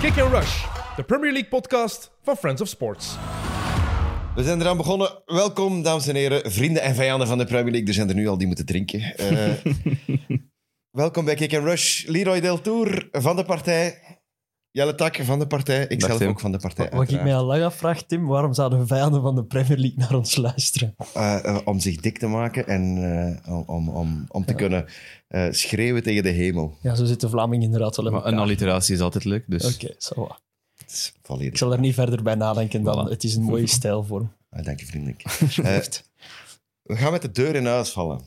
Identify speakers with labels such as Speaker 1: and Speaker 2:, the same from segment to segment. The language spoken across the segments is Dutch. Speaker 1: Kick and Rush, de Premier League podcast van Friends of Sports.
Speaker 2: We zijn eraan begonnen. Welkom, dames en heren, vrienden en vijanden van de Premier League. Er zijn er nu al die moeten drinken. Eh, welkom bij Kick and Rush. Leroy Del Tour van de partij. Jelle Tak van de partij. Ikzelf
Speaker 3: Tim.
Speaker 2: ook van de partij.
Speaker 4: Wat ik mij al lang afvraag, Tim, waarom zouden vijanden van de Premier League naar ons luisteren?
Speaker 2: uiteraard. Eh, eh, om zich dik te maken en eh, om- om, om, om te kunnen eh, schreeuwen tegen de hemel.
Speaker 4: Ja, zo zit de Vlaming inderdaad wel in
Speaker 3: Maar een
Speaker 4: elkaar.
Speaker 3: alliteratie is altijd leuk, dus...
Speaker 4: Oké, zo wat.
Speaker 2: Het is
Speaker 4: Ik
Speaker 2: volledig.
Speaker 4: zal er niet verder bij nadenken dan.
Speaker 3: Voilà.
Speaker 4: Het is een mooie stijlvorm.
Speaker 2: Ah, dank je, vriendelijk. Eh, we gaan met de deur in huis vallen.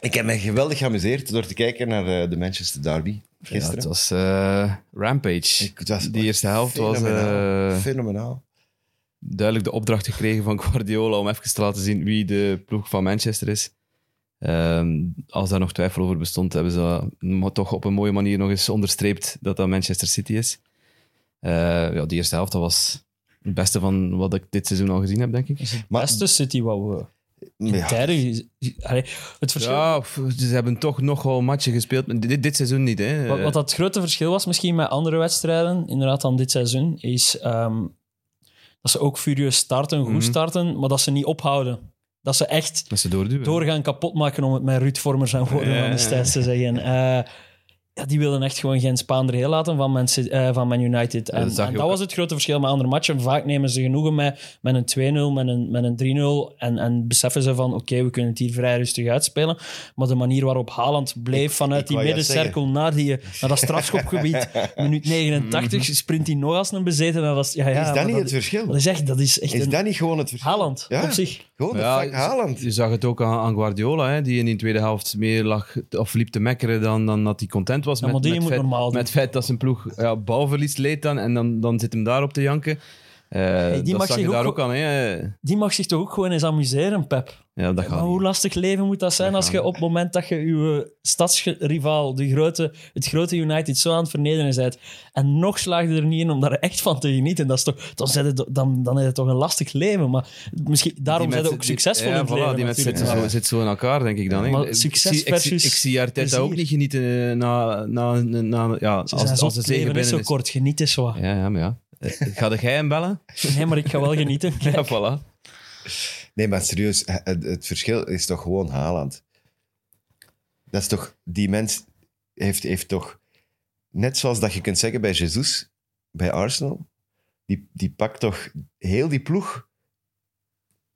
Speaker 2: Ik heb me geweldig geamuseerd door te kijken naar eh, de Manchester Derby
Speaker 3: Ja,
Speaker 2: gisteren.
Speaker 3: het was eh, Rampage.
Speaker 2: Ik- het was
Speaker 3: Die eerste helft was
Speaker 2: fenomenaal.
Speaker 3: eh,
Speaker 2: fenomenaal.
Speaker 3: duidelijk de opdracht gekregen van Guardiola om even te laten zien wie de ploeg van Manchester is. Ehm, als daar nog twijfel over bestond, hebben ze dat mo- toch op een mooie manier nog eens onderstreept dat dat Manchester City is. Eh, ja, die eerste helft dat was het beste van wat ik dit seizoen al gezien heb, denk ik.
Speaker 2: Maar-
Speaker 4: Beste City eh, wat we...
Speaker 2: Ja.
Speaker 4: Tijden- Allee, het verschil...
Speaker 3: Ja, pff, ze hebben toch nog wel matchen gespeeld. maar Dit, dit seizoen niet, hè.
Speaker 4: Wat, wat dat grote verschil was misschien met andere wedstrijden, inderdaad dan dit seizoen, is ehm, dat ze ook furieus starten, goed
Speaker 3: Mhm.
Speaker 4: starten, maar dat ze niet ophouden. Dat ze echt
Speaker 3: Dat ze doorduwen.
Speaker 4: doorgaan kapotmaken, om het met Ruud Vormer zijn woorden
Speaker 3: Ja,
Speaker 4: van destijds te zeggen. Eh, ja, die wilden echt gewoon geen Spaan er heel laten van Man, City- eh, van Man United. En en
Speaker 3: dat
Speaker 4: dat,
Speaker 3: zag je ook.
Speaker 4: was het grote verschil met andere matchen. Vaak nemen ze genoegen met, met een 2-0, met een, met een 3-0 en, en beseffen ze van oké, we kunnen het hier vrij rustig uitspelen. Maar de manier waarop Haaland bleef vanuit
Speaker 2: ik
Speaker 4: die
Speaker 2: wou Mm. juist
Speaker 4: middencirkel naar, die, naar dat strafschopgebied, minuut 89, sprint hij nog als een bezeten. En dat is, ja, ja,
Speaker 2: is dat
Speaker 4: maar
Speaker 2: niet het verschil?
Speaker 4: Dat is echt, dat is echt
Speaker 2: is
Speaker 4: een,
Speaker 2: dat niet gewoon het verschil?
Speaker 4: Haaland
Speaker 2: Ja.
Speaker 4: op zich.
Speaker 2: Gewoon de
Speaker 3: Ja,
Speaker 2: fuck Haaland.
Speaker 3: Je zag het ook aan, aan Guardiola, hè, die in die tweede helft meer lag of liep te mekkeren dan, dan dat hij content was
Speaker 4: Ja,
Speaker 3: met,
Speaker 4: maar die
Speaker 3: met,
Speaker 4: moet
Speaker 3: feit,
Speaker 4: normaal doen.
Speaker 3: met het feit dat zijn ploeg ja, balverlies leed dan en dan, dan zit hem daarop te janken. Eh
Speaker 4: die
Speaker 3: dat
Speaker 4: mag
Speaker 3: zag je
Speaker 4: zich
Speaker 3: daar
Speaker 4: ook-
Speaker 3: ook aan. Hè.
Speaker 4: Die mag zich toch ook gewoon eens amuseren, Pep.
Speaker 3: Ja, dat
Speaker 4: Maar
Speaker 3: gaat
Speaker 4: hoe
Speaker 3: niet.
Speaker 4: lastig leven moet dat zijn als je op het moment dat je je stadsrivaal, de grote, het grote United, zo aan het vernederen bent. En nog slaag je er niet in om daar echt van te genieten. Dat is toch, dan, zit het, dan, dan is het toch een lastig leven. Maar misschien, daarom
Speaker 3: Die
Speaker 4: zijn ze
Speaker 3: mensen-
Speaker 4: ook
Speaker 3: die-
Speaker 4: succesvol
Speaker 3: ja,
Speaker 4: in het
Speaker 3: voilà,
Speaker 4: leven.
Speaker 3: Die mensen
Speaker 4: natuurlijk.
Speaker 3: zitten zo, zitten zo in elkaar, denk ik dan. hè.
Speaker 4: Maar
Speaker 3: Ik-
Speaker 4: succes
Speaker 3: ik, zie- ik, zie- ik,
Speaker 4: versus
Speaker 3: zie Arteta
Speaker 4: plezier.
Speaker 3: ook niet genieten eh, na, na, na, na- ja,
Speaker 4: Ze zijn
Speaker 3: als,
Speaker 4: zo
Speaker 3: als de
Speaker 4: het
Speaker 3: zegen
Speaker 4: leven is
Speaker 3: binnen
Speaker 4: zo
Speaker 3: is.
Speaker 4: kort, geniet eens wat.
Speaker 3: Ja, ja, maar ja. Eh, Ga jij hem bellen?
Speaker 4: Nee, maar ik ga wel genieten.
Speaker 3: Ja, voilà.
Speaker 2: Nee, maar serieus, eh, het, het verschil is toch gewoon Haaland. Dat is toch, die mens heeft, heeft toch, net zoals dat je kunt zeggen bij Jesus, bij Arsenal, die, die pakt toch heel die ploeg.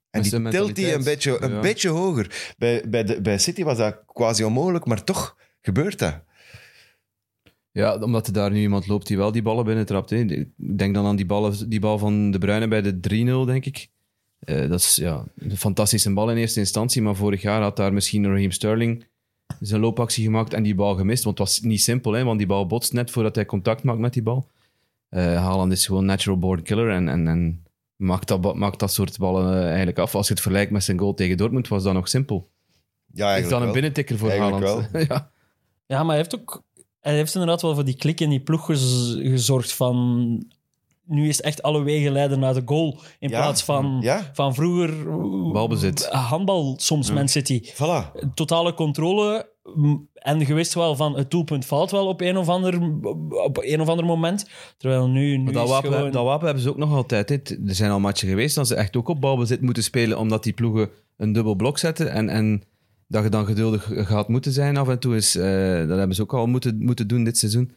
Speaker 2: En
Speaker 3: Met zijn
Speaker 2: die tilt die een
Speaker 3: mentaliteit.
Speaker 2: beetje, een
Speaker 3: Ja.
Speaker 2: beetje hoger. Bij, bij, de, bij City was dat quasi onmogelijk, maar toch gebeurt dat.
Speaker 3: Ja, omdat er daar nu iemand loopt die wel die ballen binnentrapt. Hè. Ik denk dan aan die, ballen, die bal van De Bruyne bij de 3-0, denk ik. Eh, dat is ja, een fantastische bal in eerste instantie, maar vorig jaar had daar misschien Raheem Sterling zijn loopactie gemaakt en die bal gemist. Want het was niet simpel, hè, want die bal botst net voordat hij contact maakt met die bal. Eh Haaland is gewoon natural born killer en, en, en maakt, dat, ba- maakt dat soort ballen eh, eigenlijk af. Als je het vergelijkt met zijn goal tegen Dortmund, was dat nog simpel.
Speaker 2: Ja,
Speaker 3: Is
Speaker 2: eigenlijk
Speaker 3: dan een
Speaker 2: wel.
Speaker 3: binnentikker voor
Speaker 2: Eigenlijk
Speaker 3: Haaland. ja.
Speaker 4: Ja, maar hij heeft ook... Hij heeft inderdaad wel voor die klik in die ploeg gez- gezorgd van... Nu is het echt alle wegen leiden naar de goal. In
Speaker 2: Ja.
Speaker 4: plaats van,
Speaker 2: Ja.
Speaker 4: van vroeger...
Speaker 3: Balbezit.
Speaker 4: Handbal soms, Man City.
Speaker 2: Voilà.
Speaker 4: Totale controle. mm, En je wist wel van, het doelpunt valt wel op een of ander, op een of ander moment. Terwijl nu, nu
Speaker 3: Maar dat
Speaker 4: is
Speaker 3: wapen,
Speaker 4: gewoon...
Speaker 3: dat wapen hebben ze ook nog altijd. hè. Er zijn al matchen geweest dat ze echt ook op balbezit moeten spelen, omdat die ploegen een dubbel blok zetten. En, en dat je dan geduldig gaat moeten zijn af en toe. Is, eh, dat hebben ze ook al moeten, moeten doen dit seizoen.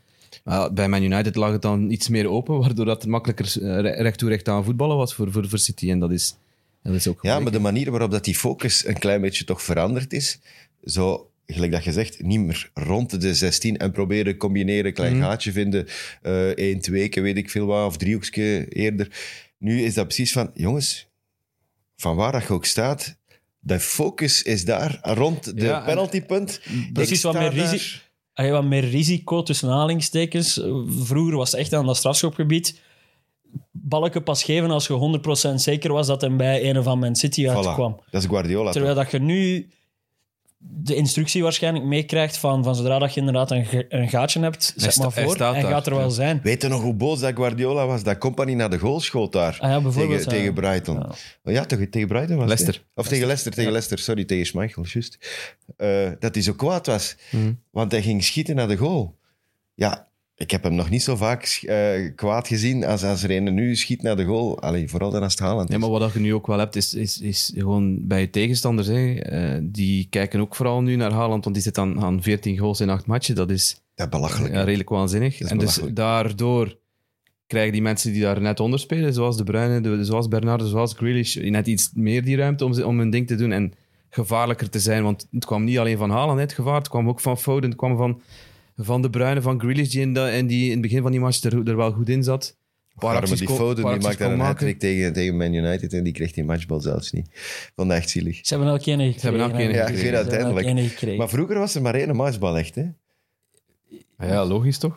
Speaker 3: Maar bij Man United lag het dan iets meer open, waardoor dat makkelijker eh, re- recht toe recht aan voetballen was voor, voor, voor City. En dat is, dat is ook
Speaker 2: Ja,
Speaker 3: gebleken.
Speaker 2: maar de manier waarop dat die focus een klein beetje toch veranderd is, zo, gelijk dat je zegt, niet meer rond de 16 en proberen combineren, klein
Speaker 4: Mhm.
Speaker 2: gaatje vinden, eh één, twee keer weet ik veel wat, of driehoekje eerder. Nu is dat precies van, jongens, van waar dat je ook staat, de focus is daar, rond de
Speaker 3: Ja, en-
Speaker 2: penaltypunt.
Speaker 4: Precies
Speaker 2: Ik
Speaker 4: wat
Speaker 2: sta
Speaker 4: meer
Speaker 2: daar.
Speaker 4: risico. Hij had wat meer risico tussen aanhalingstekens. Vroeger was het echt aan dat strafschopgebied. Balken pas geven als je 100% zeker was dat hem bij een van Man City uitkwam.
Speaker 2: Voilà, dat is Guardiola.
Speaker 4: Terwijl dat je nu de instructie waarschijnlijk meekrijgt van, van zodra dat je inderdaad een, ge- een gaatje hebt, zet
Speaker 3: sta-
Speaker 4: maar
Speaker 3: hij
Speaker 4: voor,
Speaker 3: staat
Speaker 4: hij
Speaker 3: daar,
Speaker 4: gaat er wel
Speaker 3: ja.
Speaker 4: zijn.
Speaker 2: Weet je nog hoe boos dat Guardiola was? Dat Company naar de goal schoot daar.
Speaker 4: Ah ja, bijvoorbeeld,
Speaker 2: tegen,
Speaker 4: ja.
Speaker 2: tegen Brighton. Oh Ja, tegen, tegen Brighton was het,
Speaker 3: Leicester.
Speaker 2: hè? Of tegen Leicester, tegen Leicester. Sorry, tegen Schmeichel, juist.
Speaker 3: Hmm.
Speaker 2: Eh, dat hij zo kwaad was. Want hij ging schieten naar de goal. Ja, Ik heb hem nog niet zo vaak eh, kwaad gezien als, als er een nu schiet naar de goal. Allee, vooral dan als het Haaland
Speaker 3: Ja,
Speaker 2: is.
Speaker 3: maar wat je nu ook wel hebt, is, is, is gewoon bij je tegenstanders. Hè. Eh, die kijken ook vooral nu naar Haaland, want die zit aan, aan 14 goals in 8 matchen. Dat is
Speaker 2: Dat is belachelijk.
Speaker 3: ja, redelijk waanzinnig.
Speaker 2: Dat is
Speaker 3: En dus
Speaker 2: belachelijk.
Speaker 3: daardoor krijgen die mensen die daar net onder spelen, zoals De Bruyne, de- zoals Bernardo, zoals Grealish, net iets meer die ruimte om, ze- om hun ding te doen en gevaarlijker te zijn. Want het kwam niet alleen van Haaland, hè, het gevaar, het kwam ook van Foden, het kwam van, van De Bruyne, van Grealish, die in, de- en die in het begin van die match er, er wel goed in zat. Een paar
Speaker 2: Waarom
Speaker 3: acties
Speaker 2: die
Speaker 3: kon-
Speaker 2: foto,
Speaker 3: paar
Speaker 2: die
Speaker 3: acties
Speaker 2: maakt daar
Speaker 3: kon
Speaker 2: een
Speaker 3: maken.
Speaker 2: hat tegen, tegen Man United en die kreeg die matchbal zelfs niet. Vond dat echt zielig.
Speaker 4: Ze hebben elk ene gekregen.
Speaker 3: hebben elk ene
Speaker 4: hè.
Speaker 3: Ja,
Speaker 4: Ze
Speaker 3: gekregen,
Speaker 4: hebben elk
Speaker 2: uiteindelijk.
Speaker 4: ene gekregen.
Speaker 2: Maar vroeger was er maar één matchbal echt, hè.
Speaker 3: Ja, logisch toch?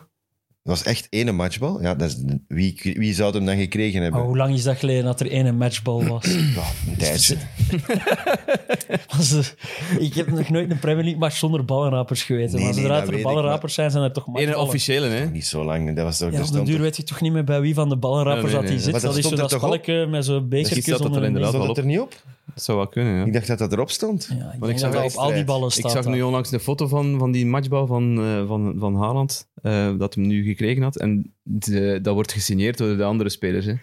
Speaker 2: Dat was echt één matchbal. Ja, dat is, wie, wie zou het hem dan gekregen hebben?
Speaker 4: Maar Oh, hoe lang is dat geleden dat er één matchbal was?
Speaker 2: Ja, een tijdje.
Speaker 4: Als er- ik heb nog nooit een Premier League match zonder ballenrapers geweten.
Speaker 2: Nee,
Speaker 4: maar
Speaker 2: nee,
Speaker 4: zodra
Speaker 2: dat
Speaker 4: er
Speaker 2: weet ik,
Speaker 4: ballenrapers zijn, zijn er toch
Speaker 3: Eén
Speaker 4: matchballen.
Speaker 3: officiële, hè?
Speaker 2: Niet zo lang. Dat was toch,
Speaker 4: Ja,
Speaker 2: er
Speaker 4: op de
Speaker 2: stond
Speaker 4: duur
Speaker 2: er-
Speaker 4: weet je toch niet meer bij wie van de ballenrappers
Speaker 3: Nee, nee,
Speaker 4: dat die
Speaker 3: nee.
Speaker 4: zit.
Speaker 2: Maar
Speaker 4: Dat
Speaker 2: dat
Speaker 4: is zo
Speaker 2: stond
Speaker 4: dat
Speaker 2: er toch op?
Speaker 4: spelletje met zo'n
Speaker 3: staat
Speaker 4: bekertjes
Speaker 3: dat er
Speaker 4: onder een
Speaker 3: inderdaad
Speaker 4: neus.
Speaker 2: Stond het er niet op?
Speaker 3: Dat zou wel kunnen, ja.
Speaker 2: Ik dacht dat dat erop stond.
Speaker 4: Ja, ik
Speaker 3: ik zag
Speaker 4: denk dat dat op
Speaker 2: extra
Speaker 4: al die
Speaker 2: uit.
Speaker 4: ballen
Speaker 3: Ik
Speaker 4: staat.
Speaker 3: zag nu
Speaker 4: dat.
Speaker 3: onlangs een foto van, van die matchbal van, eh, van, van Haaland, eh, dat hem nu gekregen had. En de- dat wordt gesigneerd door de andere spelers. Hè.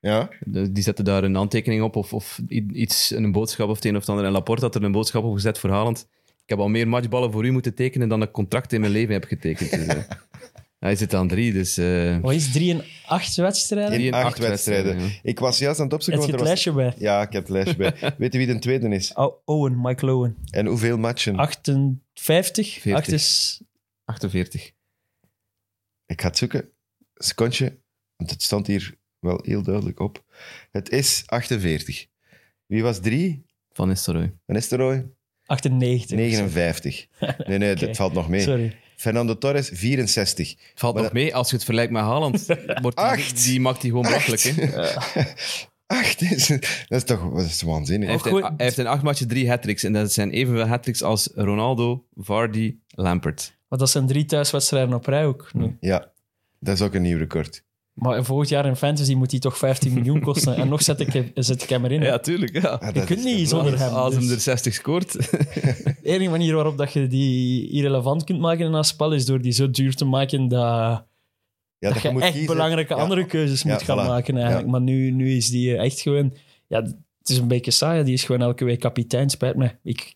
Speaker 2: Ja.
Speaker 3: De- die zetten daar een handtekening op of, of i- iets, een boodschap of het een of het ander. En Laporte had er een boodschap op gezet voor Haaland. Ik heb al meer matchballen voor u moeten tekenen dan ik contract in mijn leven heb getekend. Dus, eh, hij zit aan drie, dus... eh
Speaker 4: Wat is 3 en 8 wedstrijden?
Speaker 3: drie
Speaker 2: In
Speaker 3: en
Speaker 2: acht wedstrijden.
Speaker 3: ja.
Speaker 2: Ik was juist aan het opzoeken.
Speaker 4: Heb je het
Speaker 2: want er was-
Speaker 4: lijstje bij?
Speaker 2: Ja, ik heb het lijstje bij. Weet je wie de tweede is?
Speaker 4: Oh, Owen, Michael Owen.
Speaker 2: En hoeveel matchen?
Speaker 4: Ah. 58?
Speaker 3: 40.
Speaker 4: 8 is...
Speaker 3: 48.
Speaker 2: Ik ga het zoeken. Secondje. Want het stond hier wel heel duidelijk op. Het is 48. Wie was drie?
Speaker 3: Van Nistelrooy.
Speaker 2: Van Nistelrooy?
Speaker 4: 98.
Speaker 2: 59. Nee, nee, dat valt nog mee.
Speaker 4: Sorry.
Speaker 2: Fernando Torres, 64.
Speaker 3: Valt
Speaker 2: Maar
Speaker 3: nog mee, als je het vergelijkt met Haaland, wordt die,
Speaker 2: Acht!
Speaker 3: die maakt die gewoon belachelijk. Hè.
Speaker 2: Acht is... Dat is toch dat is waanzinnig.
Speaker 3: Hij heeft,
Speaker 4: Ook
Speaker 3: in,
Speaker 4: goed.
Speaker 3: hij heeft in acht matchen drie hat En dat zijn evenveel hat als Ronaldo, Vardy, Lampert.
Speaker 4: Want dat zijn drie thuiswedstrijden op rij ook. nu.
Speaker 2: Ja, dat is ook een nieuw record.
Speaker 4: Maar volgend jaar in Fantasy moet hij toch 15 miljoen kosten. En nog zet ik, hem- zet ik hem erin. hè.
Speaker 3: Ja, tuurlijk. Ja.
Speaker 2: Ah,
Speaker 4: je
Speaker 2: dat
Speaker 4: kunt
Speaker 2: is
Speaker 4: niet
Speaker 2: de
Speaker 4: zonder hem.
Speaker 3: Als
Speaker 4: dus
Speaker 3: hem er 60 scoort.
Speaker 4: De enige manier waarop dat je die irrelevant kunt maken in een spel is door die zo duur te maken dat,
Speaker 2: Ja,
Speaker 4: dat,
Speaker 2: dat
Speaker 4: je,
Speaker 2: moet
Speaker 4: echt
Speaker 2: kiezen.
Speaker 4: belangrijke
Speaker 2: Ja.
Speaker 4: andere keuzes moet
Speaker 2: Ja,
Speaker 4: gaan
Speaker 2: voilà.
Speaker 4: maken eigenlijk.
Speaker 2: Ja.
Speaker 4: Maar nu, nu is die eh, echt gewoon... Ja, het is een beetje saai. Die is gewoon elke week kapitein, spijt me. Ik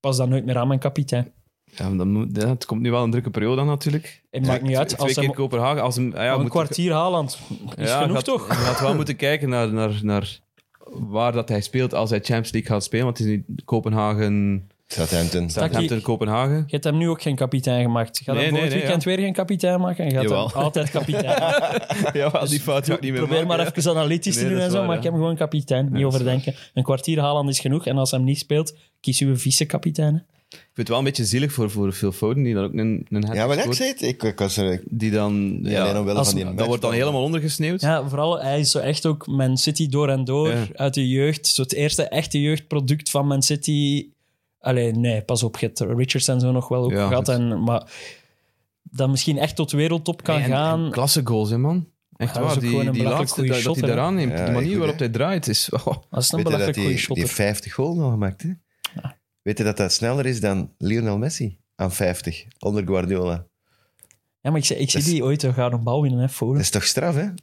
Speaker 4: pas dan nooit meer aan mijn kapitein.
Speaker 3: Ja, maar dan moet- ja, het komt nu wel een drukke periode aan natuurlijk.
Speaker 4: Het maakt niet uit.
Speaker 3: Twee
Speaker 4: Als
Speaker 3: keer
Speaker 4: hem, Oh,
Speaker 3: Kopenhagen. Als hem, ah ja,
Speaker 4: een
Speaker 3: moet-
Speaker 4: kwartier Haaland is
Speaker 3: ja,
Speaker 4: genoeg
Speaker 3: gaat-
Speaker 4: toch?
Speaker 3: Je gaat wel moeten kijken naar, naar, naar waar dat hij speelt als hij Champions League gaat spelen. Want het is nu Kopenhagen,
Speaker 2: Southampton.
Speaker 3: Southampton, Kopenhagen.
Speaker 4: Je hebt hem nu ook geen kapitein gemaakt.
Speaker 3: Nee,
Speaker 4: Gaat hem voor
Speaker 3: nee,
Speaker 4: het
Speaker 3: nee,
Speaker 4: weekend weer geen kapitein maken? En gaat hem
Speaker 3: Jawel.
Speaker 4: altijd kapitein maken?
Speaker 3: Ja, als die fout ga ik niet meer
Speaker 4: Probeer maar
Speaker 3: maken,
Speaker 4: even analytisch
Speaker 3: Nee,
Speaker 4: te doen
Speaker 3: dat
Speaker 4: en
Speaker 3: is
Speaker 4: zo,
Speaker 3: waar,
Speaker 4: maar
Speaker 3: ja.
Speaker 4: ik heb hem gewoon kapitein. niet
Speaker 3: dat is
Speaker 4: overdenken. Een kwartier Haaland is genoeg. En als hij hem niet speelt, kies uw vice-kapitein. hè.
Speaker 3: Ik vind het wel een beetje zielig voor, voor Phil Foden, die dan ook een, een hat
Speaker 2: Ja, maar ik
Speaker 3: scoort.
Speaker 2: zei het. Ik, ik was er...
Speaker 3: Die dan... Ja,
Speaker 2: Ja, omwille
Speaker 4: als-
Speaker 2: van die
Speaker 3: dat wordt dan
Speaker 2: matchbal.
Speaker 3: helemaal ondergesneeuwd.
Speaker 4: Ja, vooral, hij is zo echt ook Man City door en door.
Speaker 3: Ja.
Speaker 4: Uit de jeugd. Zo het eerste echte jeugdproduct van Man City. Allee, nee, pas op. Je hebt Richards en zo nog wel ook
Speaker 3: Ja,
Speaker 4: gehad.
Speaker 3: goed.
Speaker 4: En, maar dat misschien echt tot wereldtop kan
Speaker 3: Nee, en-
Speaker 4: gaan.
Speaker 3: en klasse goals, hè, man. Echt
Speaker 4: Ja, dat is
Speaker 3: waar,
Speaker 4: ook gewoon
Speaker 3: die,
Speaker 4: een
Speaker 3: die
Speaker 4: belachelijk
Speaker 3: laatste
Speaker 4: goeie
Speaker 3: dat,
Speaker 4: shot,
Speaker 3: dat hij
Speaker 4: hè.
Speaker 3: eraan neemt.
Speaker 2: Ja,
Speaker 3: de
Speaker 2: echt
Speaker 3: manier
Speaker 2: goed,
Speaker 3: waarop hij draait is... oh,
Speaker 4: dat is een
Speaker 2: Weet je dat
Speaker 4: belachelijk goede
Speaker 2: die, die
Speaker 4: shotter.
Speaker 2: 50 goal nog gemaakt, hè? Weet je dat dat sneller is dan Lionel Messi aan 50, onder Guardiola?
Speaker 4: Ja, maar ik, zie- ik zie
Speaker 2: Dat is-
Speaker 4: die ooit een gouden bal winnen, hè, Foden.
Speaker 2: Dat is toch straf, hè? Dat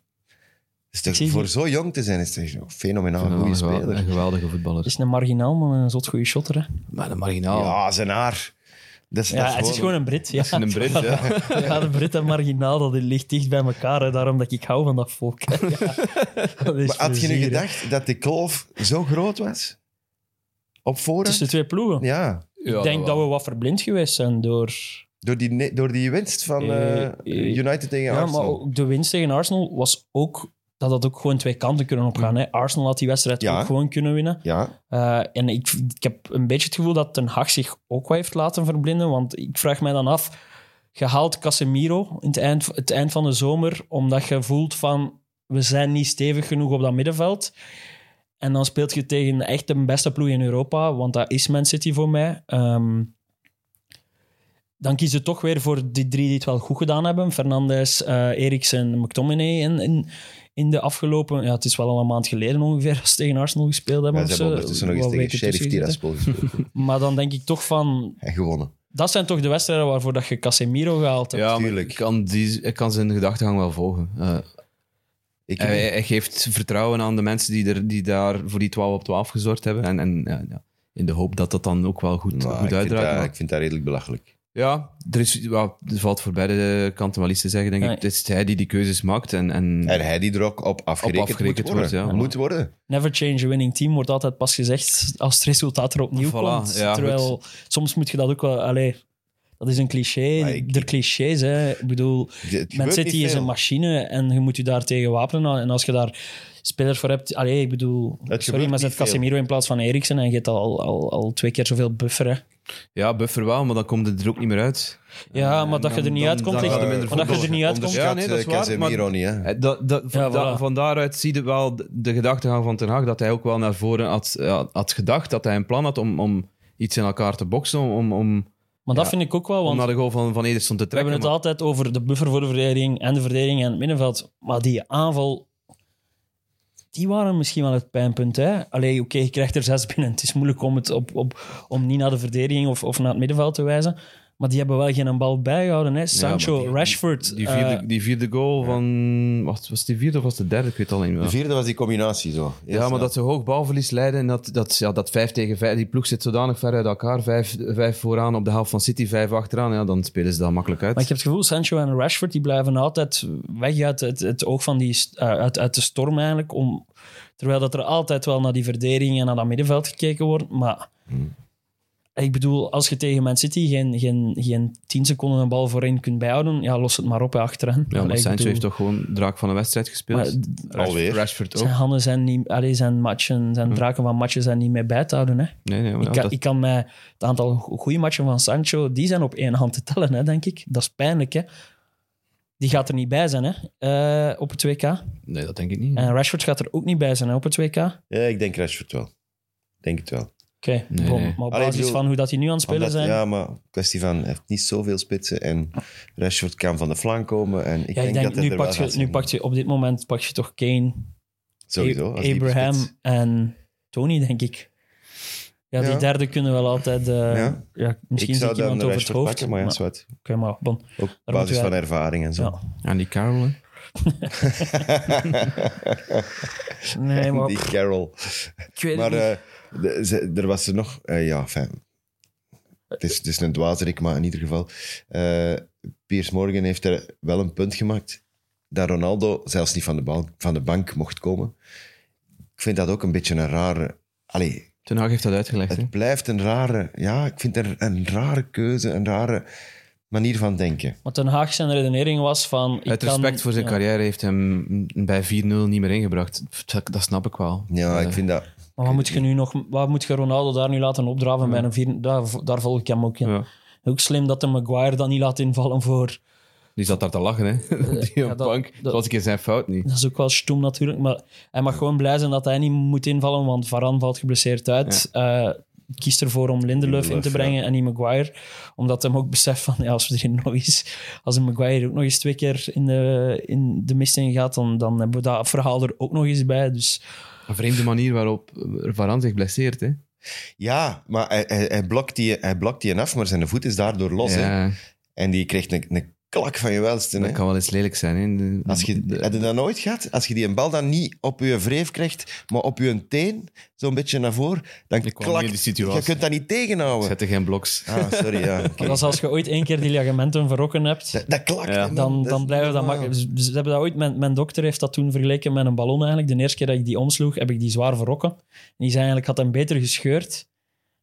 Speaker 2: Is toch,
Speaker 4: zie
Speaker 2: voor
Speaker 4: die-
Speaker 2: zo jong te zijn, is toch een fenomenaal
Speaker 3: een
Speaker 2: goede
Speaker 3: gewel-
Speaker 2: speler.
Speaker 3: Een geweldige voetballer.
Speaker 4: is een marginaal, maar een zot goede shotter. Hè.
Speaker 3: maar een marginaal.
Speaker 2: Ja, zijn haar. Dat is, dat
Speaker 4: Ja, het is gewoon een Brit. Ja.
Speaker 3: Een Brit, ja.
Speaker 4: Ja, de Brit en marginaal, dat ligt dicht bij elkaar. Hè. Daarom dat ik hou van dat volk. hè. Ja. Dat is
Speaker 2: Maar had je
Speaker 4: plezier,
Speaker 2: nu
Speaker 4: hè.
Speaker 2: gedacht dat de kloof zo groot was? Op voorhand?
Speaker 4: Tussen de twee ploegen.
Speaker 2: Ja,
Speaker 4: ik denk dat
Speaker 3: wel.
Speaker 4: we wat verblind geweest zijn door...
Speaker 2: door die, ne- door die winst van eh,
Speaker 4: Eh, eh,
Speaker 2: United tegen
Speaker 4: Ja, maar
Speaker 2: Arsenal.
Speaker 4: ook de winst tegen Arsenal was ook... Dat had ook gewoon twee kanten kunnen opgaan. Hè. Arsenal had die wedstrijd
Speaker 2: Ja.
Speaker 4: ook gewoon kunnen winnen.
Speaker 2: Ja,
Speaker 4: Eh, en ik, ik heb een beetje het gevoel dat Ten Hag zich ook wel heeft laten verblinden. Want ik vraag mij dan af, je haalt Casemiro in het eind, het eind van de zomer omdat je voelt van, we zijn niet stevig genoeg op dat middenveld. En dan speelt je tegen echt de beste ploeg in Europa, want dat is Man City voor mij. Ehm, dan kies je toch weer voor die drie die het wel goed gedaan hebben. Fernandes, eh Eriksen, McTominay in, in, in de afgelopen... Ja, het is wel al een maand geleden ongeveer als ze tegen Arsenal gespeeld hebben.
Speaker 2: ja
Speaker 4: of
Speaker 2: ze
Speaker 4: zo.
Speaker 2: hebben ondertussen nog eens
Speaker 4: Wat
Speaker 2: tegen
Speaker 4: weken
Speaker 2: Sheriff
Speaker 4: tussen gezeten.
Speaker 2: Tiraspol gespeeld
Speaker 4: Maar dan denk ik toch van...
Speaker 2: en gewonnen.
Speaker 4: Dat zijn toch de wedstrijden waarvoor dat je Casemiro gehaald hebt.
Speaker 3: Ja, maar
Speaker 2: tuurlijk.
Speaker 3: ik kan, die, ik kan zijn gedachtegang wel volgen. Eh,
Speaker 2: Ik
Speaker 3: hij, hij geeft vertrouwen aan de mensen die, er, die daar voor die 12 op 12 gezorgd hebben. En, en ja, ja, in de hoop dat dat dan ook wel goed,
Speaker 2: Nou,
Speaker 3: goed
Speaker 2: ik, vind
Speaker 3: uitdraait.
Speaker 2: dat,
Speaker 3: Maar-
Speaker 2: ik vind dat redelijk belachelijk.
Speaker 3: Ja, er, is, wel, er valt voor beide kanten wel iets te zeggen, denk
Speaker 4: Nee.
Speaker 3: ik. Het is hij die die keuzes maakt. En, en,
Speaker 2: En hij die er ook op afgerekend,
Speaker 3: afgerekend
Speaker 2: moet worden.
Speaker 3: wordt, ja.
Speaker 2: Moet worden.
Speaker 4: Never change a winning team wordt altijd pas gezegd als het resultaat er opnieuw
Speaker 3: Voilà,
Speaker 4: komt.
Speaker 3: ja,
Speaker 4: Terwijl soms moet je dat ook wel. Allee, dat is een cliché.
Speaker 2: Maar ik-
Speaker 4: de clichés, hè. Ik bedoel,
Speaker 2: Het gebeurt
Speaker 4: Man
Speaker 2: niet
Speaker 4: City is
Speaker 2: veel.
Speaker 4: een machine en je moet je daar tegen wapenen. En als je daar spelers voor hebt... Allee, ik bedoel...
Speaker 2: gebeurt
Speaker 4: sorry, maar
Speaker 2: niet
Speaker 4: zet
Speaker 2: veel.
Speaker 4: Casemiro in plaats van Eriksen en je hebt al, al, al twee keer zoveel buffer. Hè.
Speaker 3: Ja, buffer wel, maar dan komt het er ook niet meer uit.
Speaker 4: Ja,
Speaker 3: Eh,
Speaker 4: maar dat je
Speaker 3: dan-
Speaker 4: er niet
Speaker 3: dan-
Speaker 4: uitkomt...
Speaker 3: dan
Speaker 4: ligt-
Speaker 3: gaat er minder
Speaker 4: maar dat je er
Speaker 3: voetbal.
Speaker 4: niet uitkomt...
Speaker 2: Onderschat,
Speaker 3: Ja, nee, dat is
Speaker 2: eh,
Speaker 3: waar,
Speaker 2: Casemiro
Speaker 3: maar-
Speaker 2: niet, hè.
Speaker 3: Eh, Dat, dat, van,
Speaker 4: Ja,
Speaker 3: da-
Speaker 4: voilà.
Speaker 3: van daaruit zie je wel de, de gedachtegang van Ten Hag, dat hij ook wel naar voren had, ja, had gedacht, dat hij een plan had om, om iets in elkaar te boksen, om, om,
Speaker 4: Maar dat
Speaker 3: Ja.
Speaker 4: vind ik ook wel,
Speaker 3: om
Speaker 4: want
Speaker 3: naar de goal van, van Ederson te
Speaker 4: we hebben
Speaker 3: trekken.
Speaker 4: het
Speaker 3: maar-
Speaker 4: altijd over de buffer voor de verdediging en de verdediging en het middenveld. Maar die aanval... Die waren misschien wel het pijnpunt. Hè? Allee, oké, je krijgt er zes binnen. Het is moeilijk om, het op, op, om niet naar de verdediging of, of naar het middenveld te wijzen. Maar die hebben wel geen bal bijgehouden. Hè? Sancho,
Speaker 3: maar die-
Speaker 4: Rashford.
Speaker 3: die,
Speaker 4: eh,
Speaker 3: vierde, die vierde goal van... Wacht, was het die vierde of was het de derde? Ik weet het al niet meer.
Speaker 2: De vierde was die combinatie zo. Heel
Speaker 3: Ja,
Speaker 2: snel.
Speaker 3: maar dat ze hoog balverlies leiden en dat, dat, ja, dat vijf tegen vijf, die ploeg zit zodanig ver uit elkaar. Vijf, vijf vooraan op de helft van City, vijf achteraan. Ja, dan spelen ze dat makkelijk uit.
Speaker 4: Maar ik heb het gevoel, Sancho en Rashford die blijven altijd weg uit het, het oog van die, st- eh, uit, uit de storm eigenlijk. Om, terwijl dat er altijd wel naar die verdediging en naar dat middenveld gekeken wordt. Maar
Speaker 3: Hmm.
Speaker 4: ik bedoel, als je tegen Man City geen, geen, geen 10 seconden een bal voorin kunt bijhouden, ja, los het maar op hè, achteraan.
Speaker 3: ja, maar
Speaker 4: Allee, ik
Speaker 3: Sancho
Speaker 4: bedoel,
Speaker 3: heeft toch gewoon draak van de wedstrijd gespeeld.
Speaker 4: maar
Speaker 3: Rashford-
Speaker 2: Alweer.
Speaker 3: Rashford ook.
Speaker 4: zijn handen zijn niet... Allee, zijn matchen,
Speaker 3: Hmm.
Speaker 4: zijn draken van matchen zijn niet meer bij te houden, hè.
Speaker 3: Nee, nee, maar ja,
Speaker 4: ik, kan,
Speaker 3: dat-
Speaker 4: ik kan mij het aantal goede matchen van Sancho, die zijn op één hand te tellen, hè, denk ik. Dat is pijnlijk, hè. Die gaat er niet bij zijn hè, eh, op het WK.
Speaker 3: nee, dat denk ik niet.
Speaker 4: En Rashford gaat er ook niet bij zijn hè, op het WK. Oké,
Speaker 2: Ja, ik denk Rashford wel. Ik Denk het wel.
Speaker 3: Nee,
Speaker 4: bon.
Speaker 3: nee.
Speaker 4: maar
Speaker 2: Allee,
Speaker 4: op basis
Speaker 2: ik bedoel-
Speaker 4: van hoe dat die nu aan het spelen
Speaker 2: Omdat-
Speaker 4: zijn...
Speaker 2: Ja, maar kwestie van, hij heeft niet zoveel spitsen en Rashford kan van de flank komen. En ik,
Speaker 4: ja,
Speaker 2: denk, dat hij
Speaker 4: nu,
Speaker 2: er wel
Speaker 4: pak
Speaker 2: gaat
Speaker 4: je, nu
Speaker 2: zijn.
Speaker 4: pak je op dit moment pak je toch Kane,
Speaker 2: Sowieso, als
Speaker 4: A-
Speaker 2: diepe
Speaker 4: Abraham
Speaker 2: spits.
Speaker 4: en Tony, denk ik. Ja, die
Speaker 2: Ja.
Speaker 4: derde kunnen wel altijd... eh, ja.
Speaker 2: Ja.
Speaker 4: misschien
Speaker 2: Ik
Speaker 4: zie
Speaker 2: zou dan
Speaker 4: ik iemand
Speaker 2: de
Speaker 4: over het
Speaker 2: Rashford
Speaker 4: hoofd.
Speaker 2: pakken, maar ja,
Speaker 4: maar-
Speaker 2: zwart.
Speaker 4: Oké, maar bon.
Speaker 2: Ook op
Speaker 4: moeten
Speaker 2: basis
Speaker 4: wij-
Speaker 2: van ervaring en zo.
Speaker 4: Ja.
Speaker 3: En die Carroll, hè.
Speaker 4: Nee, maar
Speaker 2: die Carroll.
Speaker 4: ik weet
Speaker 2: Maar
Speaker 4: het niet.
Speaker 2: eh, de- ze- er was er nog... eh, ja, fijn. Het is, het is een dwazerik, maar in ieder geval... eh Piers Morgan heeft er wel een punt gemaakt dat Ronaldo zelfs niet van de, bal, van de bank mocht komen. Ik vind dat ook een beetje een rare... Allee,
Speaker 3: Ten Hag heeft dat uitgelegd, hè.
Speaker 2: Het blijft een rare... Ja, ik vind er een rare keuze, een rare manier van denken.
Speaker 4: Want Ten Haag zijn redenering was van... Ik
Speaker 3: Uit
Speaker 4: kan-
Speaker 3: respect voor zijn
Speaker 4: ja.
Speaker 3: carrière heeft hem bij 4-0 niet meer ingebracht. Pff, Dat, dat snap ik wel.
Speaker 2: Ja,
Speaker 3: Eh,
Speaker 2: ik vind dat...
Speaker 4: Maar wat moet je nu nog, wat moet je Ronaldo daar nu laten opdraven bij een vier, daar, daar volg ik hem ook in.
Speaker 3: ja.
Speaker 4: Ook slim dat de Maguire dan niet laat invallen voor.
Speaker 3: Die zat daar te lachen, hè. Die op
Speaker 4: Eh, ja, dat-
Speaker 3: bank.
Speaker 4: dat-
Speaker 3: Dat was een keer zijn fout niet.
Speaker 4: Dat is ook wel stoem natuurlijk, maar hij mag gewoon blij zijn dat hij niet moet invallen, want Varane valt geblesseerd uit. Eh, kiest ervoor om Lindelof in te
Speaker 2: Lindelof,
Speaker 4: brengen en niet Maguire, omdat hem ook beseft van ja, als we er nog eens, als een Maguire ook nog eens twee keer in de, in de mist in gaat, dan, dan hebben we dat verhaal er ook nog eens bij. Dus
Speaker 3: Een vreemde manier waarop Varane zich blesseert, hè.
Speaker 2: Ja, maar hij, hij, hij blokt die, hij blokt die af, maar zijn voet is daardoor los. Hè?
Speaker 3: Ja,
Speaker 2: En die kreeg een, een klak van je welste.
Speaker 3: dat
Speaker 2: Hè?
Speaker 3: kan wel eens lelijk zijn, hè. De-
Speaker 2: Als je,
Speaker 3: de-
Speaker 2: heb je dat nooit gehad? Als je die een bal dan niet op je wreef krijgt, maar op je teen, zo'n beetje naar voren, dan
Speaker 3: kwam niet in die
Speaker 2: klakt...
Speaker 3: situatie.
Speaker 2: Je kunt dat niet tegenhouden.
Speaker 3: Zet er geen bloks.
Speaker 2: Ah, sorry, ja. oké.
Speaker 4: dat is als je ooit één keer die ligamenten verrokken hebt.
Speaker 2: Dat, dat klakt.
Speaker 3: Ja.
Speaker 2: hè, man.
Speaker 4: dan,
Speaker 2: Dat is
Speaker 4: dan blijven we dat
Speaker 2: normaal.
Speaker 4: makkelijk. Ze ze hebben dat ooit, mijn, mijn dokter heeft dat toen vergeleken met een ballon eigenlijk. De eerste keer dat ik die omsloeg, heb ik die zwaar verrokken. En die zei eigenlijk, had hem beter gescheurd.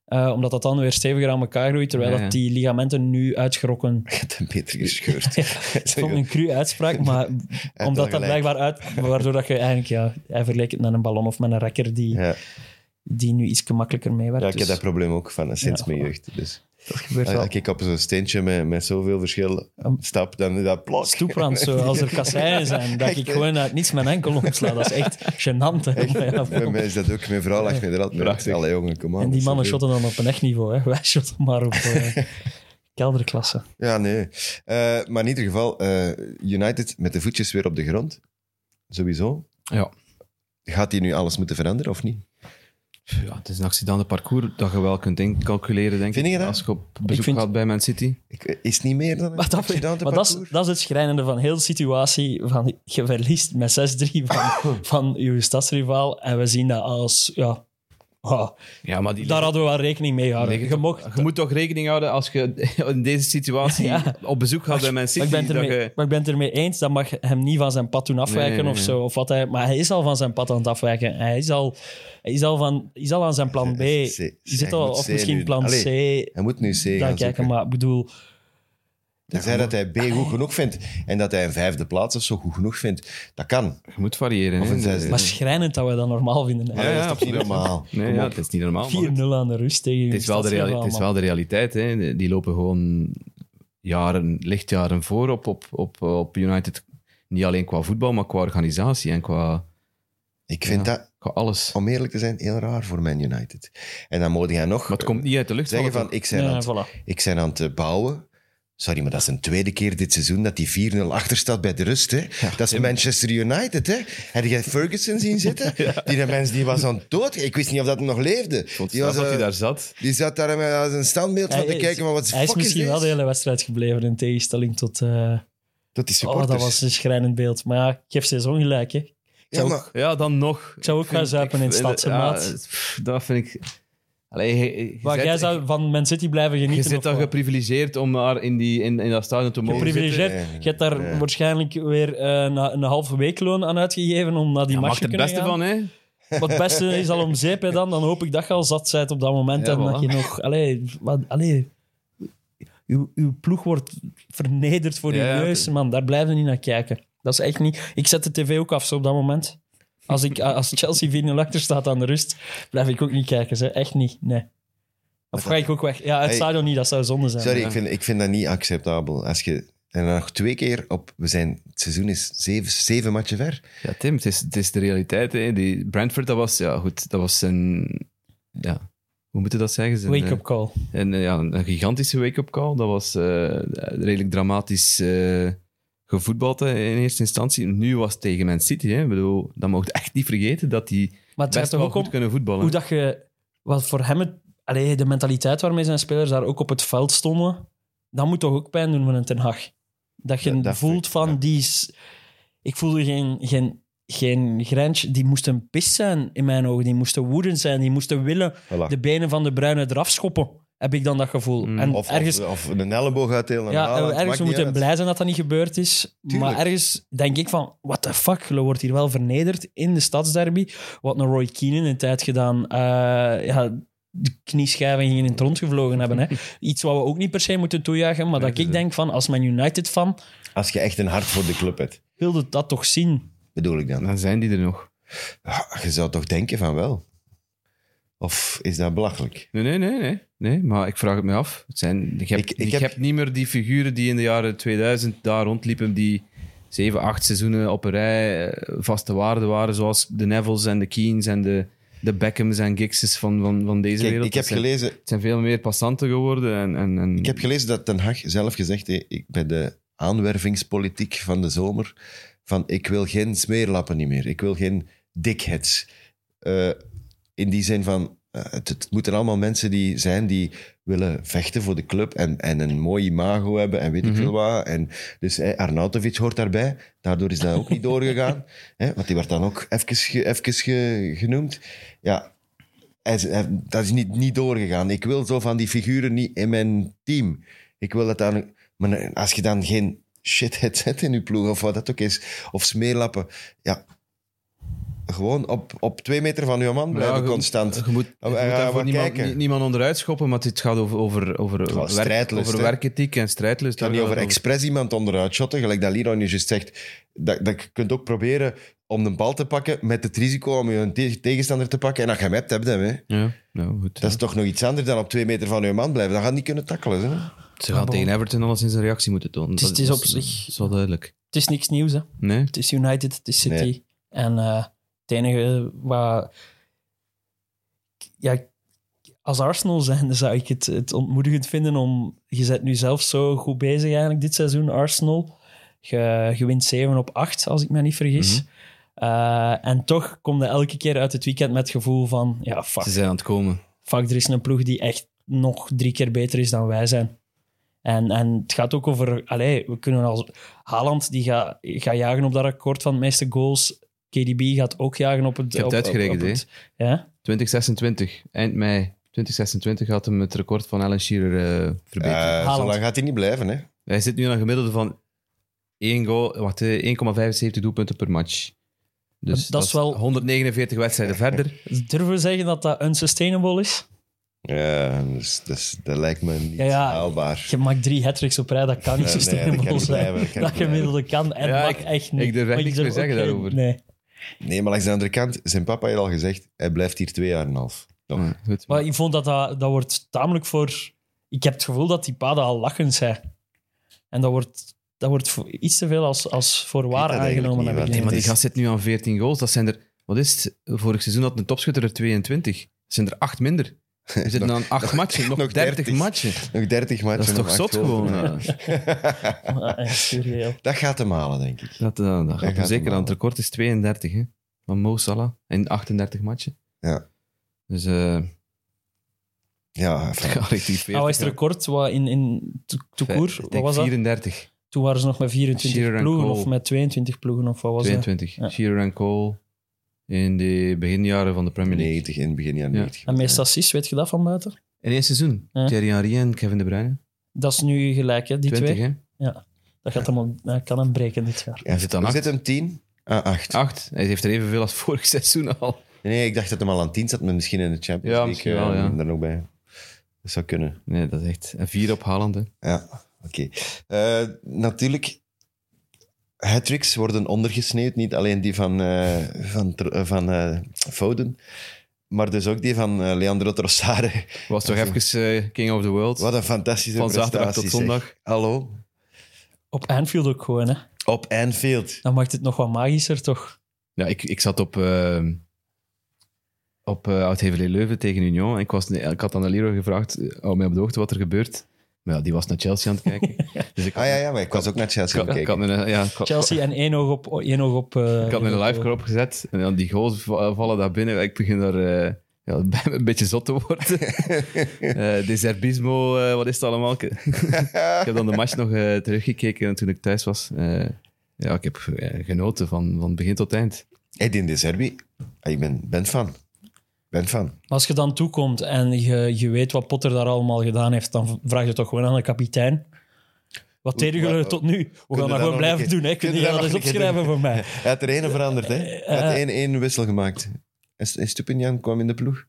Speaker 4: eh, omdat dat dan weer steviger aan elkaar groeit, terwijl
Speaker 3: Ja,
Speaker 4: dat
Speaker 3: ja.
Speaker 4: die ligamenten nu uitgerokken...
Speaker 2: Je hebt hem beter gescheurd.
Speaker 4: Ik vond het een cru uitspraak, maar
Speaker 2: wel
Speaker 4: omdat dat
Speaker 2: gelijk.
Speaker 4: blijkbaar uit... Waardoor dat je eigenlijk, ja, hij verleek het met een ballon of met een rekker die,
Speaker 2: Ja.
Speaker 4: die nu iets makkelijker meewerkt.
Speaker 2: Ja, ik heb
Speaker 4: Dus
Speaker 2: dat probleem ook van eh, sinds
Speaker 4: Ja,
Speaker 2: mijn
Speaker 4: voilà.
Speaker 2: jeugd. Dus
Speaker 4: dat gebeurt wel.
Speaker 2: als ik op zo'n steentje met, met zoveel verschil stap, dan is dat plak.
Speaker 4: Stoeprand, zo, als er kasseien zijn, dat ik gewoon uit niets mijn enkel omsla. Dat is echt gênant. hè. Maar ja,
Speaker 2: Bij mij is dat ook. Mijn vrouw lacht me er altijd mee.
Speaker 3: Prachtig.
Speaker 2: Allee, jongen, kom aan.
Speaker 4: En die mannen
Speaker 2: Zoveel.
Speaker 4: shotten dan op een echt niveau. Hè. Wij shotten maar op eh, kelderklasse.
Speaker 2: Ja, nee. Eh, maar in ieder geval, eh, United met de voetjes weer op de grond. Sowieso.
Speaker 3: Ja.
Speaker 2: Gaat hij nu alles moeten veranderen of niet?
Speaker 3: Ja, het is een accidente parcours dat je wel kunt incalculeren, denk
Speaker 2: Vind
Speaker 3: ik.
Speaker 2: je dat?
Speaker 3: Als je op bezoek
Speaker 4: vind-
Speaker 3: gaat bij Man City.
Speaker 2: Ik- eh, Is het niet meer dan een
Speaker 4: Maar dat,
Speaker 2: accidente
Speaker 4: maar dat, is,
Speaker 2: parcours?
Speaker 4: dat is het schrijnende van heel de situatie. Van, je verliest met 6-3 van, van je stadsrivaal. En we zien dat als... Ja, ah,
Speaker 3: Ja, maar die
Speaker 4: daar hadden we wel rekening mee gehouden.
Speaker 3: liggen-
Speaker 4: Je mocht,
Speaker 3: Je moet toch rekening houden als je in deze situatie
Speaker 4: Ja.
Speaker 3: op bezoek gaat bij Man City.
Speaker 4: maar, ik ben het
Speaker 3: dat
Speaker 4: ermee,
Speaker 3: je-
Speaker 4: maar ik ben het ermee eens, dat mag hem niet van zijn pad doen afwijken
Speaker 3: Nee, nee,
Speaker 4: of
Speaker 3: nee.
Speaker 4: zo. Of wat hij, maar hij is al van zijn pad aan het afwijken. Hij is al, hij is al, van, hij is al aan zijn plan B.
Speaker 2: Hij
Speaker 4: Hij
Speaker 2: zit C.
Speaker 4: zit
Speaker 2: Hij
Speaker 4: al,
Speaker 2: moet
Speaker 4: of
Speaker 2: C
Speaker 4: misschien
Speaker 2: nu.
Speaker 4: plan
Speaker 2: Allee,
Speaker 4: C.
Speaker 2: Hij moet nu C
Speaker 4: Dan
Speaker 2: gaan
Speaker 4: kijken,
Speaker 2: zoeken.
Speaker 4: maar Ah. ik bedoel...
Speaker 2: Tenzij dat hij B goed genoeg vindt en dat hij een vijfde plaats of zo goed genoeg vindt. Dat kan.
Speaker 3: je moet variëren.
Speaker 2: Of
Speaker 3: hè.
Speaker 2: een zesde.
Speaker 4: Maar schrijnend dat we dat normaal vinden.
Speaker 2: Ja,
Speaker 4: hè.
Speaker 2: ja,
Speaker 3: eh, ja,
Speaker 2: dat is toch niet
Speaker 3: absoluut.
Speaker 2: normaal.
Speaker 3: Nee, ja, het is niet normaal. maar
Speaker 4: 4-0 aan de rust tegen
Speaker 3: Het
Speaker 4: uw
Speaker 3: is wel de, reali-
Speaker 4: stadsrivaal,
Speaker 3: het is wel
Speaker 4: man.
Speaker 3: de realiteit. Hè. Die lopen gewoon jaren, lichtjaren voor op, op, op, op United. Niet alleen qua voetbal, maar qua organisatie en qua,
Speaker 2: Ik vind
Speaker 3: Ja.
Speaker 2: dat,
Speaker 3: qua alles.
Speaker 2: om eerlijk te zijn, heel raar voor Man United. En dan moet jij nog
Speaker 3: Maar het komt niet uit de lucht.
Speaker 2: zeggen
Speaker 3: vallen.
Speaker 2: van, ik ben,
Speaker 4: Ja,
Speaker 2: aan het,
Speaker 4: voilà.
Speaker 2: ik ben aan het eh, bouwen. Sorry, maar dat is een tweede keer dit seizoen dat die 4-0 achter staat bij de rust. Hè. dat is Manchester United. Hè. Heb jij Ferguson zien zitten? Die de mens die was aan het dood. Ik wist niet of dat hem nog leefde.
Speaker 3: Vond
Speaker 2: Die,
Speaker 3: het
Speaker 2: was,
Speaker 3: straf dat hij
Speaker 2: eh,
Speaker 3: daar zat.
Speaker 2: die zat daar met als een standbeeld van te
Speaker 4: Hij is-
Speaker 2: kijken, maar wat de
Speaker 4: Hij is
Speaker 2: fuck is
Speaker 4: misschien wel de
Speaker 2: dit?
Speaker 4: hele wedstrijd gebleven in tegenstelling tot... eh,
Speaker 2: Dat is
Speaker 4: oh,
Speaker 2: supporters.
Speaker 4: dat was een schrijnend beeld. Maar ja, ik geef ze eens ongelijk, hè.
Speaker 2: ja, maar,
Speaker 3: Ja, dan nog. Ik Ah,
Speaker 4: zou ook gaan zuipen in het stadse maat.
Speaker 3: Dat vind ik... Allee, je- je
Speaker 4: Maar
Speaker 3: zet-
Speaker 4: jij zou van Man City blijven
Speaker 3: je
Speaker 4: genieten.
Speaker 3: zit
Speaker 4: of
Speaker 3: dan
Speaker 4: wat?
Speaker 3: geprivilegeerd om daar in, die, in, in dat stadion te mogen zitten.
Speaker 4: Geprivilegeerd.
Speaker 2: zitten.
Speaker 4: Je hebt daar
Speaker 2: Ja.
Speaker 4: waarschijnlijk weer eh, na- een halve weekloon aan uitgegeven om naar die
Speaker 3: Ja,
Speaker 4: match
Speaker 3: maak
Speaker 4: te
Speaker 3: er het
Speaker 4: kunnen
Speaker 3: beste
Speaker 4: gaan.
Speaker 3: van, hè.
Speaker 4: Maar het beste is al om zeep, hè, dan. Dan hoop ik dat je al zat bent op dat moment.
Speaker 3: Ja,
Speaker 4: en dat
Speaker 3: voilà.
Speaker 4: je nog... Allee, wat, allee, uw, uw ploeg wordt vernederd voor
Speaker 3: Ja,
Speaker 4: je
Speaker 3: ja,
Speaker 4: neus,
Speaker 3: het-
Speaker 4: man. Daar blijven we niet naar kijken. Dat is echt niet... Ik zet de tv ook af zo op dat moment. Als, ik, als Chelsea 4-0 achter staat aan de rust, blijf ik ook niet kijken. Ze. Echt niet, nee. Of ga ik ook weg? Ja, het
Speaker 2: Hey.
Speaker 4: stadion niet, dat zou zonde zijn.
Speaker 2: Sorry,
Speaker 3: Ja.
Speaker 2: ik vind, ik vind dat niet acceptabel. Als je, en dan nog twee keer op... We zijn, het seizoen is zeven, zeven matchen ver.
Speaker 3: Ja, Tim, het is, het is de realiteit. Hè. Die Brentford, dat was, ja, goed, dat was een... Ja, hoe moet je dat zeggen? Zijn,
Speaker 4: Wake-up call.
Speaker 3: eh, Een, eh, ja, een gigantische wake-up call. Dat was eh, redelijk dramatisch eh, gevoetbald hè, in eerste instantie. Nu was het tegen Man City. Hè. Ik bedoel, dat mocht je echt niet vergeten dat die
Speaker 4: Maar het gaat
Speaker 3: best
Speaker 4: toch
Speaker 3: wel
Speaker 4: ook
Speaker 3: goed
Speaker 4: om
Speaker 3: kunnen voetballen.
Speaker 4: hoe dat je... Wat voor hem het, allee, de mentaliteit waarmee zijn spelers daar ook op het veld stonden, dat moet toch ook pijn doen van een Ten Hag. Dat je
Speaker 2: Ja, dat vind
Speaker 4: voelt
Speaker 2: ik,
Speaker 4: van,
Speaker 2: ja.
Speaker 4: die is... Ik voelde geen, geen, geen grensje. Die moesten pist zijn, in mijn ogen. Die moesten woedend zijn. Die moesten willen
Speaker 2: Voilà.
Speaker 4: de benen van de bruine eraf schoppen. Heb ik dan dat gevoel.
Speaker 3: Mm.
Speaker 4: en
Speaker 2: Of,
Speaker 4: ergens,
Speaker 2: of, of een elleboog uitdelen.
Speaker 4: ja, eh,
Speaker 2: een haal, het
Speaker 4: ergens
Speaker 2: maakt
Speaker 4: we
Speaker 2: niet
Speaker 4: moeten
Speaker 2: uit.
Speaker 4: blij zijn dat dat niet gebeurd is.
Speaker 2: Tuurlijk.
Speaker 4: Maar ergens denk ik van, what the fuck, je wordt hier wel vernederd in de stadsderby. Wat een Roy Keane in de tijd gedaan. eh, ja, de knieschijven gingen in het rond gevlogen hebben. Hè. Iets wat we ook niet per se moeten toejuichen, maar
Speaker 3: Nee,
Speaker 4: dat ik
Speaker 3: dus,
Speaker 4: denk van, als Man United-fan,
Speaker 2: Als je echt een hart voor de club hebt,
Speaker 4: wilde dat toch zien.
Speaker 2: bedoel ik dan.
Speaker 3: Dan zijn die er nog.
Speaker 2: Ja, je zou toch denken van wel. Of is dat belachelijk?
Speaker 3: Nee, nee, nee, nee. nee maar ik vraag het me af. Het zijn, ik, heb,
Speaker 2: Ik-
Speaker 3: ik,
Speaker 2: ik heb-
Speaker 3: heb niet meer die figuren die in de jaren 2000 daar rondliepen, die zeven, acht seizoenen op een rij eh, vaste waarde waren, zoals de Nevilles en de Keens en de, de Beckhams en Giggses van, van, van deze
Speaker 2: Kijk,
Speaker 3: wereld.
Speaker 2: ik heb,
Speaker 3: Het zijn,
Speaker 2: gelezen,
Speaker 3: het zijn veel meer passanten geworden. En, en, en,
Speaker 2: ik heb gelezen dat Den Haag zelf gezegd heeft ik, bij de aanwervingspolitiek van de zomer van ik wil geen smeerlappen niet meer. Ik wil geen dickheads. Eh, in die zin van, eh, het, het moeten allemaal mensen die zijn die willen vechten voor de club en, en een mooi imago hebben en weet ik veel wat. En dus eh, Arnautovic hoort daarbij. Daardoor is dat ook niet doorgegaan. hè, want die werd dan ook even, ge- even ge- genoemd. Ja, hij is- hij- dat is niet, niet doorgegaan. Ik wil zo van die figuren niet in mijn team. Ik wil dat dan... Maar als je dan geen shithead zet in je ploeg, of wat dat ook is, of smeerlappen, ja... Gewoon op, op twee meter van je man blijven
Speaker 3: je-
Speaker 2: constant.
Speaker 3: Je moet, je
Speaker 2: we
Speaker 3: moet
Speaker 2: gaan
Speaker 3: daarvoor
Speaker 2: maar
Speaker 3: niemand,
Speaker 2: kijken.
Speaker 3: nie- niemand onderuit schoppen, maar het gaat over, over, over,
Speaker 2: Ja, strijdlust,
Speaker 3: over
Speaker 2: hè.
Speaker 3: werkethiek en strijdlust.
Speaker 2: Het gaat niet over expres iemand onderuit shotten, gelijk dat Lino nu juist zegt. Dat, dat je kunt ook proberen om de bal te pakken met het risico om je te- tegenstander te pakken. En als je hem hebt, heb je hem. Hè.
Speaker 3: Ja, nou goed.
Speaker 2: Dat is toch nog iets anders dan op twee meter van je man blijven. Dan gaat niet kunnen tackelen. Hè.
Speaker 3: Ze gaan tegen Everton alles in zijn reactie moeten tonen.
Speaker 4: is-
Speaker 3: Dat
Speaker 4: Ah, het is op
Speaker 3: dat
Speaker 4: zich-
Speaker 3: Dat is wel duidelijk.
Speaker 4: Het is niks nieuws, hè.
Speaker 3: Nee?
Speaker 4: Het is United, het is City.
Speaker 2: Nee.
Speaker 4: En eh, het enige waar... Ja, als Arsenal zijnde zou ik het, het ontmoedigend vinden om... Je bent nu zelf zo goed bezig eigenlijk dit seizoen, Arsenal. Je, je wint 7 op 8, als ik me niet vergis. Eh, en toch kom je elke keer uit het weekend met het gevoel van, ja,
Speaker 3: Ze
Speaker 4: fuck,
Speaker 3: zijn aan het komen.
Speaker 4: fuck, er is een ploeg die echt nog drie keer beter is dan wij zijn. En, en het gaat ook over, allee, we kunnen als Haaland, die gaat ga jagen op dat record van de meeste goals. KDB gaat ook jagen op het...
Speaker 3: Ik heb het
Speaker 4: op- op- op
Speaker 3: uitgerekend,
Speaker 4: het- Ja?
Speaker 3: 2026, eind mei 2026 gaat hem het record van Alan Shearer eh, verbeteren.
Speaker 2: Eh, zo
Speaker 4: Haaland.
Speaker 2: lang gaat hij niet blijven, hè?
Speaker 3: Hij zit nu aan een gemiddelde van één goal- wacht, eh, 1,75 doelpunten per match. Dus
Speaker 4: Dat- dat is wel-
Speaker 3: 149 wedstrijden verder.
Speaker 4: Durven we zeggen dat dat unsustainable is?
Speaker 2: Ja, dus, dus dat lijkt me niet
Speaker 4: Ja, ja.
Speaker 2: haalbaar.
Speaker 4: Je maakt drie hat-tricks op rij, dat kan niet
Speaker 2: Nee, nee, dat
Speaker 4: sustainable
Speaker 2: kan niet
Speaker 4: zijn.
Speaker 2: blijven, dat kan
Speaker 4: dat
Speaker 2: niet
Speaker 4: gemiddelde kan en
Speaker 3: Ja,
Speaker 4: mag
Speaker 3: ik-
Speaker 4: echt niet.
Speaker 3: ik durf echt
Speaker 4: Maar
Speaker 3: niks
Speaker 4: durf
Speaker 3: meer zeggen
Speaker 4: ook geen-
Speaker 3: daarover.
Speaker 4: Nee.
Speaker 2: Nee, maar langs de andere kant, zijn papa heeft al gezegd, hij blijft hier twee jaar en een half. Nog.
Speaker 3: Ja, goed.
Speaker 4: Maar ik vond dat, dat dat wordt tamelijk voor... Ik heb het gevoel dat die paden al lachend zijn. En dat wordt, dat wordt voor iets te veel als, als voor waar
Speaker 2: dat eigenlijk
Speaker 4: aangenomen.
Speaker 2: niet,
Speaker 4: heb ik
Speaker 2: want
Speaker 3: Nee, maar die
Speaker 2: Het is-
Speaker 3: gast zit nu aan 14 goals. Dat zijn er, wat is het? Vorig seizoen had een topschutter er 22. Dat zijn er 8 minder. We zitten aan 8 matchen, nog
Speaker 2: nog
Speaker 3: 30
Speaker 2: 30.
Speaker 3: matchen.
Speaker 2: Nog dertig matchen.
Speaker 3: Dat is
Speaker 2: nog
Speaker 3: toch
Speaker 2: acht
Speaker 3: zot
Speaker 2: goals.
Speaker 3: gewoon?
Speaker 2: Ja.
Speaker 3: eh.
Speaker 4: Ja, echt surreal.
Speaker 2: Dat gaat hem halen, denk ik.
Speaker 3: Dat, eh, dat gaat
Speaker 2: gaat
Speaker 3: hem
Speaker 2: hem
Speaker 3: zeker aan. Het
Speaker 2: halen.
Speaker 3: record is 32 hè, van Mo Salah in 38 matchen.
Speaker 2: Ja.
Speaker 3: Dus eh
Speaker 2: Ja, van-
Speaker 3: ga richting 40.
Speaker 4: Ah, wat is het record wat in, in to- to
Speaker 3: Vijf-
Speaker 4: court?
Speaker 3: ik
Speaker 4: Wat
Speaker 3: denk
Speaker 4: was dat?
Speaker 3: 34,
Speaker 4: Toen waren ze nog met 24
Speaker 3: Shearer en
Speaker 4: ploegen
Speaker 3: Cole.
Speaker 4: of met 22 ploegen of wat was dat?
Speaker 3: 22.
Speaker 4: Ja.
Speaker 3: Shearer en Cole in de beginjaren van de Premier League.
Speaker 2: 90 in het begin jaar
Speaker 3: Ja.
Speaker 2: 90.
Speaker 4: En meest assists, weet je dat van buiten?
Speaker 3: In één seizoen.
Speaker 4: Ja.
Speaker 3: Thierry Henry en Kevin De Bruyne.
Speaker 4: Dat is nu gelijk, hè, die
Speaker 3: 20,
Speaker 4: twee.
Speaker 3: hè?
Speaker 4: Dat gaat hem op- dat kan hem breken dit jaar.
Speaker 2: Ja,
Speaker 3: Hij zit aan
Speaker 2: hoe
Speaker 3: acht.
Speaker 2: zit hem 10? Ah, 8.
Speaker 3: 8. Hij heeft er evenveel als vorig seizoen al.
Speaker 2: Nee, ik dacht dat hem al aan 10 zat, maar misschien in de Champions
Speaker 3: Ja,
Speaker 2: League
Speaker 3: misschien wel,
Speaker 2: eh,
Speaker 3: ja.
Speaker 2: daar nog bij. Dat zou kunnen.
Speaker 3: Nee, dat is echt. En 4 op Haaland, hè?
Speaker 2: Ja, oké. Eh, natuurlijk, hat-tricks worden ondergesneeuwd. Niet alleen die van, eh, van, Tr- eh, van eh, Foden, maar dus ook die van eh, Leandro Trossard.
Speaker 3: Was toch even eh, King of the World?
Speaker 2: Wat een fantastische
Speaker 3: van
Speaker 2: prestatie.
Speaker 3: zaterdag tot
Speaker 2: zeg.
Speaker 3: zondag.
Speaker 2: Hallo.
Speaker 4: Op Anfield ook gewoon, hè.
Speaker 2: Op Anfield.
Speaker 4: Dan maakt het nog wat magischer, toch?
Speaker 3: Ja, ik, ik zat op, eh, op eh Oud-Heverlee Leuven tegen Union. En ik, was, ik had aan de Leroy gevraagd, eh, hou mij op de hoogte wat er gebeurt. Maar ja, die was naar Chelsea aan het kijken. dus ik had,
Speaker 2: Ah ja, ja, maar ik was ook naar Chelsea
Speaker 3: ik had- ik had
Speaker 2: gekeken.
Speaker 3: mijn, ja, ik had-
Speaker 4: Chelsea en één oog op... Één oog op eh,
Speaker 3: Oh. ik had mijn live
Speaker 4: Liverpool.
Speaker 3: erop gezet. En dan die goals va- vallen daar binnen. Ik begin daar eh, ja, bij me een beetje zot te worden. Eh Deserbismo, eh, wat is het allemaal? Ik heb dan de match nog eh, teruggekeken toen ik thuis was. Eh, ja, ik heb eh, genoten van, van begin tot eind.
Speaker 2: Edin de Zerbi. Ah, ik ben, ben fan. Ben fan.
Speaker 4: Maar als je dan toekomt en je, je weet wat Potter daar allemaal gedaan heeft, dan vraag je toch gewoon aan de kapitein. Wat deden
Speaker 2: maar-
Speaker 4: jullie tot nu? We
Speaker 2: dat
Speaker 4: gaan dat
Speaker 2: nog
Speaker 4: gewoon
Speaker 2: een
Speaker 4: blijven
Speaker 2: keer-
Speaker 4: doen. Hè? Kun
Speaker 2: kunnen
Speaker 4: je
Speaker 2: we
Speaker 4: dat
Speaker 2: dat
Speaker 4: eens
Speaker 2: nog een keer
Speaker 4: opschrijven
Speaker 2: doen?
Speaker 4: voor mij?
Speaker 2: Hij had er één veranderd, hè. Hij
Speaker 3: Eh,
Speaker 2: had één, één wissel gemaakt. En St- en Stupinjan kwam in de ploeg.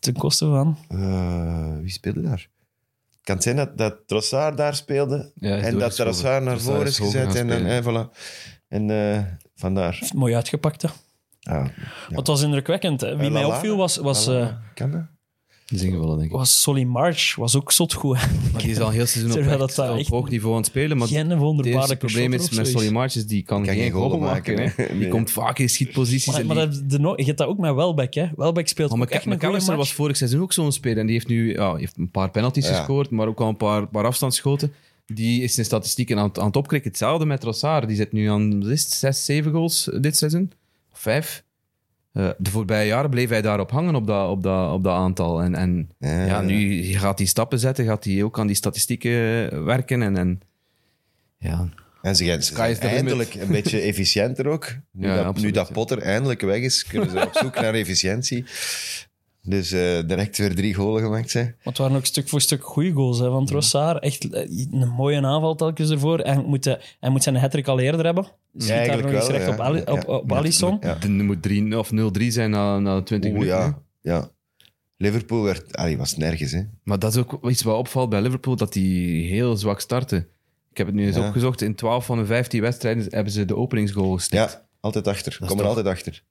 Speaker 4: Ten koste van.
Speaker 2: Eh, wie speelde daar? Kan het zijn dat, dat Trossard daar speelde?
Speaker 3: Ja, hij is
Speaker 2: en dat
Speaker 3: doorgeschoven.
Speaker 2: Trossard naar
Speaker 3: Trossard
Speaker 2: voren
Speaker 3: is
Speaker 2: is
Speaker 3: hoger
Speaker 2: gezet.
Speaker 3: gaan
Speaker 2: En, dan,
Speaker 3: spelen.
Speaker 2: en, voilà. en eh, vandaar.
Speaker 4: Heeft mooi uitgepakt. Hè?
Speaker 2: Ah,
Speaker 4: Want het was indrukwekkend. Hè? Wie
Speaker 2: Eh,
Speaker 4: mij
Speaker 2: Lallana?
Speaker 4: opviel was, was,
Speaker 2: voilà.
Speaker 4: eh,
Speaker 2: kan dat?
Speaker 3: Zingen wel, denk ik.
Speaker 4: was Solly March. Was ook zot goed. hè.
Speaker 3: Maar die is al heel seizoen op,
Speaker 4: Terwijl
Speaker 3: echt-
Speaker 4: dat daar
Speaker 3: op
Speaker 4: echt-
Speaker 3: hoog niveau aan het spelen. Maar
Speaker 4: Geen
Speaker 3: het eerste
Speaker 4: wonderbaarlijke
Speaker 3: probleem is
Speaker 4: shotter
Speaker 3: met
Speaker 4: of
Speaker 3: Solly
Speaker 4: zoiets.
Speaker 3: March is die kan, geen goal maken. hè.
Speaker 2: hè.
Speaker 3: Die
Speaker 2: Nee.
Speaker 3: komt vaak in schietposities.
Speaker 4: Maar,
Speaker 3: en
Speaker 4: maar
Speaker 3: die-
Speaker 4: dat, de, no- je hebt dat ook met Welbeck. Hè? Welbeck speelt
Speaker 3: Maar
Speaker 4: ook echt een goede
Speaker 3: McAllister
Speaker 4: match.
Speaker 3: was vorig seizoen ook zo'n speler. En die heeft nu ja, heeft een paar penalties
Speaker 2: Ja.
Speaker 3: gescoord, maar ook al een paar, paar afstandsschoten. Die is in statistieken aan, het- aan het opkrikken. Hetzelfde met Trossard. Die zit nu aan wat is het, zes, zeven goals eh, dit seizoen. Of Vijf. Eh, de voorbije jaren bleef hij daarop hangen, op dat, op dat, op dat aantal. En, en
Speaker 2: Ja,
Speaker 3: ja, nu gaat hij stappen zetten, gaat hij ook aan die statistieken eh, werken. En, en ja,
Speaker 2: En ze gaan- ze
Speaker 3: Sky
Speaker 2: zijn
Speaker 3: is the limit.
Speaker 2: eindelijk een beetje efficiënter ook. Nu,
Speaker 3: Ja,
Speaker 2: dat,
Speaker 3: absoluut,
Speaker 2: nu dat
Speaker 3: ja.
Speaker 2: Potter eindelijk weg is, kunnen ze op zoek naar efficiëntie. Dus eh, direct weer drie golen gemaakt zijn.
Speaker 4: Want het waren ook stuk voor stuk goede goals hè, van Trossard. Echt eh, een mooie aanval telkens ervoor. En hij moet, eh, hij moet zijn hat al eerder hebben. Schiet
Speaker 2: Ja,
Speaker 4: daar nog
Speaker 2: eigenlijk
Speaker 4: eens
Speaker 2: wel,
Speaker 4: recht
Speaker 2: ja.
Speaker 4: op, Ali- op,
Speaker 2: Ja.
Speaker 4: op
Speaker 2: Ja,
Speaker 4: Alisson.
Speaker 2: Ja.
Speaker 3: het moet 3 of 0-3 zijn na, na 20
Speaker 2: Oeh,
Speaker 3: minuten.
Speaker 2: ja. ja. Liverpool werd, allee, was nergens. Hè.
Speaker 3: Maar dat is ook iets wat opvalt bij Liverpool, dat die heel zwak starten. Ik heb het nu eens
Speaker 2: Ja.
Speaker 3: opgezocht. In 12 van de 15 wedstrijden hebben ze de openingsgoal gestikt.
Speaker 2: Ja, altijd achter. Kom er
Speaker 3: toch-
Speaker 2: altijd achter.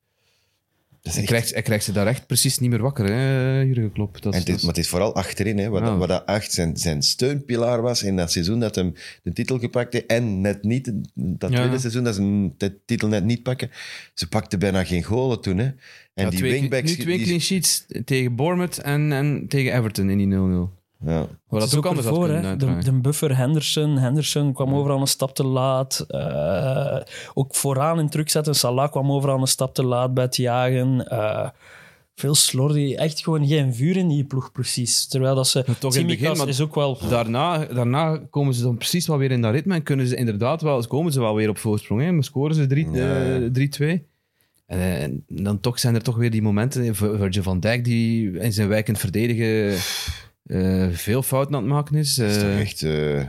Speaker 2: Dat is
Speaker 3: Dus Hij
Speaker 2: echt-
Speaker 3: krijgt, hij krijgt ze daar echt precies niet meer wakker, hè, Jurgen Klopp. Dat
Speaker 2: en
Speaker 3: is, dus-
Speaker 2: het is,
Speaker 3: dat is-
Speaker 2: maar het is vooral achterin, hè, wat,
Speaker 3: Ja.
Speaker 2: wat dat echt zijn, zijn steunpilaar was in dat seizoen dat hem de titel gepakt heeft. En net niet, dat
Speaker 3: Ja.
Speaker 2: tweede seizoen dat ze hem de titel net niet pakken. Ze pakten bijna geen golen toen. Hè. En
Speaker 3: ja,
Speaker 2: die
Speaker 3: twee-
Speaker 2: wingbacks...
Speaker 3: Nu twee
Speaker 2: die-
Speaker 3: clean sheets tegen Bournemouth en, en tegen Everton in die 0-0.
Speaker 2: Ja.
Speaker 3: Waar
Speaker 4: Het
Speaker 3: dat
Speaker 4: is
Speaker 3: ook anders had
Speaker 4: ervoor,
Speaker 3: kunnen
Speaker 4: hè.
Speaker 3: uitdraaien.
Speaker 4: De, de buffer Henderson. Henderson kwam overal een stap te laat. Eh, ook vooraan in druk zetten. Salah kwam overal een stap te laat bij het jagen. Eh, veel slordy. Echt gewoon geen vuur in die ploeg, precies. Terwijl dat ze...
Speaker 3: Maar toch in het
Speaker 4: Tsimikas
Speaker 3: begin, maar-
Speaker 4: is ook wel...
Speaker 3: Daarna, daarna komen ze dan precies wel weer in dat ritme en kunnen ze inderdaad wel, komen ze wel weer op voorsprong. Hè? Maar scoren ze drie-
Speaker 2: Ja.
Speaker 3: eh, 3-2. en, eh, en dan toch zijn er toch weer die momenten. Vir- Virgil van Dijk die in zijn wijkend verdedigen eh, veel fouten aan het maken is.
Speaker 2: Dat is
Speaker 3: Eh,
Speaker 2: toch echt... eh,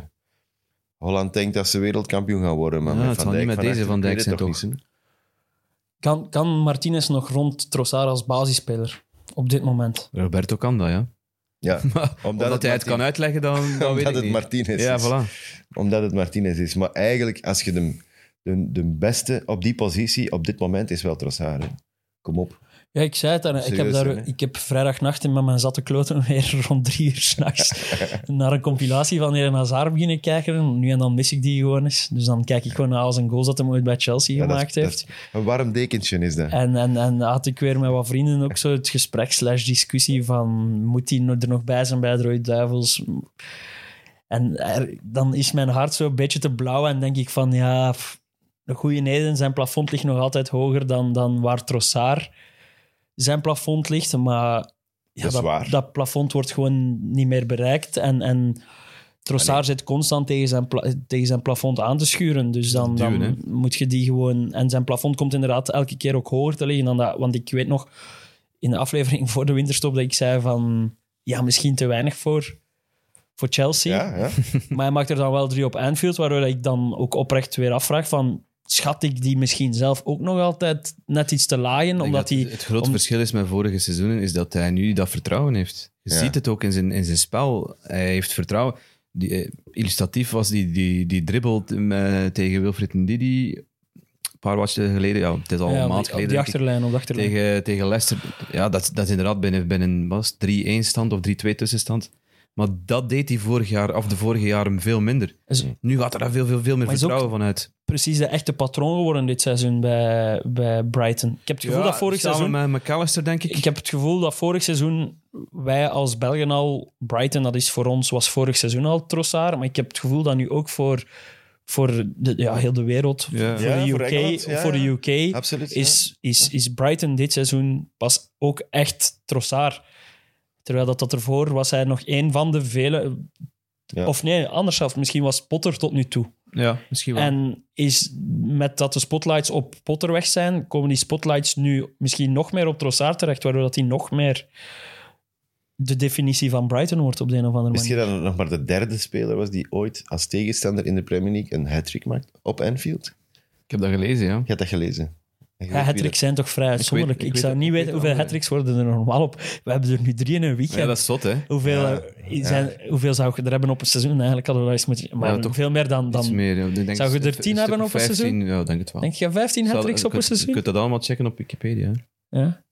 Speaker 2: Holland denkt dat ze wereldkampioen gaan worden, maar
Speaker 3: Ja,
Speaker 2: met
Speaker 3: het
Speaker 2: Van
Speaker 3: zal niet
Speaker 2: Dijk van
Speaker 3: met deze
Speaker 2: achter,
Speaker 3: Van
Speaker 2: ik
Speaker 3: Dijk
Speaker 2: weet
Speaker 3: zijn,
Speaker 2: het
Speaker 3: toch?
Speaker 2: niet,
Speaker 4: Kan, kan Martinez nog rond Trossard als basisspeler op dit moment?
Speaker 3: Roberto kan dat, ja.
Speaker 2: hè. Ja,
Speaker 3: Maar omdat hij het kan uitleggen, dan, dan
Speaker 2: omdat
Speaker 3: weet ik
Speaker 2: het
Speaker 3: niet.
Speaker 2: Martinez
Speaker 3: ja,
Speaker 2: is.
Speaker 3: voilà.
Speaker 2: Omdat het Martinez is. Maar eigenlijk, als je de, de, de beste op die positie op dit moment is wel Trossard. hè. Kom op.
Speaker 4: Ja, ik zei het daar. ik, heb
Speaker 2: Serieus,
Speaker 4: daar
Speaker 2: hè?
Speaker 4: ik heb vrijdagnacht in met mijn zatte kloten weer rond drie uur s'nachts naar een compilatie van Eden Hazard beginnen kijken. Nu en dan mis ik die gewoon eens. Dus dan kijk ik gewoon naar al zijn goals dat hij ooit bij Chelsea
Speaker 2: Ja, dat is-
Speaker 4: gemaakt
Speaker 2: dat
Speaker 4: heeft. Eh,
Speaker 2: is- Een warm dekentje is dat.
Speaker 4: En, en, en had ik weer met wat vrienden ook zo het gesprek slash discussie van moet hij er nog bij zijn bij het Rode Duivels? En er- dan is mijn hart zo een beetje te blauw en denk ik van ja, pff, de goede Neden, zijn plafond ligt nog altijd hoger dan, dan waar Trossard zijn plafond ligt. Maar ja,
Speaker 2: Dat is waar.
Speaker 4: dat plafond wordt gewoon niet meer bereikt en... en Trossard zit constant tegen zijn, pla- tegen zijn plafond aan te schuren. Dus dan,
Speaker 3: Duwen,
Speaker 4: dan moet je die gewoon... En zijn plafond komt inderdaad elke keer ook hoger te liggen dan dat. Want ik weet nog, in de aflevering voor de winterstop, dat ik zei van... Ja, misschien te weinig voor, voor Chelsea.
Speaker 2: Ja, ja.
Speaker 4: Maar hij maakt er dan wel drie op Anfield, waardoor ik dan ook oprecht weer afvraag van... Schat ik die misschien zelf ook nog altijd net iets te laaien?
Speaker 3: Ik denk
Speaker 4: Omdat
Speaker 3: dat
Speaker 4: hij...
Speaker 3: het- het grote
Speaker 4: om-
Speaker 3: verschil is met vorige seizoenen, is dat hij nu dat vertrouwen heeft. Je
Speaker 2: Ja.
Speaker 3: ziet het ook in zijn, in zijn spel. Hij heeft vertrouwen. Die, eh, illustratief was die, die, die dribbel t- met- tegen Wilfried Ndidi een paar watjes geleden. Ja, het is al
Speaker 4: Ja,
Speaker 3: een
Speaker 4: op
Speaker 3: maand
Speaker 4: die, op
Speaker 3: geleden.
Speaker 4: die
Speaker 3: denk ik,
Speaker 4: achterlijn, op de achterlijn.
Speaker 3: tegen, tegen Leicester. Ja, dat, dat is inderdaad binnen, binnen wat is het, 3-1 stand of 3-2 tussenstand. Maar dat deed hij vorig jaar, of de vorige jaren, veel minder.
Speaker 4: Is-
Speaker 3: Nu gaat er daar veel, veel, veel meer
Speaker 4: Maar is ook-
Speaker 3: vertrouwen van uit.
Speaker 4: precies de echte patroon geworden dit seizoen bij, bij Brighton. Ik heb het gevoel dat vorig
Speaker 3: samen
Speaker 4: seizoen...
Speaker 3: met McAllister, denk ik.
Speaker 4: Ik heb het gevoel dat vorig seizoen wij als Belgen al... Brighton, dat is voor ons, was vorig seizoen al Trossard. Maar ik heb het gevoel dat nu ook voor, voor de, ja, heel de wereld,
Speaker 3: Ja.
Speaker 4: voor,
Speaker 2: Ja,
Speaker 4: de
Speaker 2: voor
Speaker 4: UK,
Speaker 2: Engeland, ja,
Speaker 4: voor de
Speaker 2: ja.
Speaker 4: UK
Speaker 2: Absoluut. ja.
Speaker 4: is, is, is Brighton dit seizoen pas ook echt Trossard. Terwijl dat, dat ervoor was hij nog één van de vele...
Speaker 2: Ja.
Speaker 4: Of nee, anders zelfs. Misschien was Potter tot nu toe.
Speaker 3: Ja, misschien wel.
Speaker 4: En is met dat de spotlights op Potter weg zijn, komen die spotlights nu misschien nog meer op Trossard terecht, waardoor dat die nog meer de definitie van Brighton wordt op de een of andere
Speaker 2: Wist
Speaker 4: manier.
Speaker 2: je dat het nog maar de derde speler was die ooit als tegenstander in de Premier League een hat-trick maakt op Anfield?
Speaker 3: ik heb dat gelezen, ja.
Speaker 2: Je hebt dat gelezen. En je
Speaker 4: Ja,
Speaker 2: weet wie
Speaker 4: hat-tricks zijn toch vrij uitzonderlijk. Ik,
Speaker 3: weet- ik
Speaker 4: zou
Speaker 3: weet-
Speaker 4: niet
Speaker 3: ik
Speaker 4: weten
Speaker 3: weet
Speaker 4: hoeveel
Speaker 3: andere.
Speaker 4: hat-tricks worden er normaal op. We hebben er nu drie in een weekend.
Speaker 3: Ja, dat is zot, hè?
Speaker 4: hoeveel,
Speaker 2: Ja,
Speaker 4: eh, zijn, hoeveel zou je er hebben op een seizoen? Eigenlijk hadden we wel eens moeten... Maar
Speaker 3: Ja, toch
Speaker 4: veel meer dan...
Speaker 3: Iets
Speaker 4: dan
Speaker 3: meer, ja. Ik denk
Speaker 4: Zou je
Speaker 3: een
Speaker 4: er
Speaker 3: stuk-
Speaker 4: 10
Speaker 3: een
Speaker 4: hebben
Speaker 3: stuk
Speaker 4: op een
Speaker 3: of 15, Ja, ik denk het wel.
Speaker 4: Denk je 15
Speaker 3: Zal-
Speaker 4: hat-tricks op
Speaker 3: je
Speaker 4: een
Speaker 3: kunt- Je
Speaker 4: seizoen?
Speaker 3: kunt dat allemaal checken op Wikipedia. hè. Ik
Speaker 4: Ja.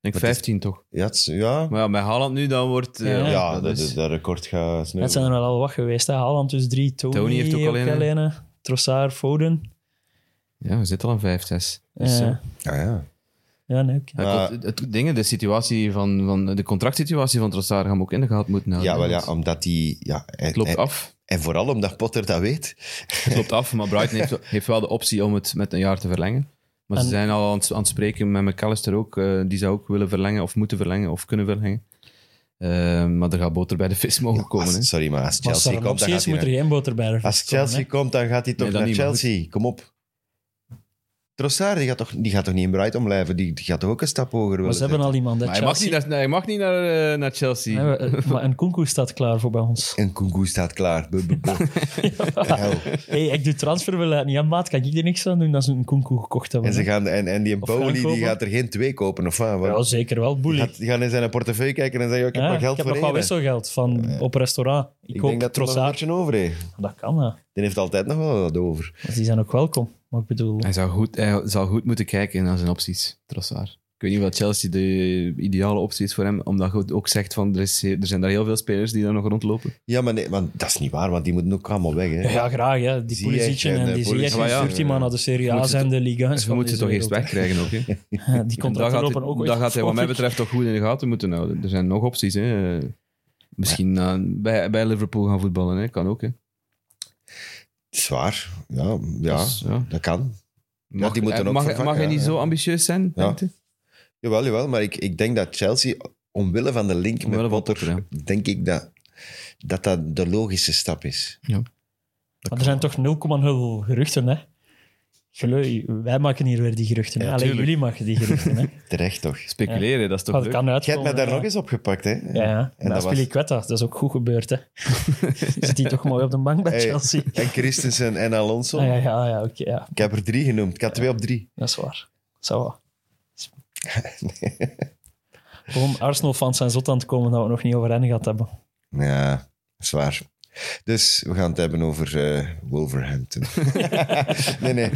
Speaker 3: denk
Speaker 2: is-
Speaker 3: 15 toch.
Speaker 2: dat- Ja, het is- ja.
Speaker 3: Maar ja, bij Haaland nu dan wordt... eh,
Speaker 4: Ja.
Speaker 2: ja,
Speaker 3: dat
Speaker 2: dat,
Speaker 3: is-
Speaker 2: dat record gaat
Speaker 4: Dat
Speaker 2: sneuvelen.
Speaker 4: zijn er al wat geweest. Hè. Haaland dus drie, Tony,
Speaker 3: Tony heeft ook
Speaker 4: ook
Speaker 3: alleen, hè.
Speaker 4: alleen. hè. Trossard, Foden.
Speaker 3: ja, we zitten al aan 5, 6. Dus,
Speaker 4: Ja.
Speaker 3: eh,
Speaker 2: Ah, Ja, ja.
Speaker 4: Ja, nee,
Speaker 3: ja,
Speaker 4: oké.
Speaker 2: Maar-
Speaker 3: klopt. het, het ding, de situatie van, van... De contractsituatie van Trossard gaan we ook in de gaten moeten houden.
Speaker 2: Ja, wel ja,
Speaker 3: Want
Speaker 2: omdat die... Ja, en,
Speaker 3: Het loopt
Speaker 2: en-
Speaker 3: af.
Speaker 2: en vooral omdat Potter dat weet.
Speaker 3: Het loopt af, maar Brighton heeft, wel- heeft wel de optie om het met een jaar te verlengen. Maar ze
Speaker 4: En-
Speaker 3: zijn al aan het, aan het spreken met McAllister ook. eh, die zou ook willen verlengen, of moeten verlengen, of kunnen verlengen. Eh, maar er gaat boter bij de vis mogen komen.
Speaker 2: Als-
Speaker 3: hè.
Speaker 2: sorry, maar als
Speaker 4: Maar
Speaker 2: Chelsea
Speaker 4: Sarah
Speaker 2: komt, dan
Speaker 4: Ramsey
Speaker 2: gaat
Speaker 4: is,
Speaker 2: hij
Speaker 4: moet er
Speaker 2: naar,
Speaker 4: geen boter bij de
Speaker 2: Als
Speaker 4: vis komen,
Speaker 2: Chelsea komt, dan gaat hij toch
Speaker 3: Nee, dat
Speaker 2: naar
Speaker 3: niet, maar goed.
Speaker 2: Chelsea. Kom op. Trossard, die gaat toch, die gaat toch niet in Brighton blijven? Die, die gaat toch ook een stap hoger
Speaker 4: hè.
Speaker 2: willen
Speaker 4: Maar ze hebben
Speaker 2: zetten?
Speaker 4: al iemand. hè.
Speaker 3: Maar hij mag niet
Speaker 4: Chelsea-
Speaker 3: naar, hij mag niet naar, eh, naar Chelsea.
Speaker 4: Nee, we- eh, maar een Kunku staat klaar voor bij ons.
Speaker 2: En Kungu staat klaar. Bu- bu- bu. Hel.
Speaker 4: hey, ik doe transferbeleid niet aan maat. Kan ik er niks aan doen dat ze een Kunku gekocht hebben?
Speaker 2: En, ze gaan, en, en die
Speaker 4: Of
Speaker 2: Bowley die
Speaker 4: aankopen.
Speaker 2: gaat er geen twee kopen, of wat?
Speaker 4: Ja,
Speaker 2: Want
Speaker 4: zeker wel.
Speaker 2: die
Speaker 4: Boeilijk.
Speaker 2: gaat- die gaan in zijn portefeuille kijken en zeggen, ik heb
Speaker 4: Ja,
Speaker 2: maar geld
Speaker 4: ik heb
Speaker 2: voor
Speaker 4: nog wel
Speaker 2: één, hè.
Speaker 4: wisselgeld van op restaurant. Ik,
Speaker 2: Ik
Speaker 4: hoop
Speaker 2: denk dat er nog een
Speaker 4: Trossard.
Speaker 2: beetje over heeft.
Speaker 4: Dat kan, hè.
Speaker 2: Die heeft altijd nog wel wat over.
Speaker 4: Dus die zijn ook welkom. Maar ik bedoel...
Speaker 3: Hij zou goed, hij zal goed moeten kijken naar zijn opties, Trossard. Ik weet niet wat Chelsea de ideale optie is voor hem, omdat je ook zegt van er, is, er zijn daar heel veel spelers die daar nog rondlopen.
Speaker 2: Ja, maar nee, want dat is niet waar, want die moeten ook allemaal weg. Hè.
Speaker 4: Ja, ja, graag, hè. Die
Speaker 2: Ziyech
Speaker 4: Pulisic
Speaker 2: en,
Speaker 4: en
Speaker 2: eh,
Speaker 4: die
Speaker 2: Pulisic. eh,
Speaker 4: Ziyech en
Speaker 3: Maar ja,
Speaker 4: stuurt die man naar de Serie
Speaker 3: moet
Speaker 4: A's
Speaker 3: ze
Speaker 4: en
Speaker 3: toch-
Speaker 4: de Liga's.
Speaker 3: Je moet ze Dus toch eerst wegkrijgen ook. Hè?
Speaker 4: Die
Speaker 3: En dat
Speaker 4: contracten
Speaker 3: gaat,
Speaker 4: lopen ook
Speaker 3: hij, dat gaat hij wat mij
Speaker 4: betreft.
Speaker 3: betreft toch goed in de gaten moeten houden. Er zijn nog opties. Hè? Misschien eh, bij, bij Liverpool gaan voetballen, hè? kan ook. Hè?
Speaker 2: Zwaar. Ja, ja,
Speaker 3: Dus, ja.
Speaker 2: dat kan.
Speaker 3: Mag,
Speaker 2: die moeten
Speaker 3: eh,
Speaker 2: ook
Speaker 3: mag,
Speaker 2: vervangen,
Speaker 3: mag hij
Speaker 2: ja,
Speaker 3: niet
Speaker 2: ja.
Speaker 3: zo ambitieus zijn?
Speaker 2: Ja.
Speaker 3: denkt u?
Speaker 2: Jawel, jawel. Maar ik, ik denk dat Chelsea, omwille van de link
Speaker 3: Omwille
Speaker 2: met
Speaker 3: van
Speaker 2: Potter,
Speaker 3: Potter,
Speaker 2: denk ik dat, dat dat de logische stap is.
Speaker 4: Maar er zijn toch 0,0 geruchten, hè? Gelui, wij maken hier weer die geruchten. hè?
Speaker 2: Ja,
Speaker 4: Alleen
Speaker 2: tuurlijk.
Speaker 4: jullie maken die geruchten, hè?
Speaker 2: Terecht toch?
Speaker 3: Speculeren, dat is toch
Speaker 4: Want
Speaker 3: leuk?
Speaker 4: het kan
Speaker 2: Jij hebt
Speaker 4: uitkomen.
Speaker 2: mij daar
Speaker 4: hè.
Speaker 2: nog eens op gepakt, hè?
Speaker 4: Ja, ja. En
Speaker 2: dat
Speaker 4: dat
Speaker 2: was-
Speaker 4: speel ik kwijt, dat is ook goed gebeurd, hè? Zit hij toch mooi op de bank bij
Speaker 2: Hey.
Speaker 4: Chelsea?
Speaker 2: En Christensen en Alonso.
Speaker 4: Ah, ja, ja, ja, oké, ja.
Speaker 2: Ik heb er drie genoemd. Ik had twee op drie.
Speaker 4: Dat is waar. Zo. wat. Gewoon Arsenal-fans zijn zot aan het komen dat we het nog niet over hen gehad hebben.
Speaker 2: Ja, zwaar. Dus we gaan het hebben over eh, Wolverhampton. nee, nee.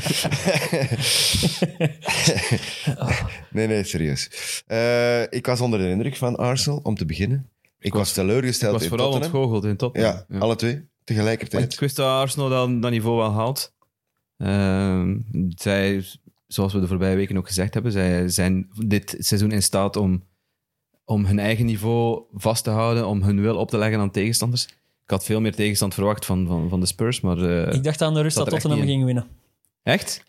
Speaker 2: nee, nee, serieus. Eh, ik was onder de indruk van Arsenal, om te beginnen. Ik was teleurgesteld
Speaker 3: Het was
Speaker 2: in
Speaker 3: vooral
Speaker 2: Tottenham.
Speaker 3: ontgoocheld in top.
Speaker 2: Ja, alle twee, tegelijkertijd.
Speaker 3: Ik wist dat Arsenal dat, dat niveau wel haalt. Ehm, zij, zoals we de voorbije weken ook gezegd hebben, zij zijn dit seizoen in staat om, om hun eigen niveau vast te houden, om hun wil op te leggen aan tegenstanders. Ik had veel meer tegenstand verwacht van, van, van de Spurs, maar... eh,
Speaker 4: Ik dacht aan de rust
Speaker 3: Zat er
Speaker 4: dat
Speaker 3: echt
Speaker 4: Tottenham
Speaker 3: niet
Speaker 4: ging winnen.
Speaker 3: Echt?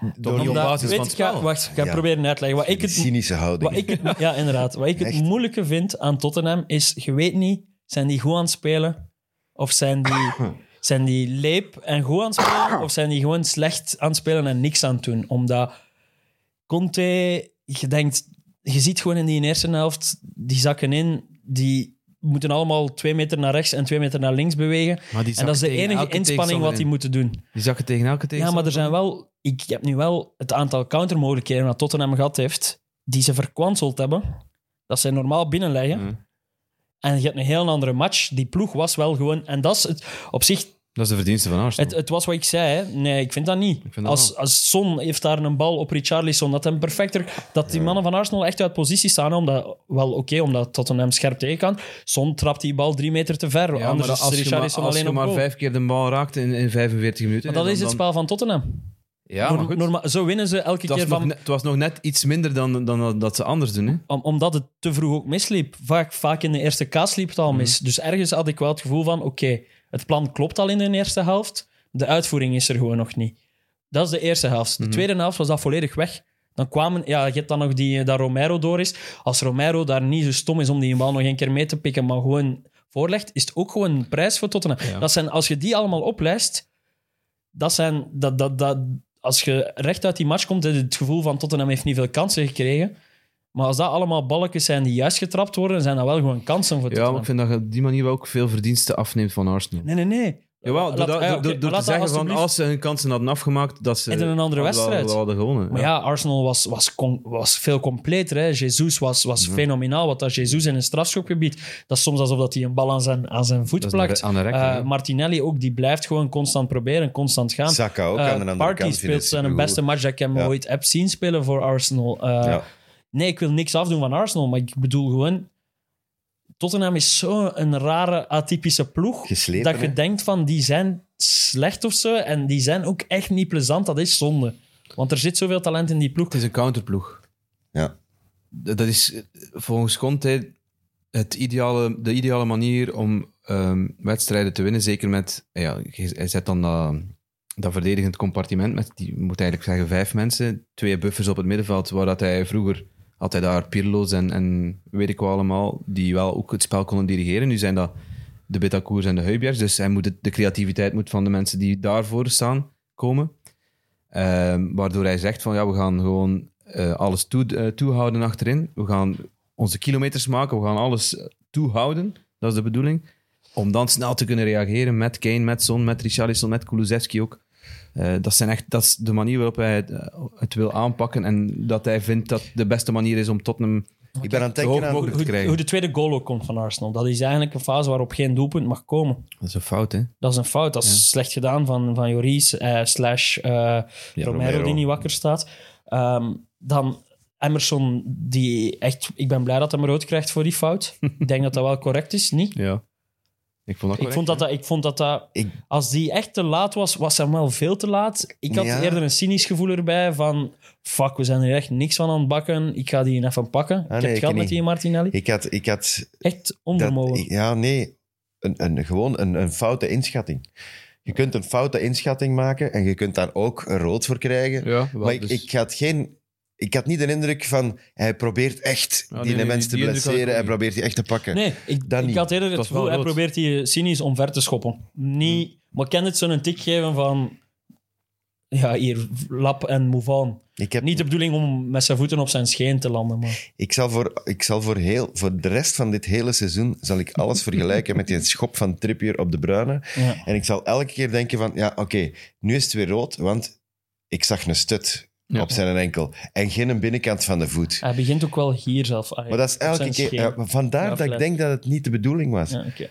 Speaker 2: Door
Speaker 3: Niet
Speaker 2: die
Speaker 3: op
Speaker 4: Omdat-
Speaker 3: basis
Speaker 4: weet
Speaker 3: van het
Speaker 4: ik, ga-
Speaker 3: spel.
Speaker 4: Wacht, ik ga
Speaker 2: Ja.
Speaker 4: proberen uit te leggen. Wat ik het
Speaker 2: cynische houding.
Speaker 4: Wat ik het, ja, inderdaad. Wat ik het
Speaker 2: Echt.
Speaker 4: moeilijke vind aan Tottenham is, je weet niet, zijn die goed aan het spelen? Of zijn die, zijn die leep en goed aan het spelen? Of zijn die gewoon slecht aan het spelen en niks aan het doen? Omdat Conte, je denkt, je ziet gewoon in die eerste helft, die zakken in, die moeten allemaal twee meter naar rechts en twee meter naar links bewegen.
Speaker 3: Maar die
Speaker 4: En dat is de enige inspanning wat die moeten doen.
Speaker 3: Die zag het tegen elke
Speaker 4: Ja, maar
Speaker 3: tegenstander.
Speaker 4: er zijn wel... Ik heb nu wel het aantal countermogelijkheden dat Tottenham gehad heeft, die ze verkwanseld hebben, dat ze normaal binnenleggen.
Speaker 3: Ja.
Speaker 4: En je hebt een heel andere match. Die ploeg was wel gewoon... En dat is het, op zich...
Speaker 3: Dat is de verdienste van Arsenal.
Speaker 4: Het, het was wat ik zei, hè. Nee, ik vind dat niet.
Speaker 3: vind dat
Speaker 4: als,
Speaker 3: wel.
Speaker 4: als Son heeft daar een bal op Richarlison, dat hem perfecter... Dat die mannen van Arsenal echt uit positie staan, hè, omdat... Wel, oké, omdat Tottenham scherp tegen kan. Son trapt die bal drie meter te ver.
Speaker 3: Ja,
Speaker 4: anders
Speaker 3: maar als
Speaker 4: is
Speaker 3: je maar,
Speaker 4: Richarlison
Speaker 3: als
Speaker 4: alleen
Speaker 3: je
Speaker 4: op
Speaker 3: maar
Speaker 4: goal.
Speaker 3: vijf keer de bal raakt in, in 45 minuten...
Speaker 4: Maar dat
Speaker 3: dan-
Speaker 4: is het
Speaker 3: dan-
Speaker 4: spel van Tottenham.
Speaker 3: Ja, maar goed.
Speaker 4: Norma- zo winnen ze elke
Speaker 3: Het was,
Speaker 4: keer
Speaker 3: nog
Speaker 4: van...
Speaker 3: net, het was nog net iets minder dan, dan dat ze anders doen. Hè?
Speaker 4: Om- omdat het te vroeg ook misliep. Vaak, vaak in de eerste kaas liep het al mis. Dus ergens had ik wel het gevoel van: oké, het plan klopt al in de eerste helft. De uitvoering is er gewoon nog niet. Dat is de eerste helft.
Speaker 3: Mhm.
Speaker 4: De tweede helft was dat volledig weg. Dan kwamen, ja, je hebt dan nog die, eh, dat Romero door is. Als Romero daar niet zo stom is om die bal nog een keer mee te pikken, maar gewoon voorlegt, is het ook gewoon een prijs voor Tottenham.
Speaker 3: Ja.
Speaker 4: Dat zijn, als je die allemaal oplijst, dat zijn, dat, dat, dat, als je recht uit die match komt, heb je het gevoel van Tottenham heeft niet veel kansen gekregen. Maar als dat allemaal balletjes zijn die juist getrapt worden, zijn dat wel gewoon kansen voor
Speaker 3: Ja,
Speaker 4: Tottenham.
Speaker 3: maar ik vind dat je op die manier wel ook veel verdiensten afneemt van Arsenal.
Speaker 4: Nee, nee, nee.
Speaker 3: Jawel, door,
Speaker 4: Laat-
Speaker 3: dat-
Speaker 4: ah, ja,
Speaker 3: door-
Speaker 4: oké,
Speaker 3: door
Speaker 4: maar
Speaker 3: te
Speaker 4: laat
Speaker 3: zeggen
Speaker 4: dat
Speaker 3: van
Speaker 4: alsjeblieft-
Speaker 3: als ze hun kansen hadden afgemaakt, dat ze
Speaker 4: En in een
Speaker 3: hadden-
Speaker 4: andere wedstrijd.
Speaker 3: hadden- hadden gewonnen.
Speaker 4: Maar ja, Arsenal was, was, kon- was veel completer. Hè. Jesus was, was
Speaker 2: Mhm.
Speaker 4: fenomenaal. Wat dat Jesus in een strafschopgebied... Dat is soms alsof dat hij een bal aan zijn, aan zijn voet
Speaker 3: Dat is aan de
Speaker 4: plakt.
Speaker 3: re- aan de rek,
Speaker 4: Eh,
Speaker 3: hè.
Speaker 4: Martinelli ook, die blijft gewoon constant proberen, constant gaan.
Speaker 2: Saka ook
Speaker 4: Eh,
Speaker 2: aan de andere
Speaker 4: Partey
Speaker 2: kant. vind
Speaker 4: speelt
Speaker 2: ik
Speaker 4: zijn
Speaker 2: supergoed.
Speaker 4: beste match dat ik hem
Speaker 2: Ja.
Speaker 4: ooit heb zien spelen voor Arsenal. Eh,
Speaker 2: Ja.
Speaker 4: Nee, ik wil niks afdoen van Arsenal, maar ik bedoel gewoon... Tottenham is zo'n rare, atypische ploeg.
Speaker 2: Geslepen,
Speaker 4: dat je
Speaker 2: hè?
Speaker 4: denkt van, die zijn slecht of zo. En die zijn ook echt niet plezant. Dat is zonde. Want er zit zoveel talent in die ploeg.
Speaker 3: Het is een counterploeg.
Speaker 2: Ja.
Speaker 3: Dat dat is eh, volgens Conte het ideale, de ideale manier om ehm, wedstrijden te winnen. Zeker met, ja, je- hij zet dan dat, dat verdedigend compartiment met, die moet eigenlijk zeggen, vijf mensen. Twee buffers op het middenveld, waar dat hij vroeger had hij daar Pirlo's en, en weet ik wel allemaal, die wel ook het spel konden dirigeren. Nu zijn dat de Betacours en de Heubjergs, dus hij moet het, de creativiteit moet van de mensen die daarvoor staan komen. Ehm, waardoor hij zegt van ja, we gaan gewoon eh, alles toe, eh, toehouden achterin. We gaan onze kilometers maken, we gaan alles eh, toehouden. Dat is de bedoeling. Om dan snel te kunnen reageren met Kane, met Son, met Richarlison, met Kulusevski ook. Eh, dat, zijn echt, dat is de manier waarop hij het, eh, het wil aanpakken. En dat hij vindt dat de beste manier is om Tottenham...
Speaker 2: Ik ben aan het
Speaker 3: Zo
Speaker 2: denken
Speaker 3: hoog
Speaker 2: aan...
Speaker 3: mogelijk. te
Speaker 4: Hoe,
Speaker 3: krijgen.
Speaker 4: hoe de tweede goal ook komt van Arsenal. Dat is eigenlijk een fase waarop geen doelpunt mag komen.
Speaker 3: Dat is een fout, hè?
Speaker 4: Dat is een fout. Dat is slecht gedaan van, van Joris eh, slash eh, Romero,
Speaker 2: Romero.
Speaker 4: die niet wakker staat. Ehm, dan Emerson, die echt... Ik ben blij dat hij hem rood krijgt voor die fout. ik denk dat dat wel correct is, niet?
Speaker 3: Ja. Ik vond dat,
Speaker 4: Ik vond dat,
Speaker 3: correct,
Speaker 4: dat, ik vond dat dat...
Speaker 2: Ik-
Speaker 4: Als die echt te laat was, was hij wel veel te laat. Ik had
Speaker 2: Ja.
Speaker 4: eerder een cynisch gevoel erbij van... Fuck, we zijn er echt niks van aan het bakken. Ik ga die even pakken. ik heb
Speaker 2: Ah, nee,
Speaker 4: het
Speaker 2: ik
Speaker 4: gehad met
Speaker 2: niet.
Speaker 4: die Martinelli.
Speaker 2: Ik had, ik had
Speaker 4: Echt
Speaker 2: Dat-
Speaker 4: onvermogen.
Speaker 2: ja, nee. Een, een, gewoon een, een foute inschatting. Je kunt een foute inschatting maken en je kunt daar ook een rood voor krijgen.
Speaker 3: hè. Ja, wel,
Speaker 2: maar ik,
Speaker 3: dus-
Speaker 2: ik, had geen, ik had niet de indruk van hij probeert echt
Speaker 3: Ja,
Speaker 2: die
Speaker 3: nee, nee,
Speaker 2: mensen
Speaker 3: die
Speaker 2: te
Speaker 3: indruk had ik
Speaker 2: blesseren.
Speaker 3: ook
Speaker 2: Hij
Speaker 3: niet.
Speaker 2: probeert die echt te pakken.
Speaker 4: Nee, ik,
Speaker 2: Dat
Speaker 4: ik
Speaker 2: niet.
Speaker 4: had eerder het
Speaker 3: was wel
Speaker 4: gevoel, hij
Speaker 3: rood.
Speaker 4: probeert die cynisch omver te schoppen.
Speaker 2: Hmm.
Speaker 4: Niet, maar ik kan het zo'n tik geven van... Ja, hier, lap en move on.
Speaker 2: Ik, heb,
Speaker 4: Niet de bedoeling om met zijn voeten op zijn scheen te landen, maar...
Speaker 2: ik zal, voor, ik zal voor, heel, voor de rest van dit hele seizoen zal ik alles vergelijken met die schop van Trippier op de Bruine.
Speaker 4: Ja.
Speaker 2: En ik zal elke keer denken van, ja, oké, nu is het weer rood, want ik zag een stut
Speaker 3: Ja.
Speaker 2: op zijn enkel en geen binnenkant van de voet.
Speaker 4: Hij begint ook wel hier zelf. eigenlijk,
Speaker 2: Maar dat is
Speaker 4: op
Speaker 2: elke
Speaker 4: zijn
Speaker 2: keer...
Speaker 4: scheen.
Speaker 2: ja, maar vandaar
Speaker 4: Ja,
Speaker 2: dat ik
Speaker 4: flat.
Speaker 2: denk dat het niet de bedoeling was.
Speaker 4: Ja, oké.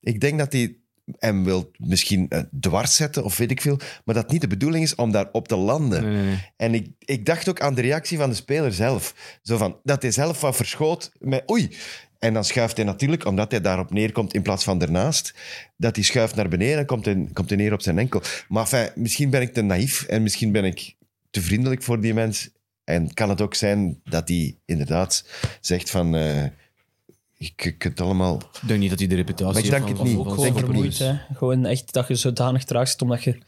Speaker 2: Ik denk dat hij hem wil misschien eh, dwars zetten of weet ik veel, maar dat niet de bedoeling is om daarop te landen.
Speaker 3: Nee, nee, nee.
Speaker 2: En ik, ik dacht ook aan de reactie van de speler zelf. Zo van, dat hij zelf wat verschoot met oei. En dan schuift hij natuurlijk, omdat hij daarop neerkomt in plaats van daarnaast, dat hij schuift naar beneden en komt hij, komt hij neer op zijn enkel. Maar enfin, misschien ben ik te naïef en misschien ben ik te vriendelijk voor die mens. En kan het ook zijn dat hij inderdaad zegt van... eh je je kunt allemaal...
Speaker 3: Ik denk niet dat hij de reputatie
Speaker 2: Maar ik
Speaker 3: heeft
Speaker 2: denk
Speaker 3: van-
Speaker 2: het
Speaker 3: van-
Speaker 2: niet.
Speaker 3: van-
Speaker 2: Denk
Speaker 4: Gewoon
Speaker 2: het
Speaker 3: van-
Speaker 4: vermoeid,
Speaker 2: niet.
Speaker 4: hè. Gewoon echt dat je zodanig traag zit, omdat je de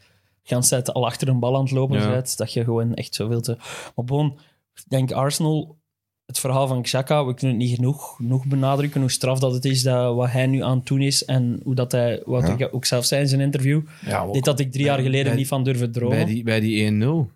Speaker 4: hele tijd al achter een bal aan het lopen
Speaker 3: Ja.
Speaker 4: bent, dat je gewoon echt zoveel te... Maar bon, ik denk Arsenal, het verhaal van Xhaka, we kunnen het niet genoeg, genoeg benadrukken hoe straf dat het is, dat wat hij nu aan het doen is en hoe dat hij, wat
Speaker 2: Ja.
Speaker 4: ik ook zelf zei in zijn interview,
Speaker 3: Ja,
Speaker 4: dit had ik drie jaar geleden
Speaker 3: bij-
Speaker 4: niet van durven dromen.
Speaker 3: Bij die, bij die 1-0.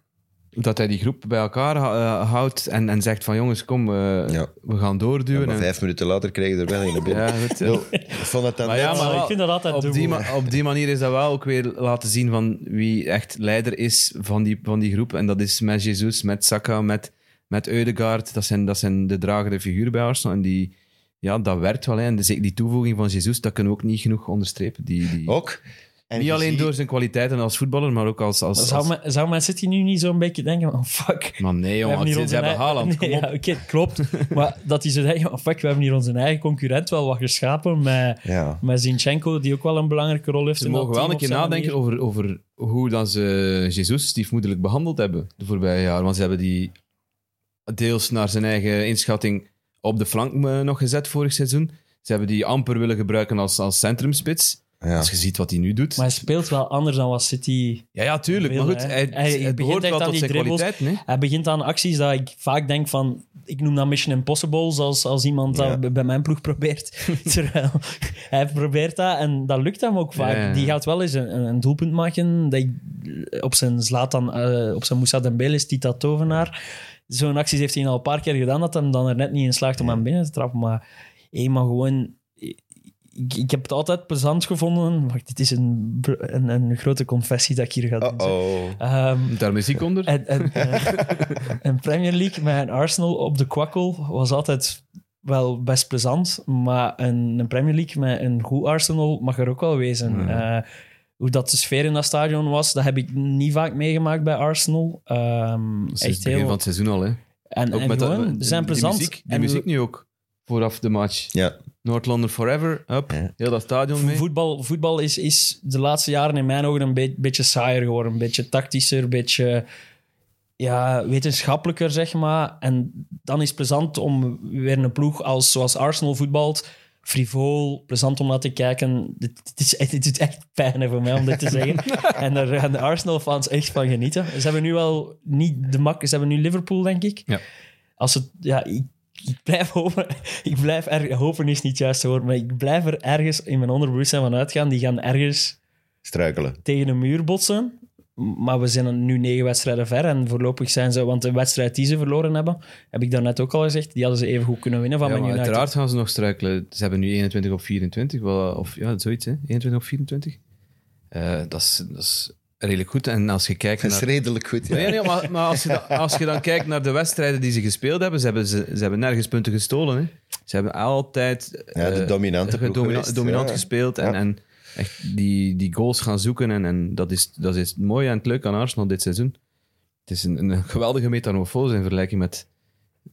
Speaker 3: Dat hij die groep bij elkaar eh, houdt en, en zegt van jongens, kom, eh,
Speaker 2: Ja.
Speaker 3: we gaan
Speaker 2: Ja,
Speaker 3: doorduwen.
Speaker 2: maar
Speaker 3: en-
Speaker 2: vijf minuten later krijg je er wel in de binnen.
Speaker 3: Ja, goed.
Speaker 2: Yo, Ik vond dat dan
Speaker 3: Maar ja,
Speaker 2: net-
Speaker 4: maar
Speaker 3: wel-
Speaker 4: ik vind dat altijd
Speaker 3: op die,
Speaker 4: dubbel.
Speaker 3: ma- op die manier is dat wel ook weer laten zien van wie echt leider is van die, van die groep. En dat is met Jesus, met Saka, met, met Eudegaard. Dat zijn, dat zijn de dragende figuren bij Arsenal. En die, ja, dat werkt wel. Hè. En dus die toevoeging van Jesus, dat kunnen we ook niet genoeg onderstrepen. Die, die,
Speaker 2: Ook. En
Speaker 3: niet
Speaker 2: je
Speaker 3: alleen
Speaker 2: ziet-
Speaker 3: door zijn kwaliteiten als voetballer, maar ook als... als,
Speaker 4: zou,
Speaker 3: als-
Speaker 4: men, zou Man City nu niet zo'n beetje denken van fuck,
Speaker 3: Maar nee,
Speaker 4: We
Speaker 3: jongen, ze,
Speaker 4: onze
Speaker 3: ze hebben
Speaker 4: eigen-
Speaker 3: Haaland.
Speaker 4: Nee,
Speaker 3: Kom op.
Speaker 4: ja, oké, klopt. maar dat hij zo denkt, ja, fuck, we hebben hier onze eigen concurrent wel wat geschapen met,
Speaker 2: Ja.
Speaker 4: met Zinchenko, die ook wel een belangrijke rol heeft
Speaker 3: Ze
Speaker 4: in dat
Speaker 3: mogen wel
Speaker 4: team
Speaker 3: een
Speaker 4: op
Speaker 3: keer
Speaker 4: zijn
Speaker 3: nadenken
Speaker 4: manier.
Speaker 3: over, over hoe dan ze Jezus stiefmoederlijk behandeld hebben de voorbije jaren. Want ze hebben die deels naar zijn eigen inschatting op de flank eh, nog gezet vorig seizoen. Ze hebben die amper willen gebruiken als, als centrumspits.
Speaker 2: Ja.
Speaker 3: Als je ziet wat hij nu doet.
Speaker 4: Maar hij speelt wel anders dan wat City...
Speaker 3: ja, ja, tuurlijk.
Speaker 4: Wil,
Speaker 3: maar goed,
Speaker 4: hè.
Speaker 3: hij,
Speaker 4: Hij-
Speaker 3: het
Speaker 4: hij begint
Speaker 3: behoort
Speaker 4: echt
Speaker 3: wel
Speaker 4: aan
Speaker 3: tot
Speaker 4: die
Speaker 3: zijn
Speaker 4: dribbles.
Speaker 3: kwaliteit. Nee?
Speaker 4: Hij begint aan acties dat ik vaak denk van... Ik noem dat Mission Impossible, zoals als iemand
Speaker 2: Ja.
Speaker 4: dat bij- bij mijn ploeg probeert. Terwijl hij probeert dat en dat lukt hem ook vaak.
Speaker 3: Ja, ja.
Speaker 4: Die gaat wel eens een, een- een doelpunt maken. Dat ik, op zijn Zlatan, eh, op zijn Moussa Dembele is Tita Tovenaar. Zo'n acties heeft hij al een paar keer gedaan, dat hem dan er net niet in slaagt om hem binnen te trappen. Maar eenmaal gewoon... Ik, ik heb het altijd plezant gevonden. Wacht, dit is een, br- een, een grote confessie dat ik hier ga doen. zeg.
Speaker 2: Uh-oh.
Speaker 4: Ehm,
Speaker 3: Moet daar muziek onder?
Speaker 4: en, en, eh, en Premier League met een Arsenal op de kwakkel was altijd wel best plezant. Maar een, een Premier League met een goed Arsenal mag er ook wel wezen. Eh, hoe dat de sfeer in dat stadion was, dat heb ik niet vaak meegemaakt bij Arsenal. Ehm,
Speaker 3: Dat is het
Speaker 4: echt
Speaker 3: begin
Speaker 4: heel...
Speaker 3: van het seizoen al. Hè.
Speaker 4: En, en
Speaker 3: dat-
Speaker 4: gewoon, ze zijn
Speaker 3: die
Speaker 4: plezant.
Speaker 3: muziek, die
Speaker 4: en
Speaker 3: muziek nu ook, vooraf de match.
Speaker 2: Ja.
Speaker 3: Noord-London Forever, up,
Speaker 2: Ja.
Speaker 3: heel dat stadion mee.
Speaker 4: Voetbal, voetbal is, is de laatste jaren in mijn ogen een be- beetje saaier geworden. Een beetje tactischer, een beetje ja, wetenschappelijker, zeg maar. En dan is het plezant om weer een ploeg als, zoals Arsenal voetbalt. Frivol, plezant om naar te kijken. Dit, dit is, echt- dit doet echt pijn hè, voor mij om dit te zeggen. en daar gaan de Arsenal-fans echt van genieten. Ze hebben nu wel niet de mak... Ze hebben nu Liverpool, denk ik.
Speaker 3: Ja.
Speaker 4: Als het... Ja, ik, ik blijf hopen. Ik blijf er, hopen is niet het juiste woord, maar ik blijf er ergens in mijn onderbewustzijn van uitgaan. Die gaan ergens
Speaker 2: Struikelen.
Speaker 4: tegen een muur botsen. M- Maar we zijn nu negen wedstrijden ver en voorlopig zijn ze... Want de wedstrijd die ze verloren hebben, heb ik daarnet ook al gezegd, die hadden ze even goed kunnen winnen van
Speaker 3: Ja,
Speaker 4: Man
Speaker 3: maar
Speaker 4: United.
Speaker 3: uiteraard gaan ze nog struikelen. Ze hebben nu 21 op 24, wel, of ja, zoiets, hè? 21 op 24. Eh, dat, is, dat is redelijk goed. En als je kijkt
Speaker 2: Dat is
Speaker 3: naar.
Speaker 2: redelijk goed, ja.
Speaker 3: Nee, nee, maar, maar als, je dan, als je dan kijkt naar de wedstrijden die ze gespeeld hebben, ze hebben, ze, ze hebben nergens punten gestolen. Hè. Ze hebben altijd
Speaker 2: Ja, de
Speaker 3: eh,
Speaker 2: dominante ploeg
Speaker 3: domina-
Speaker 2: geweest.
Speaker 3: dominant
Speaker 2: Ja.
Speaker 3: gespeeld en,
Speaker 2: Ja.
Speaker 3: en echt die, die goals gaan zoeken. En, en dat, is, dat is mooi en het leuk aan Arsenal dit seizoen. Het is een, een geweldige metamorfose in vergelijking met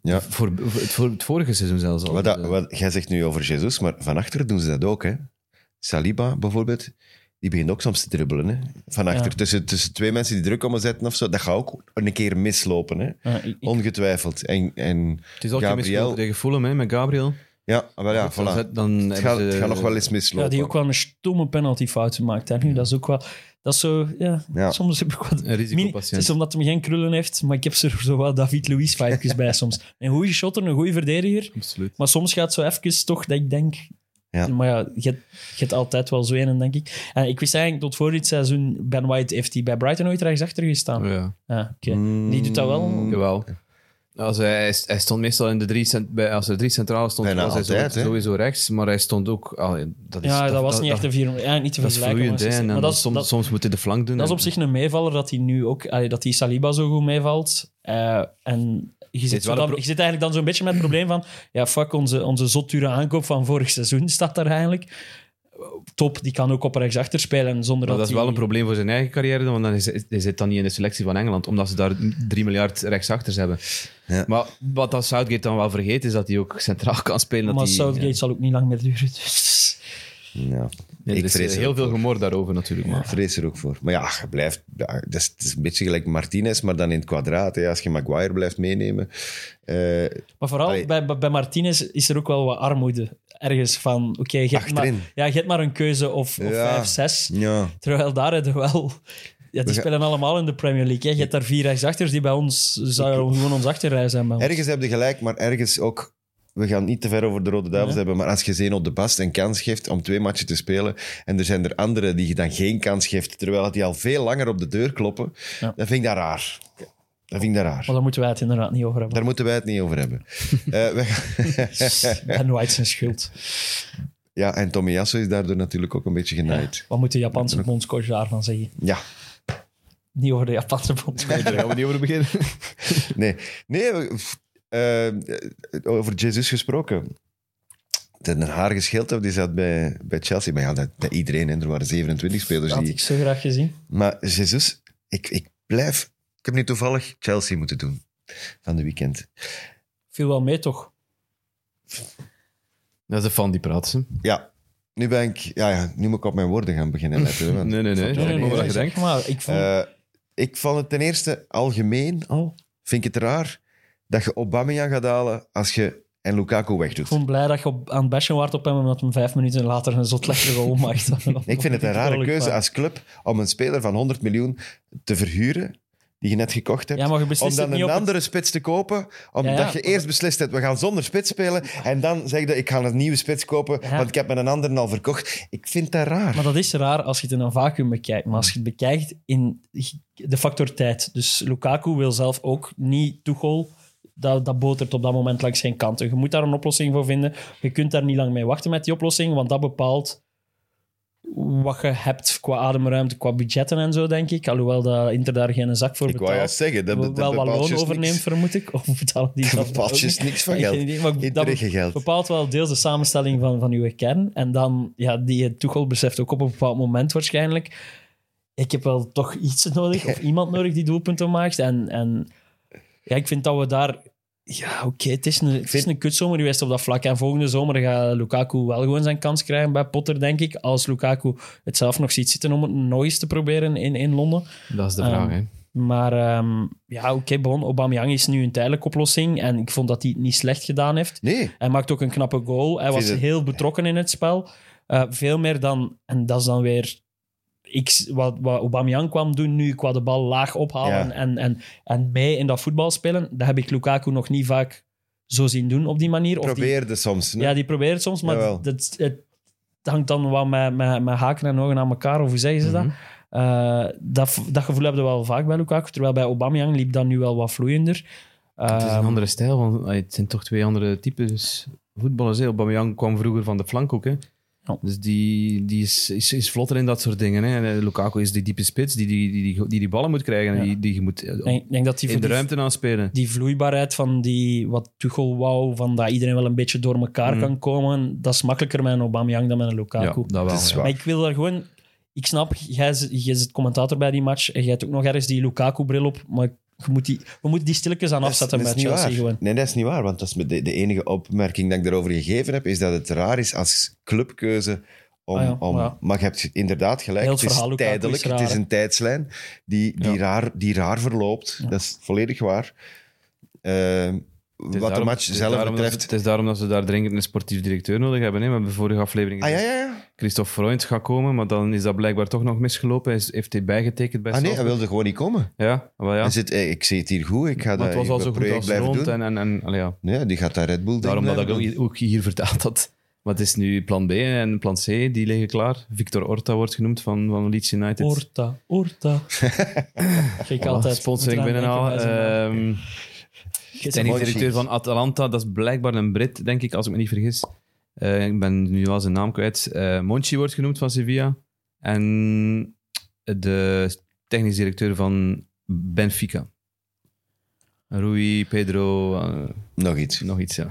Speaker 2: Ja.
Speaker 3: voor, voor, het, voor het vorige seizoen zelfs al.
Speaker 2: Wat dat,
Speaker 3: Dus, eh,
Speaker 2: wat, jij zegt nu over Jezus, maar van achter doen ze dat ook, hè. Saliba bijvoorbeeld, die begint ook soms te dribbelen. Hè? Van achter,
Speaker 4: Ja.
Speaker 2: tussen, tussen twee mensen die druk komen zetten of zo. Dat gaat ook een keer mislopen, hè?
Speaker 4: Ja, ik- ik-
Speaker 2: ongetwijfeld. En, en
Speaker 3: Het is al
Speaker 2: Gabriel.
Speaker 3: Gabriel... tegen Fulham, hè, met Gabriel.
Speaker 2: ja, ah, wel ja,
Speaker 3: Dan
Speaker 2: voilà.
Speaker 3: zet- dan
Speaker 2: Het
Speaker 3: hebben
Speaker 2: gaat,
Speaker 3: ze-
Speaker 2: het gaat nog wel eens mislopen.
Speaker 4: ja, die ook wel een stomme penaltyfout gemaakt. Hè. Nu, dat is ook wel... Dat is zo... Ja,
Speaker 2: Ja.
Speaker 4: Soms heb ik wat...
Speaker 3: Een
Speaker 4: Mini- het
Speaker 3: risicopatiënt.
Speaker 4: is omdat hij geen krullen heeft, maar ik heb er zo wat David Luiz vibes bij soms. Een goede shotter, een goede verdediger.
Speaker 3: Absoluut.
Speaker 4: Maar soms gaat zo even toch dat ik denk...
Speaker 2: Ja.
Speaker 4: Maar ja, je hebt- je hebt altijd wel zo een, denk ik. En ik wist eigenlijk tot voor dit seizoen... Ben White heeft hij bij Brighton nooit rechtsachter gestaan. Ja,
Speaker 3: Ja, Mm,
Speaker 4: oké. Die doet dat
Speaker 2: Mm,
Speaker 4: wel.
Speaker 3: jawel. Als hij, hij- hij stond meestal in de drie, cent, bij, als er drie centrale stond,
Speaker 2: Bijna
Speaker 3: was hij
Speaker 2: altijd,
Speaker 3: sowieso,
Speaker 2: hè?
Speaker 3: sowieso rechts. Maar hij stond ook... allee, dus dat is,
Speaker 4: Ja, dat, was niet echt een 400. Ja, niet te
Speaker 3: Dat is
Speaker 4: vergelijken.
Speaker 3: vloeiend,
Speaker 4: maar
Speaker 3: hè. En
Speaker 4: het
Speaker 3: dan
Speaker 4: is- Maar dat, is-
Speaker 3: soms,
Speaker 4: dat,
Speaker 3: soms moet hij de flank doen.
Speaker 4: dat is
Speaker 3: en-
Speaker 4: op zich een meevaller dat hij nu ook... allee, dat die Saliba zo goed meevalt. Eh, en je zit,
Speaker 3: is
Speaker 4: zo
Speaker 3: wel een
Speaker 4: dan-
Speaker 3: pro-
Speaker 4: je zit eigenlijk dan zo'n beetje met het probleem van... Ja, fuck, onze, onze zotdure aankoop van vorig seizoen staat daar eigenlijk. Top, die kan ook op rechtsachter spelen zonder
Speaker 3: Maar
Speaker 4: dat
Speaker 3: dat is
Speaker 4: die-
Speaker 3: wel een probleem voor zijn eigen carrière, want dan is, hij zit dan niet in de selectie van Engeland, omdat ze daar 3 miljard rechtsachters hebben.
Speaker 2: Ja.
Speaker 3: Maar wat dat Southgate dan wel vergeet, is dat hij ook centraal kan spelen. Dat
Speaker 4: Maar
Speaker 3: hij,
Speaker 4: Southgate zal ook niet lang meer duren. Dus.
Speaker 2: Ja.
Speaker 3: Nee,
Speaker 2: Ik
Speaker 3: er is eh,
Speaker 2: vrees er
Speaker 3: heel
Speaker 2: ook
Speaker 3: veel
Speaker 2: voor.
Speaker 3: gemor daarover natuurlijk.
Speaker 2: Ik
Speaker 3: Maar.
Speaker 2: vrees er ook voor. Maar ja, je blijft, ja, dat is, het is een beetje gelijk Martinez, maar dan in het kwadraat. Hè. Als je Maguire blijft meenemen. eh,
Speaker 4: Maar vooral
Speaker 2: Allee.
Speaker 4: bij, bij, bij Martinez is er ook wel wat armoede. Ergens van, oké, je hebt maar-
Speaker 2: Achterin.
Speaker 4: ja, je hebt maar een keuze of, of
Speaker 2: Ja.
Speaker 4: vijf, zes.
Speaker 2: ja.
Speaker 4: Terwijl daar hebben we wel... Ja, die
Speaker 2: gaan-
Speaker 4: spelen allemaal in de Premier League. Hè. Je hebt daar vier rechtsachters die bij ons... Zou gewoon ons achterrij zijn bij ons.
Speaker 2: Ergens heb je gelijk, maar ergens ook... We gaan niet te ver over de Rode Duivels
Speaker 4: Ja.
Speaker 2: hebben, maar als je Zeno de Bast een kans geeft om twee matchen te spelen en er zijn er anderen die je dan geen kans geeft, terwijl dat die al veel langer op de deur kloppen,
Speaker 4: Ja.
Speaker 2: dan vind ik dat raar. Dat vind ik dat raar.
Speaker 4: Maar daar moeten wij het inderdaad niet over hebben.
Speaker 2: Daar moeten wij het niet over hebben. Eh, we gaan-
Speaker 4: Ben White zijn schuld.
Speaker 2: ja, en Tommy Jasso is daardoor natuurlijk ook een beetje genaaid.
Speaker 4: Wat moet de Japanse bondscoach daarvan zeggen?
Speaker 2: Ja,
Speaker 4: Niet over de Japanse bondscoach.
Speaker 3: Daar gaan we niet over beginnen.
Speaker 2: nee. Nee, we- eh, over Jesus gesproken. Den haar gescheeld hebben, die zat bij, bij Chelsea. Maar ja, dat, dat iedereen, hè. er waren 27 spelers
Speaker 4: Dat had
Speaker 2: die...
Speaker 4: ik zo graag gezien.
Speaker 2: Maar Jesus, ik, ik blijf. Ik heb nu toevallig Chelsea moeten doen van de weekend.
Speaker 4: Viel wel mee, toch?
Speaker 3: Dat is de fan die praat. hè.
Speaker 2: Ja, nu ben ik. Ja, ja nu moet ik op mijn woorden gaan beginnen letten. hè, want-
Speaker 3: Nee, nee, nee.
Speaker 2: Ja,
Speaker 3: Dat is
Speaker 2: nee,
Speaker 3: maar wat
Speaker 2: nee,
Speaker 3: je
Speaker 4: zeg
Speaker 3: denkt.
Speaker 4: Maar ik vond...
Speaker 2: Eh, ik vond het ten eerste algemeen al. Vind ik het raar dat je Aubameyang gaat halen als je en Lukaku
Speaker 4: Ik
Speaker 2: wegdoet.
Speaker 4: vond blij dat je op, aan het bashen waard op hem, omdat hem vijf minuten later een zot lekkere goal maakt.
Speaker 2: Ik vind het een rare keuze als club om een speler van 100 miljoen te verhuren die je net gekocht hebt.
Speaker 4: Ja, maar je
Speaker 2: om
Speaker 4: beslist het
Speaker 2: dan
Speaker 4: niet
Speaker 2: een
Speaker 4: op het-
Speaker 2: andere spits te kopen, omdat
Speaker 4: Ja, ja.
Speaker 2: je eerst beslist hebt, we gaan zonder spits spelen, en dan zeg je, ik ga een nieuwe spits kopen,
Speaker 4: Ja.
Speaker 2: want ik heb met een andere al verkocht. Ik vind dat raar.
Speaker 4: Maar dat is raar als je het in een vacuüm bekijkt. Maar als je het bekijkt in de factor tijd. Dus Lukaku wil zelf ook niet Tuchel. Dat, dat botert op dat moment langs geen kanten. Je moet daar een oplossing voor vinden. Je kunt daar niet lang mee wachten met die oplossing, want dat bepaalt wat je hebt qua ademruimte, qua budgetten en zo, denk ik. Alhoewel dat Inter daar geen zak voor
Speaker 2: ik wou
Speaker 4: betaalt.
Speaker 2: juist zeggen, dat, dat,
Speaker 4: wel
Speaker 2: dat
Speaker 4: wat
Speaker 2: bepaalt
Speaker 4: loon
Speaker 2: juist
Speaker 4: overneemt,
Speaker 2: niks.
Speaker 4: vermoed ik. Of betalen die
Speaker 2: Dat
Speaker 4: zelf
Speaker 2: bepaalt
Speaker 4: ook
Speaker 2: juist
Speaker 4: niet?
Speaker 2: niks van
Speaker 4: Ik heb
Speaker 2: geld.
Speaker 4: geen idee, maar dat
Speaker 2: Interregio geld.
Speaker 4: bepaalt wel deels de samenstelling van, van uw kern. En dan, ja, die Tuchel beseft ook op een bepaald moment waarschijnlijk. Ik heb wel toch iets nodig, of iemand nodig die doelpunten maakt. En, en ja, ik vind dat we daar. Ja, oké, het is een, het is
Speaker 2: vind-
Speaker 4: een kutzomer geweest op dat vlak. En volgende zomer gaat Lukaku wel gewoon zijn kans krijgen bij Potter, denk ik. Als Lukaku het zelf nog ziet zitten om het nog eens te proberen in, in Londen.
Speaker 3: Dat is de
Speaker 4: Ehm,
Speaker 3: vraag, hè.
Speaker 4: Maar ehm, ja, oké, bon, Aubameyang is nu een tijdelijke oplossing. En ik vond dat hij het niet slecht gedaan heeft.
Speaker 2: Nee,
Speaker 4: Hij maakt ook een knappe goal. Hij
Speaker 2: vind
Speaker 4: was
Speaker 2: het-
Speaker 4: heel betrokken in het spel. Eh, veel meer dan... En dat is dan weer... Ik, wat, wat Aubameyang kwam doen nu, qua de bal laag ophalen
Speaker 2: Ja.
Speaker 4: en, en, en mee in dat voetbal spelen, dat heb ik Lukaku nog niet vaak zo zien doen op die manier. Of die,
Speaker 2: probeerde soms. hè.
Speaker 4: ja, die probeert het soms, maar
Speaker 2: Jawel.
Speaker 4: dat, het hangt dan wel met, met, met haken en ogen aan elkaar, of hoe zeggen ze dat?
Speaker 3: Mhm.
Speaker 4: Eh, dat? v- Dat gevoel hebben we wel vaak bij Lukaku, terwijl bij Aubameyang liep dat nu wel wat vloeiender.
Speaker 3: Het is een
Speaker 4: Ehm,
Speaker 3: andere stijl, want allee, het zijn toch twee andere types voetballers. hè. Aubameyang kwam vroeger van de flank ook. Hè.
Speaker 4: Ja.
Speaker 3: Dus die, die is, is, is vlotter in dat soort dingen. Hè. En, eh, Lukaku is die diepe spits die die, die, die, die, die ballen moet krijgen. en
Speaker 4: Ja.
Speaker 3: Die, die je moet eh,
Speaker 4: ik denk, ik denk dat die,
Speaker 3: in
Speaker 4: voor
Speaker 3: de
Speaker 4: die,
Speaker 3: ruimte aanspelen.
Speaker 4: die vloeibaarheid van die, wat Tuchel wou, van dat iedereen wel een beetje door elkaar
Speaker 3: Mm.
Speaker 4: kan komen, dat is makkelijker met een Aubameyang dan met een
Speaker 3: Ja,
Speaker 4: Lukaku.
Speaker 3: dat wel.
Speaker 2: Mhm. Dat is
Speaker 3: ja.
Speaker 2: waar.
Speaker 4: Maar ik wil daar gewoon... Ik snap, jij is, jij is het commentator bij die match en jij hebt ook nog ergens die Lukaku-bril op, maar je moet die, we moeten die stilletjes aan
Speaker 2: Dat is-
Speaker 4: afzetten
Speaker 2: Dus dat is
Speaker 4: bij
Speaker 2: niet
Speaker 4: Chelsea
Speaker 2: waar.
Speaker 4: gewoon.
Speaker 2: Nee, dat is niet waar, want dat is de, de enige opmerking dat ik daarover gegeven heb, is dat het raar is als clubkeuze Om,
Speaker 4: Ah ja,
Speaker 2: om,
Speaker 4: ja.
Speaker 2: Maar je hebt inderdaad gelijk.
Speaker 4: Heel
Speaker 2: het is
Speaker 4: het verhaal ook
Speaker 2: tijdelijk. Het
Speaker 4: eigenlijk is
Speaker 2: is
Speaker 4: raar,
Speaker 2: een tijdslijn die, die,
Speaker 3: Ja.
Speaker 2: raar, die raar verloopt.
Speaker 4: Ja.
Speaker 2: Dat is volledig waar. Ehm, wat
Speaker 3: Het is
Speaker 2: de
Speaker 3: daarom-
Speaker 2: match
Speaker 3: het is
Speaker 2: zelf
Speaker 3: daarom dat
Speaker 2: betreft.
Speaker 3: ze- het is daarom dat ze daar dringend een sportief directeur nodig hebben. Hè? We hebben de vorige aflevering
Speaker 2: Ah ja,
Speaker 3: gezien
Speaker 2: ja, ja.
Speaker 3: Christophe Freund gaat komen, maar dan is dat blijkbaar toch nog misgelopen. Hij is- heeft hij bijgetekend bij
Speaker 2: Ah nee, hij
Speaker 3: Salzburg.
Speaker 2: wilde gewoon niet komen.
Speaker 3: Ja, wel ja.
Speaker 2: Hij zit, eh, ik zie het hier goed. Ik ga
Speaker 3: Maar
Speaker 2: dat
Speaker 3: het was
Speaker 2: ik
Speaker 3: al
Speaker 2: mijn
Speaker 3: zo goed
Speaker 2: project
Speaker 3: als
Speaker 2: blijven
Speaker 3: rond
Speaker 2: doen.
Speaker 3: en, en, en allee, ja.
Speaker 2: Ja, die gaat dat Red Bull
Speaker 3: Daarom
Speaker 2: ding
Speaker 3: dat ik ook
Speaker 2: blijven
Speaker 3: hier- ook hier vertaald had. Maar het is nu plan B en plan C, die liggen klaar. Victor Orta wordt genoemd van, van Leeds United.
Speaker 4: Orta, Orta. Geef ik
Speaker 3: Voilà,
Speaker 4: altijd.
Speaker 3: Sponsoring
Speaker 4: moet eraan
Speaker 3: binnenhalen.
Speaker 4: denken bij zo'n-
Speaker 3: Ehm
Speaker 4: Geef ze
Speaker 3: technisch
Speaker 2: mooi
Speaker 3: directeur
Speaker 2: chic.
Speaker 3: van Atalanta, dat is blijkbaar een Brit, denk ik, als ik me niet vergis. Eh, ik ben nu al zijn naam kwijt. Eh, Monchi wordt genoemd van Sevilla. En de technisch directeur van Benfica. Rui, Pedro, eh,
Speaker 2: doen. Nog iets.
Speaker 3: nog iets, ja.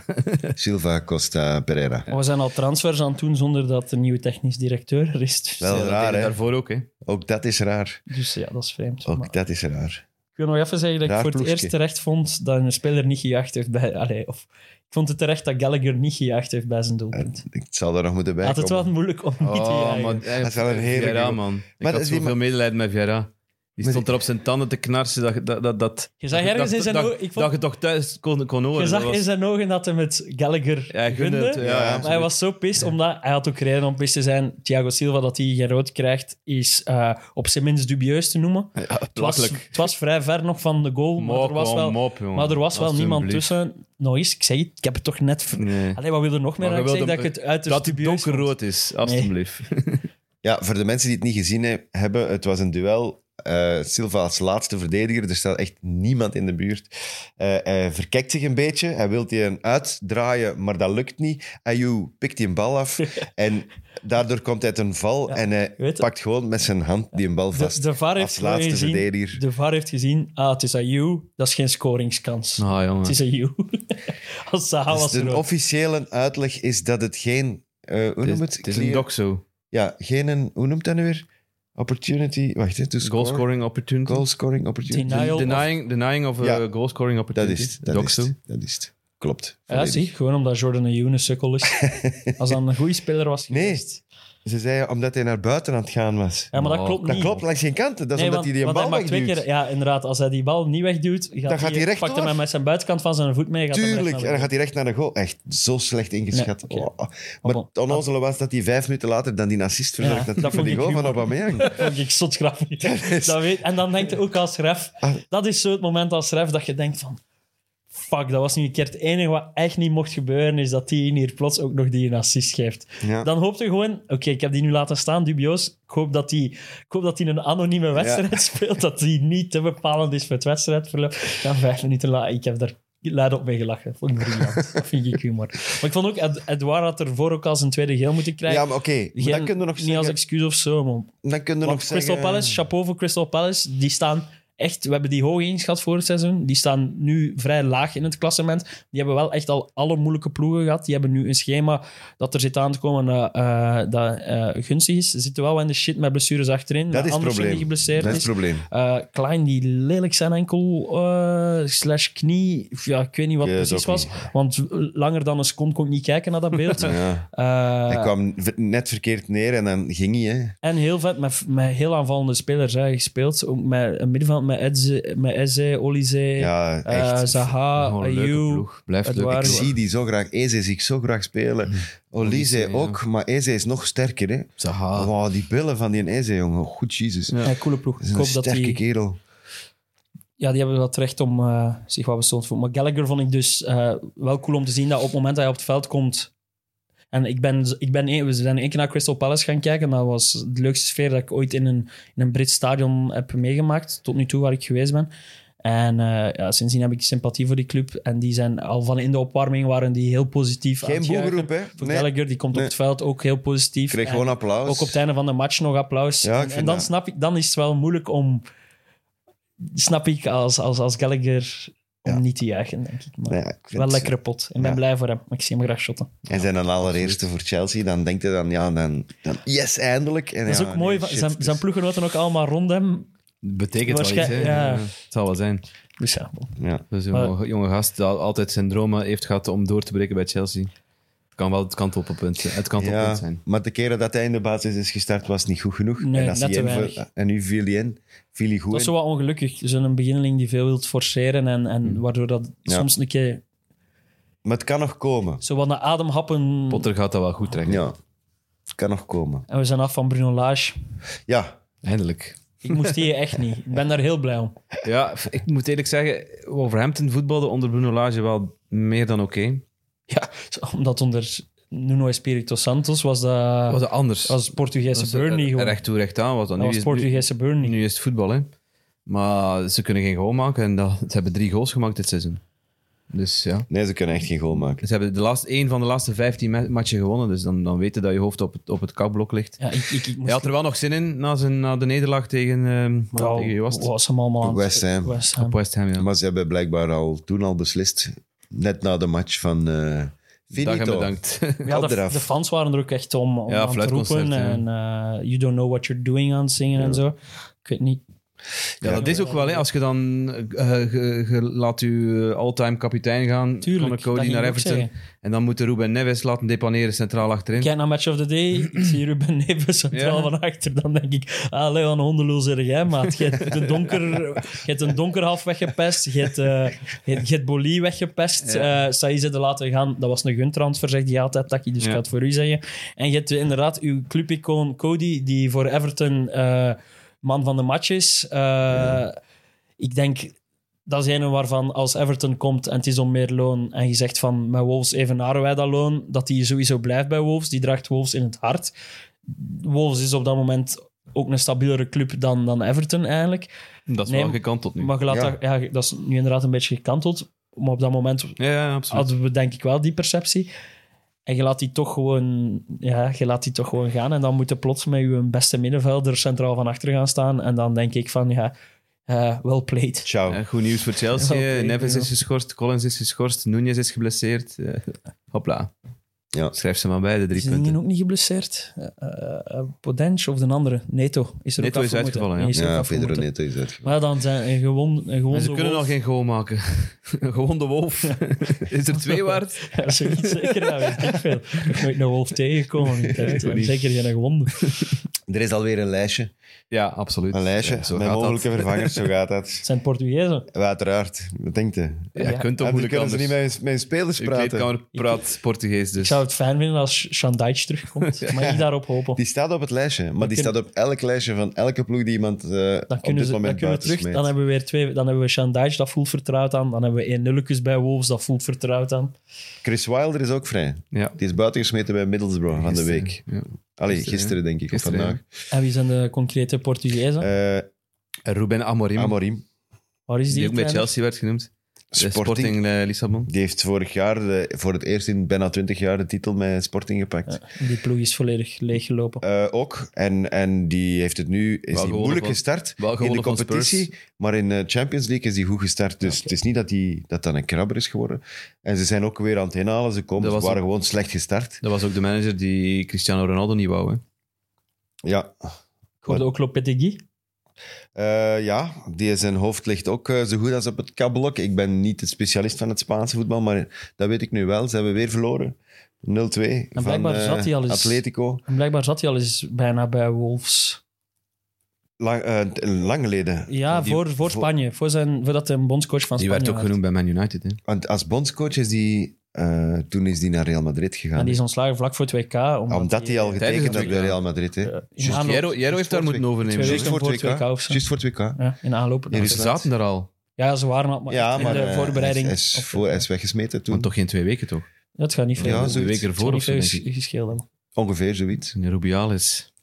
Speaker 2: Silva Costa Pereira.
Speaker 4: Maar we zijn al transfers aan het doen zonder dat de nieuwe technisch directeur er is. Dus,
Speaker 2: Wel
Speaker 3: Ja, dat
Speaker 2: raar,
Speaker 3: deed
Speaker 2: hè?
Speaker 3: Daarvoor ook, hè.
Speaker 2: Ook dat is raar.
Speaker 3: eh,
Speaker 4: dus ja, dat is vreemd.
Speaker 2: Ook
Speaker 4: Maar
Speaker 2: dat is raar.
Speaker 4: ik wil nog even zeggen dat ik
Speaker 2: Raar
Speaker 4: voor het
Speaker 2: ploegje.
Speaker 4: eerst terecht vond dat een speler niet gejaagd heeft bij... Allee, of, ik vond het terecht dat Gallagher niet gejaagd heeft bij zijn
Speaker 3: Eh,
Speaker 4: doelpunt.
Speaker 2: Ik zal er nog moeten bij
Speaker 4: Had het
Speaker 2: komen.
Speaker 4: wel moeilijk om
Speaker 2: Oh,
Speaker 4: niet
Speaker 3: Oh,
Speaker 4: te jagen.
Speaker 2: Dat is wel een heerlijke
Speaker 3: Vieira,
Speaker 2: goal.
Speaker 3: man. Ik
Speaker 2: dat
Speaker 3: had
Speaker 2: is die
Speaker 3: zoveel medelijden met Vieira. Die
Speaker 2: Maar
Speaker 3: stond er op zijn tanden te knarsen. Dat, dat, dat, dat,
Speaker 4: Je zag
Speaker 3: dat-
Speaker 4: ergens
Speaker 3: dat-
Speaker 4: in zijn
Speaker 3: dat-
Speaker 4: ogen- ik vond-
Speaker 3: Dat je toch thuis kon, kon horen.
Speaker 4: Je zag
Speaker 3: dat was-
Speaker 4: in zijn ogen dat hij met Gallagher
Speaker 3: Ja, hij gunde het, ja,
Speaker 2: maar hij
Speaker 4: Maar hij
Speaker 3: absoluut.
Speaker 4: was zo pist, omdat hij had ook reden om pist te zijn. Thiago Silva, dat hij geen rood krijgt, is eh, op zijn minst dubieus te noemen. Het was,
Speaker 3: belachelijk.
Speaker 4: het was vrij ver nog van de goal, maar
Speaker 3: Mop,
Speaker 4: er was
Speaker 3: man,
Speaker 4: wel,
Speaker 3: mop, jongen.
Speaker 4: maar er was wel niemand
Speaker 3: Alsjeblieft.
Speaker 4: tussen. Nog eens, ik zeg het, ik heb het toch net... ver-
Speaker 3: Nee.
Speaker 4: Allee, wat wil er nog meer
Speaker 3: Maar
Speaker 4: aan?
Speaker 3: je
Speaker 4: Ik zeg
Speaker 3: wilt
Speaker 4: dat
Speaker 3: hem-
Speaker 4: ik het uiterst
Speaker 3: Dat hij
Speaker 4: dubieus vond.
Speaker 3: donkerrood is, alstublieft.
Speaker 2: Ja, voor de mensen die het niet gezien he- hebben, het was een duel. Eh, Silva als laatste verdediger, er staat echt niemand in de buurt. Eh, hij verkijkt zich een beetje, hij wil die een uitdraaien, maar dat lukt niet. Ayew pikt die een bal af en daardoor komt hij ten val en hij
Speaker 4: weet-
Speaker 2: pakt gewoon met zijn hand die een bal vast.
Speaker 4: De, de VAR heeft
Speaker 2: als laatste
Speaker 4: gezien,
Speaker 2: verdediger.
Speaker 4: De VAR heeft gezien, ah, het is Ayew, dat is geen scoringskans.
Speaker 3: Ah,
Speaker 4: Het
Speaker 3: jongen.
Speaker 4: is Ayew. Als Zaha
Speaker 2: Dus
Speaker 4: was er
Speaker 2: de
Speaker 4: ook.
Speaker 2: officiële uitleg is dat het geen... eh, hoe noemt het?
Speaker 3: Het is een
Speaker 2: Clear-
Speaker 3: doxo.
Speaker 2: Ja, geen... een- Hoe noemt dat nu weer? Opportunity... Wacht, hè, to score.
Speaker 3: Goal scoring opportunity.
Speaker 2: Goal scoring opportunity.
Speaker 4: Denial of-
Speaker 3: Denying, denying of a
Speaker 2: Ja.
Speaker 3: goal scoring
Speaker 2: Dat
Speaker 3: opportunity.
Speaker 2: is het, dat is
Speaker 3: doxo.
Speaker 2: het, dat is het. Klopt.
Speaker 4: Ja,
Speaker 2: volledig.
Speaker 4: zie, gewoon omdat Jordan Ayew een sukkel is. Als dat een goede speler was
Speaker 2: Nee.
Speaker 4: geweest.
Speaker 2: Ze zei omdat hij naar buiten aan het gaan was.
Speaker 4: Ja, maar dat
Speaker 3: Oh,
Speaker 4: klopt
Speaker 2: dat
Speaker 4: niet.
Speaker 2: klopt langs geen kanten. Dat is
Speaker 4: Nee,
Speaker 2: omdat
Speaker 4: want,
Speaker 2: hij die een
Speaker 4: want
Speaker 2: bal
Speaker 4: hij maakt twee
Speaker 2: wegduwt.
Speaker 4: keer, ja, inderdaad. Als hij die bal niet wegduwt, gaat
Speaker 2: gaat hij recht
Speaker 4: pakt
Speaker 2: door.
Speaker 4: hem met zijn buitenkant van zijn voet mee. Gaat hem
Speaker 2: Tuurlijk, en
Speaker 4: recht naar
Speaker 2: dan
Speaker 4: de-
Speaker 2: gaat hij recht naar de goal. Echt zo slecht ingeschat.
Speaker 4: Nee, oké.
Speaker 2: Oh. Maar
Speaker 4: bon.
Speaker 2: het onnozele was dat hij vijf minuten later dan die assist verzorgde.
Speaker 4: dat
Speaker 2: natuurlijk voor die
Speaker 4: vond ik
Speaker 2: goal van
Speaker 4: humor.
Speaker 2: Aubameyang.
Speaker 4: Dat vond ik zot grappig.
Speaker 2: is-
Speaker 4: Dat weet, en dan denk je ook als ref...
Speaker 2: Ah.
Speaker 4: Dat is zo het moment als ref dat je denkt van... Fuck, dat was nu een keer het enige wat echt niet mocht gebeuren, is dat die hier plots ook nog die een assist geeft.
Speaker 2: Ja.
Speaker 4: Dan hoopte je gewoon... Oké, ik heb die nu laten staan, dubioos. Ik hoop dat die, ik hoop dat die een anonieme wedstrijd speelt, dat die niet te bepalend is voor het wedstrijdverloop. Dan vijf minuten later... Ik heb daar luid op mee gelachen. Vond ik briljant. dat vind ik humor. Maar ik vond ook... Ed- Edouard had ervoor ook al zijn tweede geel moeten krijgen.
Speaker 2: Ja, maar oké. maar
Speaker 4: Geen-
Speaker 2: Dan kunnen we nog
Speaker 4: niet
Speaker 2: zeggen...
Speaker 4: als excuus of zo, man.
Speaker 2: Dan kunnen we
Speaker 4: Want
Speaker 2: nog
Speaker 4: Crystal
Speaker 2: zeggen... eh,
Speaker 4: Palace, chapeau voor Crystal Palace. Die staan echt, we hebben die hoog ingeschat voor het seizoen. Die staan nu vrij laag in het klassement. Die hebben wel echt al alle moeilijke ploegen gehad. Die hebben nu een schema dat er zit aan te komen eh, eh, dat eh, gunstig is. Ze zitten wel in de shit met blessures achterin.
Speaker 2: Dat
Speaker 4: met
Speaker 2: is het
Speaker 4: Andersen
Speaker 2: probleem.
Speaker 4: die geblesseerd
Speaker 2: Dat is het
Speaker 4: is.
Speaker 2: probleem.
Speaker 4: Eh, Klein die lelijk zijn enkel eh, slash knie. Ja, ik weet niet wat
Speaker 2: Ik
Speaker 4: het
Speaker 2: weet het
Speaker 4: precies
Speaker 2: ook
Speaker 4: was. Want langer dan een seconde kon ik niet kijken naar dat beeld.
Speaker 2: Ja.
Speaker 4: Eh,
Speaker 2: Hij kwam ver- net verkeerd neer en dan ging hij. Hè.
Speaker 4: en heel vet, met, met heel aanvallende spelers hè, gespeeld. Ook met een middenveld, met Eze, met Eze Olize,
Speaker 2: Ja,
Speaker 4: eh,
Speaker 2: echt.
Speaker 4: Zaha,
Speaker 3: Gewoon een leuke
Speaker 4: Ayew.
Speaker 3: ploeg. Blijft
Speaker 4: het
Speaker 3: leuk.
Speaker 4: waren-
Speaker 2: Ik zie die zo graag. Eze zie ik zo graag spelen.
Speaker 4: Hm.
Speaker 2: Olise
Speaker 3: Olise, ja.
Speaker 2: ook, maar Eze is nog sterker. Hè.
Speaker 3: Zaha.
Speaker 2: Wow, die billen van die Eze, jongen. Goed, Jezus.
Speaker 3: Ja.
Speaker 2: Dat
Speaker 4: Ah. Ja, coole ploeg.
Speaker 2: is
Speaker 4: Ik
Speaker 2: een
Speaker 4: hoop dat
Speaker 2: sterke
Speaker 4: die,
Speaker 2: kerel.
Speaker 4: ja, die hebben wat recht om eh, zich wat bestond voor. Maar Gallagher vond ik dus eh, wel cool om te zien dat op het moment dat hij op het veld komt. En ik ben, ik ben, één- we zijn één keer naar Crystal Palace gaan kijken. Dat was de leukste sfeer dat ik ooit in een, in een Brits stadion heb meegemaakt. Tot nu toe waar ik geweest ben. En eh, ja, sindsdien heb ik sympathie voor die club. En die zijn al van in de opwarming waren die heel positief. aan
Speaker 2: Geen
Speaker 4: het juichen.
Speaker 2: boegeroep, hè?
Speaker 4: Voor
Speaker 2: Nee.
Speaker 4: Gallagher, die komt
Speaker 2: Nee.
Speaker 4: op het veld ook heel positief.
Speaker 2: kreeg
Speaker 4: En
Speaker 2: gewoon applaus.
Speaker 4: Ook op het einde van de match nog applaus.
Speaker 2: Ja, ik
Speaker 4: en,
Speaker 2: vind
Speaker 4: en dan
Speaker 2: dat-
Speaker 4: snap ik, dan is het wel moeilijk om, snap ik, als, als, als Gallagher om
Speaker 2: Ja.
Speaker 4: niet te juichen, denk ik. Maar
Speaker 2: Ja, ik vind-
Speaker 4: wel lekkere pot. Ik ben
Speaker 2: Ja.
Speaker 4: blij voor hem. Maar ik zie hem graag shotten.
Speaker 2: En zijn dan allereerste voor Chelsea, dan denkt hij dan, ja, dan, dan yes, eindelijk. En
Speaker 4: Dat is
Speaker 2: ja,
Speaker 4: ook mooi.
Speaker 2: nee, shit,
Speaker 4: zijn,
Speaker 2: dus-
Speaker 4: zijn ploeggenoten ook allemaal rond hem.
Speaker 3: Betekent wel iets,
Speaker 4: Waarschijn-
Speaker 3: hè.
Speaker 4: ja.
Speaker 3: Ja, Het zal wel zijn.
Speaker 4: Dus ja, bon.
Speaker 2: Ja.
Speaker 3: Dus een
Speaker 4: Maar-
Speaker 3: jonge- jonge gast die al- altijd zijn dromen heeft gehad om door te breken bij Chelsea. kan wel het kantelpunt zijn. Het kantelpunt
Speaker 2: Ja,
Speaker 3: zijn.
Speaker 2: maar de keren dat hij in de basis is gestart, was niet goed genoeg.
Speaker 4: Nee,
Speaker 2: en, als
Speaker 4: net
Speaker 2: hij
Speaker 4: te
Speaker 2: invi-
Speaker 4: weinig.
Speaker 2: en nu viel hij in, viel hij goed
Speaker 4: Dat is
Speaker 2: in.
Speaker 4: zo wat ongelukkig. Zo'n beginneling die veel wilt forceren en, en waardoor dat
Speaker 2: Hmm. Ja.
Speaker 4: soms een keer
Speaker 2: Maar het kan nog komen.
Speaker 4: zo wat naar ademhappen...
Speaker 3: Potter gaat dat wel goed trekken.
Speaker 2: Ja, het kan nog komen.
Speaker 4: En we zijn af van Bruno Lage.
Speaker 2: Ja,
Speaker 3: Eindelijk.
Speaker 4: Ik moest die echt niet. Ik ben daar heel blij om.
Speaker 3: Ja, ik moet eerlijk zeggen, Wolverhampton voetbalde onder Bruno Lage wel meer dan oké.
Speaker 4: Ja, omdat onder Nuno Espirito Santos was dat...
Speaker 3: Was het anders? eh,
Speaker 4: als Portugese Burnley gewoon.
Speaker 3: Recht toe, recht aan. Was dat.
Speaker 4: dat
Speaker 3: Nu,
Speaker 4: was
Speaker 3: is, nu,
Speaker 4: Portugese Burnley.
Speaker 3: nu is het voetbal, hè. Maar ze kunnen geen goal maken en dat, ze hebben drie goals gemaakt dit seizoen. Dus ja.
Speaker 2: nee, ze kunnen echt geen goal maken.
Speaker 3: Ze hebben de laatste, één van de laatste 15 ma- matchen gewonnen, dus dan, dan weten dat je hoofd op het, op het kakblok ligt.
Speaker 4: Ja, ik, ik, ik moest...
Speaker 3: Hij had er wel nog zin in na, zijn, na de nederlaag tegen, ehm
Speaker 4: Wauw,
Speaker 3: tegen wie was het?
Speaker 4: was hem allemaal aan het-
Speaker 2: West Ham.
Speaker 4: West Ham.
Speaker 3: Op West Ham, ja.
Speaker 2: Maar ze hebben blijkbaar al, toen al beslist, net na de match van eh
Speaker 3: Dag en
Speaker 2: Finito.
Speaker 3: bedankt.
Speaker 4: Ja,
Speaker 2: Kap
Speaker 4: de,
Speaker 2: eraf.
Speaker 4: de fans waren er ook echt om, om
Speaker 3: Ja,
Speaker 4: aan te
Speaker 3: fluitconcert,
Speaker 4: roepen.
Speaker 3: ja.
Speaker 4: En eh, You Don't Know What You're Doing aan het zingen en zo. Ik weet niet.
Speaker 3: Ja, dat is ook wel, hè. Als je dan... eh, ge- ge- laat je eh, all-time kapitein gaan.
Speaker 4: Tuurlijk,
Speaker 3: Connor
Speaker 4: dat
Speaker 3: Cody
Speaker 4: ging
Speaker 3: naar
Speaker 4: ik
Speaker 3: Everton.
Speaker 4: ook zeggen.
Speaker 3: En dan moet de Ruben Neves laten depaneren centraal achterin.
Speaker 4: Kijk naar Match of the Day. Ik zie Ruben Neves centraal
Speaker 3: Ja.
Speaker 4: van achter. Dan denk ik, ah, Leon Hondeloel zeg jij, maat. Je hebt de donker, je hebt een donker half weggepest. Je hebt, eh, je hebt- je hebt Boli weggepest. Eh Saïd zette laten gaan. Dat was een guntransfer, zegt hij altijd. Taki, dus
Speaker 3: Ja.
Speaker 4: ik ga het voor u zeggen. En je hebt eh, inderdaad uw clubicoon Cody, die voor Everton eh, man van de match is. Eh, Ik denk... Dat is een waarvan als Everton komt en het is om meer loon en je zegt van met Wolves evenaren wij dat loon, dat die sowieso blijft bij Wolves. Die draagt Wolves in het hart. Wolves is op dat moment ook een stabielere club dan, dan Everton eigenlijk.
Speaker 3: Dat is
Speaker 4: Nee,
Speaker 3: wel gekanteld nu.
Speaker 4: Maar je laat
Speaker 2: Ja.
Speaker 4: Dat, ja, dat is nu inderdaad een beetje gekanteld. Maar op dat moment
Speaker 3: ja, ja, absoluut.
Speaker 4: hadden we denk ik wel die perceptie. En je laat die toch gewoon, ja, je laat die toch gewoon gaan. En dan moet je plots met je beste middenvelder centraal van achter gaan staan. En dan denk ik van, ja, eh well played.
Speaker 2: Ciao.
Speaker 3: Eh, goed nieuws voor Chelsea. eh,
Speaker 4: Ja, oké,
Speaker 3: Neves
Speaker 4: ja.
Speaker 3: is geschorst, Collins is geschorst, Nunez is geblesseerd. Eh, hopla.
Speaker 2: Ja.
Speaker 3: Schrijf ze maar bij, de drie
Speaker 4: Is
Speaker 3: punten.
Speaker 4: Dingen ook niet geblesseerd? Eh eh, Podence of de andere? Neto is er
Speaker 3: Neto
Speaker 4: ook
Speaker 3: is
Speaker 4: afgemoeten.
Speaker 3: uitgevallen, ja.
Speaker 4: Die is er ook
Speaker 2: Ja, Pedro
Speaker 4: afgemoeten.
Speaker 2: Neto is uitgevallen.
Speaker 4: Maar ja, dan zijn een gewoon, een gewoon
Speaker 3: En ze
Speaker 4: zo
Speaker 3: kunnen
Speaker 4: wolf.
Speaker 3: al geen goal maken. Gewoon de wolf. is er twee waard?
Speaker 4: Ja, zoiets zeker. Ja, weet ik veel. Ik heb nooit een wolf tegengekomen. Ik heb
Speaker 3: weet niet.
Speaker 4: zeker geen gewonden.
Speaker 2: Er is alweer een lijstje.
Speaker 3: Ja, absoluut.
Speaker 2: Een lijstje
Speaker 3: Ja, zo
Speaker 2: met
Speaker 3: gaat dat.
Speaker 2: mogelijke vervangers, zo gaat dat.
Speaker 4: Het zijn Portugezen.
Speaker 2: Uiteraard, wat denkt je?
Speaker 3: Ja, je kunt toch
Speaker 2: Dan
Speaker 3: moeilijk
Speaker 2: kunnen ze
Speaker 3: anders.
Speaker 2: niet met, met hun spelers
Speaker 3: Je
Speaker 2: praten.
Speaker 3: kleedkamer praat Portugees,
Speaker 4: Ik
Speaker 3: dus.
Speaker 4: zou het fijn vinden als Sean Dyche terugkomt. Maar niet daarop hopen.
Speaker 2: Die staat op het lijstje, maar die
Speaker 4: kunnen-
Speaker 2: staat op elk lijstje van elke ploeg die iemand eh
Speaker 4: Dan
Speaker 2: op
Speaker 4: kunnen,
Speaker 2: dit
Speaker 4: ze, dan
Speaker 2: moment
Speaker 4: kunnen we
Speaker 2: buiten
Speaker 4: terug.
Speaker 2: smeet.
Speaker 4: Dan hebben we weer twee. Dan hebben we Sean Dyche, dat voelt vertrouwd aan. Dan hebben we één nulletjes bij Wolves, dat voelt vertrouwd aan.
Speaker 2: Chris Wilder is ook vrij.
Speaker 3: Ja.
Speaker 2: Die is buiten gesmeten bij Middlesbrough van de
Speaker 3: Gisteren,
Speaker 2: week.
Speaker 3: ja.
Speaker 2: Allee,
Speaker 3: Gisteren,
Speaker 2: gisteren, denk ik,
Speaker 3: Gisteren,
Speaker 2: of vandaag.
Speaker 4: En wie zijn de concrete Portugezen?
Speaker 2: Eh
Speaker 3: En Ruben Amorim,
Speaker 2: Amorim,
Speaker 4: Waar is die?
Speaker 3: die, ook bij
Speaker 4: trainer?
Speaker 3: Chelsea werd genoemd. Sporting,
Speaker 2: Sporting.
Speaker 3: Sporting eh, Lissabon.
Speaker 2: Die heeft vorig jaar de- voor het eerst in bijna 20 jaar de titel met Sporting gepakt.
Speaker 4: Die ploeg is volledig leeggelopen.
Speaker 2: Eh, ook. En, en die heeft het nu is die
Speaker 3: gewonnen
Speaker 2: moeilijk
Speaker 3: van-
Speaker 2: gestart
Speaker 3: wel
Speaker 2: in de
Speaker 3: gewonnen van
Speaker 2: competitie. Maar in de Champions League is die goed gestart. Dus het is niet dat die, dat, dat een krabber is geworden. En ze zijn ook weer aan het inhalen. Ze, komen,
Speaker 3: Dat
Speaker 2: ze
Speaker 3: was
Speaker 2: waren gewoon slecht gestart.
Speaker 3: Dat was ook de manager die Cristiano Ronaldo niet wou. Hè.
Speaker 2: Ja.
Speaker 4: Ik hoorde ook Lopetegui.
Speaker 2: Eh, ja, die zijn hoofd ligt ook eh, zo goed als op het kabelok. Ik ben niet de specialist van het Spaanse voetbal, maar dat weet ik nu wel. Ze hebben weer verloren. 0-2 van
Speaker 4: blijkbaar
Speaker 2: eh,
Speaker 4: zat hij al eens-
Speaker 2: Atletico.
Speaker 4: En blijkbaar zat hij al eens bijna bij Wolves.
Speaker 2: Lang, eh, lang geleden.
Speaker 4: Ja,
Speaker 2: Die-
Speaker 4: voor, voor Spanje. Voor zijn, voordat hij een bondscoach van
Speaker 3: Die
Speaker 4: Spanje
Speaker 3: werd ook
Speaker 4: werd.
Speaker 3: genoemd bij Man United. Hè.
Speaker 2: Want als bondscoach is die... eh, toen is die naar Real Madrid gegaan.
Speaker 4: En die is ontslagen vlak voor het WK. Omdat,
Speaker 2: Omdat hij al
Speaker 3: Tijdens het
Speaker 2: getekend had bij
Speaker 3: WK.
Speaker 2: Real Madrid. Hè.
Speaker 4: eh, in
Speaker 2: Juist-
Speaker 4: aanloop-
Speaker 3: Jero, Jero heeft daar
Speaker 2: voor
Speaker 3: moeten
Speaker 2: het
Speaker 3: overnemen.
Speaker 4: Twee
Speaker 2: Juist voor het
Speaker 4: voor het WK
Speaker 2: WK.
Speaker 4: of zo.
Speaker 2: Juist voor het WK.
Speaker 4: Ja, in aanloop.
Speaker 2: Ja,
Speaker 3: Maar
Speaker 2: die
Speaker 3: Ze
Speaker 2: is
Speaker 3: zaten daar al.
Speaker 4: Ja, ze waren al maar
Speaker 2: Ja,
Speaker 4: in
Speaker 2: maar
Speaker 4: de
Speaker 2: eh,
Speaker 4: voorbereiding.
Speaker 2: hij is, hij is
Speaker 4: Of-
Speaker 2: voor, hij is weggesmeten toen.
Speaker 3: Maar toch geen twee weken, toch?
Speaker 4: Ja, het gaat niet veel.
Speaker 2: Ja,
Speaker 4: het
Speaker 2: zoiets.
Speaker 3: De week
Speaker 4: gaat
Speaker 3: ervoor
Speaker 4: niet
Speaker 3: of zo,
Speaker 4: veel
Speaker 3: denk
Speaker 4: ges-
Speaker 3: ik.
Speaker 4: gescheeld hebben.
Speaker 2: Ongeveer zoiets.
Speaker 3: Dine Rubiales.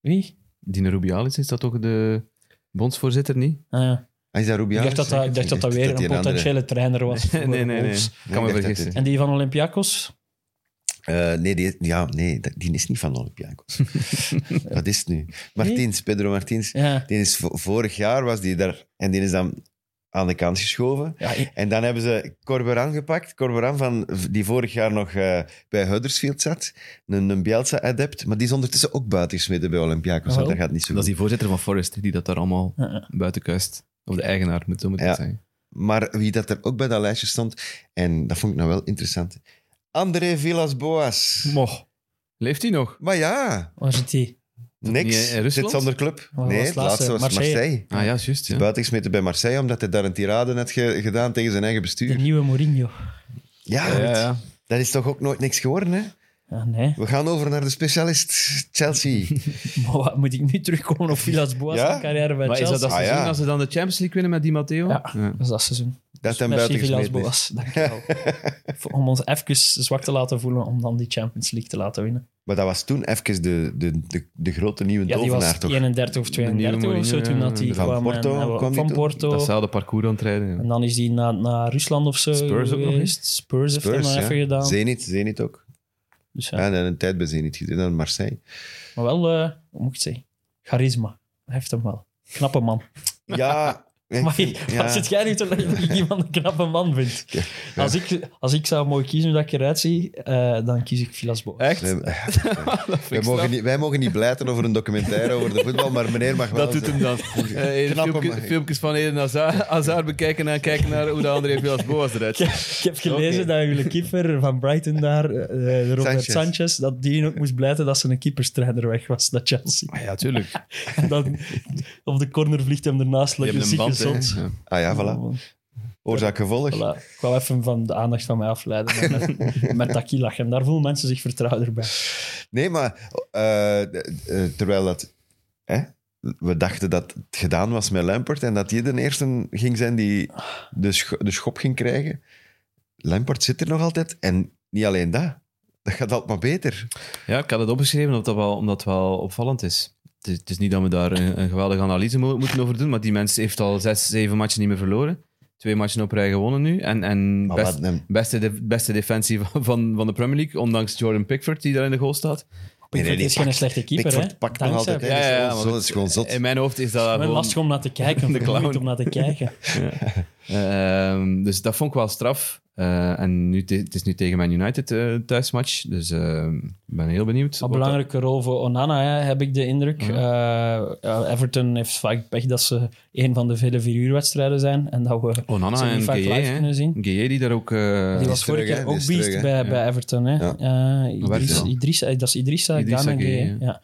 Speaker 4: Wie?
Speaker 3: Dine Rubiales is dat toch de bondsvoorzitter, niet?
Speaker 4: Ah, ja.
Speaker 2: Hij is daar
Speaker 4: ik
Speaker 2: Rubiales.
Speaker 4: dacht dat dat, ik dacht dat dat weer een
Speaker 2: die andere-
Speaker 4: potentiële trainer was. voor
Speaker 3: nee, nee, nee.
Speaker 4: Wolves.
Speaker 3: Kan me
Speaker 2: ik dacht dat
Speaker 3: vergissen.
Speaker 4: En die van Olympiakos?
Speaker 2: Eh, nee, die, ja, nee, dat- die is niet van Olympiakos. dat is het nu. Martins, Pedro Martins.
Speaker 4: Ja.
Speaker 2: Die is vo- vorig jaar was die daar en die is dan aan de kant geschoven.
Speaker 4: Ja, ik-
Speaker 2: En dan hebben ze Corberan gepakt. Corberan van, die vorig jaar nog eh, bij Huddersfield zat. Een, een Bielsa-adept. Maar die is ondertussen ook buitengesmeten bij Olympiakos.
Speaker 4: Wel.
Speaker 2: Want dat gaat niet zo
Speaker 3: Ah,
Speaker 2: goed.
Speaker 3: Dat is die voorzitter van Forest, die dat daar allemaal
Speaker 4: Ja, ja.
Speaker 3: buiten kuist. Of de eigenaar, moet zo moeten
Speaker 2: Ja.
Speaker 3: zijn.
Speaker 2: Maar wie dat er ook bij dat lijstje stond, en dat vond ik nou wel interessant, André Villas-Boas.
Speaker 3: Moch. Leeft hij nog?
Speaker 2: Maar ja,
Speaker 4: Waar zit die?
Speaker 3: niet in
Speaker 2: niks.
Speaker 3: Rusland? Oh,
Speaker 2: Zit zonder club.
Speaker 4: was
Speaker 2: nee,
Speaker 4: het
Speaker 2: het laatste was
Speaker 4: laatste?
Speaker 2: Marseille.
Speaker 4: Marseille.
Speaker 3: Ah ja, juist.
Speaker 2: Is
Speaker 3: Ja.
Speaker 2: buitengesmeten bij Marseille, omdat hij daar een tirade had ge- gedaan tegen zijn eigen
Speaker 4: De
Speaker 2: bestuur.
Speaker 4: nieuwe Mourinho.
Speaker 2: Ja,
Speaker 3: Ja, ja, ja.
Speaker 2: dat is toch ook nooit niks geworden, hè?
Speaker 4: Ah, nee.
Speaker 2: We gaan over naar de specialist Chelsea.
Speaker 4: Maar wat, moet ik nu terugkomen op Villas Boas'
Speaker 2: Ja?
Speaker 4: zijn carrière bij
Speaker 3: Maar is
Speaker 4: Chelsea?
Speaker 3: dat dat
Speaker 2: Ah,
Speaker 3: seizoen
Speaker 2: ja.
Speaker 3: als ze dan de Champions League winnen met Di Matteo?
Speaker 4: Ja. Dat is dat seizoen.
Speaker 2: Dat hem
Speaker 4: Dus Merci Villas
Speaker 2: buitengesmeten is.
Speaker 4: Boas, dankjewel. Voor- om ons even zwak te laten voelen, om dan die Champions League te laten winnen.
Speaker 2: Maar dat was toen even de, de, de, de grote nieuwe
Speaker 4: Ja, die was
Speaker 2: tovenaar, toch?
Speaker 4: 31 of
Speaker 3: nieuwe
Speaker 4: 32 of
Speaker 3: Mourinho,
Speaker 4: zo toen dat
Speaker 3: ja.
Speaker 4: die
Speaker 2: eh, Van
Speaker 4: kwam. en-
Speaker 2: Porto
Speaker 4: en,
Speaker 2: kwam
Speaker 4: van
Speaker 2: die toen.
Speaker 4: Porto.
Speaker 3: Datzelfde parcours aan het rijden. ja.
Speaker 4: En dan is die naar, naar Rusland of zo
Speaker 3: Spurs ook nog
Speaker 4: geweest. Spurs heeft hem
Speaker 2: Spurs,
Speaker 4: nog
Speaker 2: ja.
Speaker 4: even gedaan.
Speaker 2: Zenit, Zenit ook.
Speaker 4: Dus ja.
Speaker 2: Ja. en een tijd bij Zenit gezien, dan Marseille.
Speaker 4: Maar wel, eh, hoe moet ik het zeggen? Charisma. Hij heeft hem wel. Knappe man.
Speaker 2: Ja, ik
Speaker 4: Maar
Speaker 2: vind-
Speaker 4: waar zit jij nu te leggen dat ik iemand een knappe man vind? Als, ik, als ik zou mogen kiezen hoe dat ik eruit zie, eh, dan kies ik Villas Boas.
Speaker 3: Echt?
Speaker 2: Wij, wij, mogen
Speaker 3: ik straf.
Speaker 2: niet, wij mogen niet blijten over een documentaire over de voetbal, maar meneer mag wel
Speaker 3: Dat doet
Speaker 2: zeggen-
Speaker 3: hem dan. Eh,
Speaker 2: Knap,
Speaker 3: filmpje-
Speaker 2: maar-
Speaker 3: filmpjes van Eden Hazard, Hazard bekijken en kijken naar hoe de André Villas-Boas eruit ziet.
Speaker 4: Ik heb gelezen dat jullie keeper van Brighton daar, eh, eh, Robert
Speaker 2: Sanchez.
Speaker 4: Sanchez. dat die ook moest blijten dat ze een keeperstrainer weg was, dat Chelsea.
Speaker 2: Ah
Speaker 3: Ja, tuurlijk.
Speaker 4: En dan op de corner vliegt hem ernaast,
Speaker 3: Die
Speaker 4: lekker
Speaker 3: hebben een
Speaker 4: ziek
Speaker 3: band, hè.
Speaker 4: gezond.
Speaker 3: Ja.
Speaker 2: Ah ja, voilà. Oorzaak gevolg.
Speaker 4: Oh. Voilà. Ik wou even van de aandacht van mij afleiden. maar Met, met dat kielach. En daar voelen mensen zich vertrouwder bij.
Speaker 2: Nee, maar eh, eh, terwijl dat... Hè, we dachten dat het gedaan was met Lampert en dat hij de eerste ging zijn die de, scho- de schop ging krijgen. Lampert zit er nog altijd. En niet alleen dat. Dat gaat altijd maar beter.
Speaker 3: Ja, ik had het opgeschreven omdat dat wel, omdat het wel opvallend is. Het, is. het is niet dat we daar een, een geweldige analyse mo- moeten over doen, maar die mens heeft al zes, zeven matchen niet meer verloren. Twee matchen op rij gewonnen nu. En, en
Speaker 2: Maar
Speaker 3: best,
Speaker 2: wat hem-
Speaker 3: beste, de, beste defensie van, van, van de Premier League, ondanks Jordan Pickford die daar in de goal staat.
Speaker 2: nee,
Speaker 4: Pickford
Speaker 2: die
Speaker 4: is geen slechte keeper, hè?
Speaker 2: Pickford pakt nog
Speaker 4: Dankzij
Speaker 2: altijd. hè.
Speaker 4: Pickford.
Speaker 3: Ja, ja,
Speaker 2: dat, is
Speaker 3: ja, maar
Speaker 2: gewoon, dat is gewoon zot.
Speaker 3: In mijn hoofd is dat
Speaker 4: Ik ben
Speaker 3: gewoon-
Speaker 4: lastig om naar te kijken.
Speaker 3: De
Speaker 4: De
Speaker 3: clown.
Speaker 4: om naar te kijken.
Speaker 3: Ehm, dus dat vond ik wel straf. Eh, en nu, te- het is nu tegen Man United eh, thuismatch, dus eh, ik ben heel benieuwd.
Speaker 4: Een
Speaker 3: wat dat-
Speaker 4: belangrijke rol voor Onana, hè, heb ik de indruk. Eh, eh, Everton heeft vaak pech dat ze een van de vele vieruurwedstrijden zijn. En dat we
Speaker 3: Onana
Speaker 4: ze
Speaker 3: Ah, en
Speaker 4: niet vaak
Speaker 3: Gueye,
Speaker 4: live
Speaker 3: hè.
Speaker 4: kunnen zien.
Speaker 3: Gueye die daar ook... eh,
Speaker 4: Die
Speaker 2: is
Speaker 4: was vorige
Speaker 2: terug,
Speaker 4: keer
Speaker 2: hè? Die
Speaker 4: ook
Speaker 2: is
Speaker 4: beest
Speaker 2: terug, hè?
Speaker 4: bij,
Speaker 3: Ja.
Speaker 4: bij Everton. Hè?
Speaker 2: Ja.
Speaker 4: Eh,
Speaker 3: Waar is
Speaker 4: Idris,
Speaker 3: hij?
Speaker 4: Idris, eh, dat is Idrissa,
Speaker 3: Idrissa
Speaker 4: Gana
Speaker 3: Gueye,
Speaker 4: Gueye, Ja.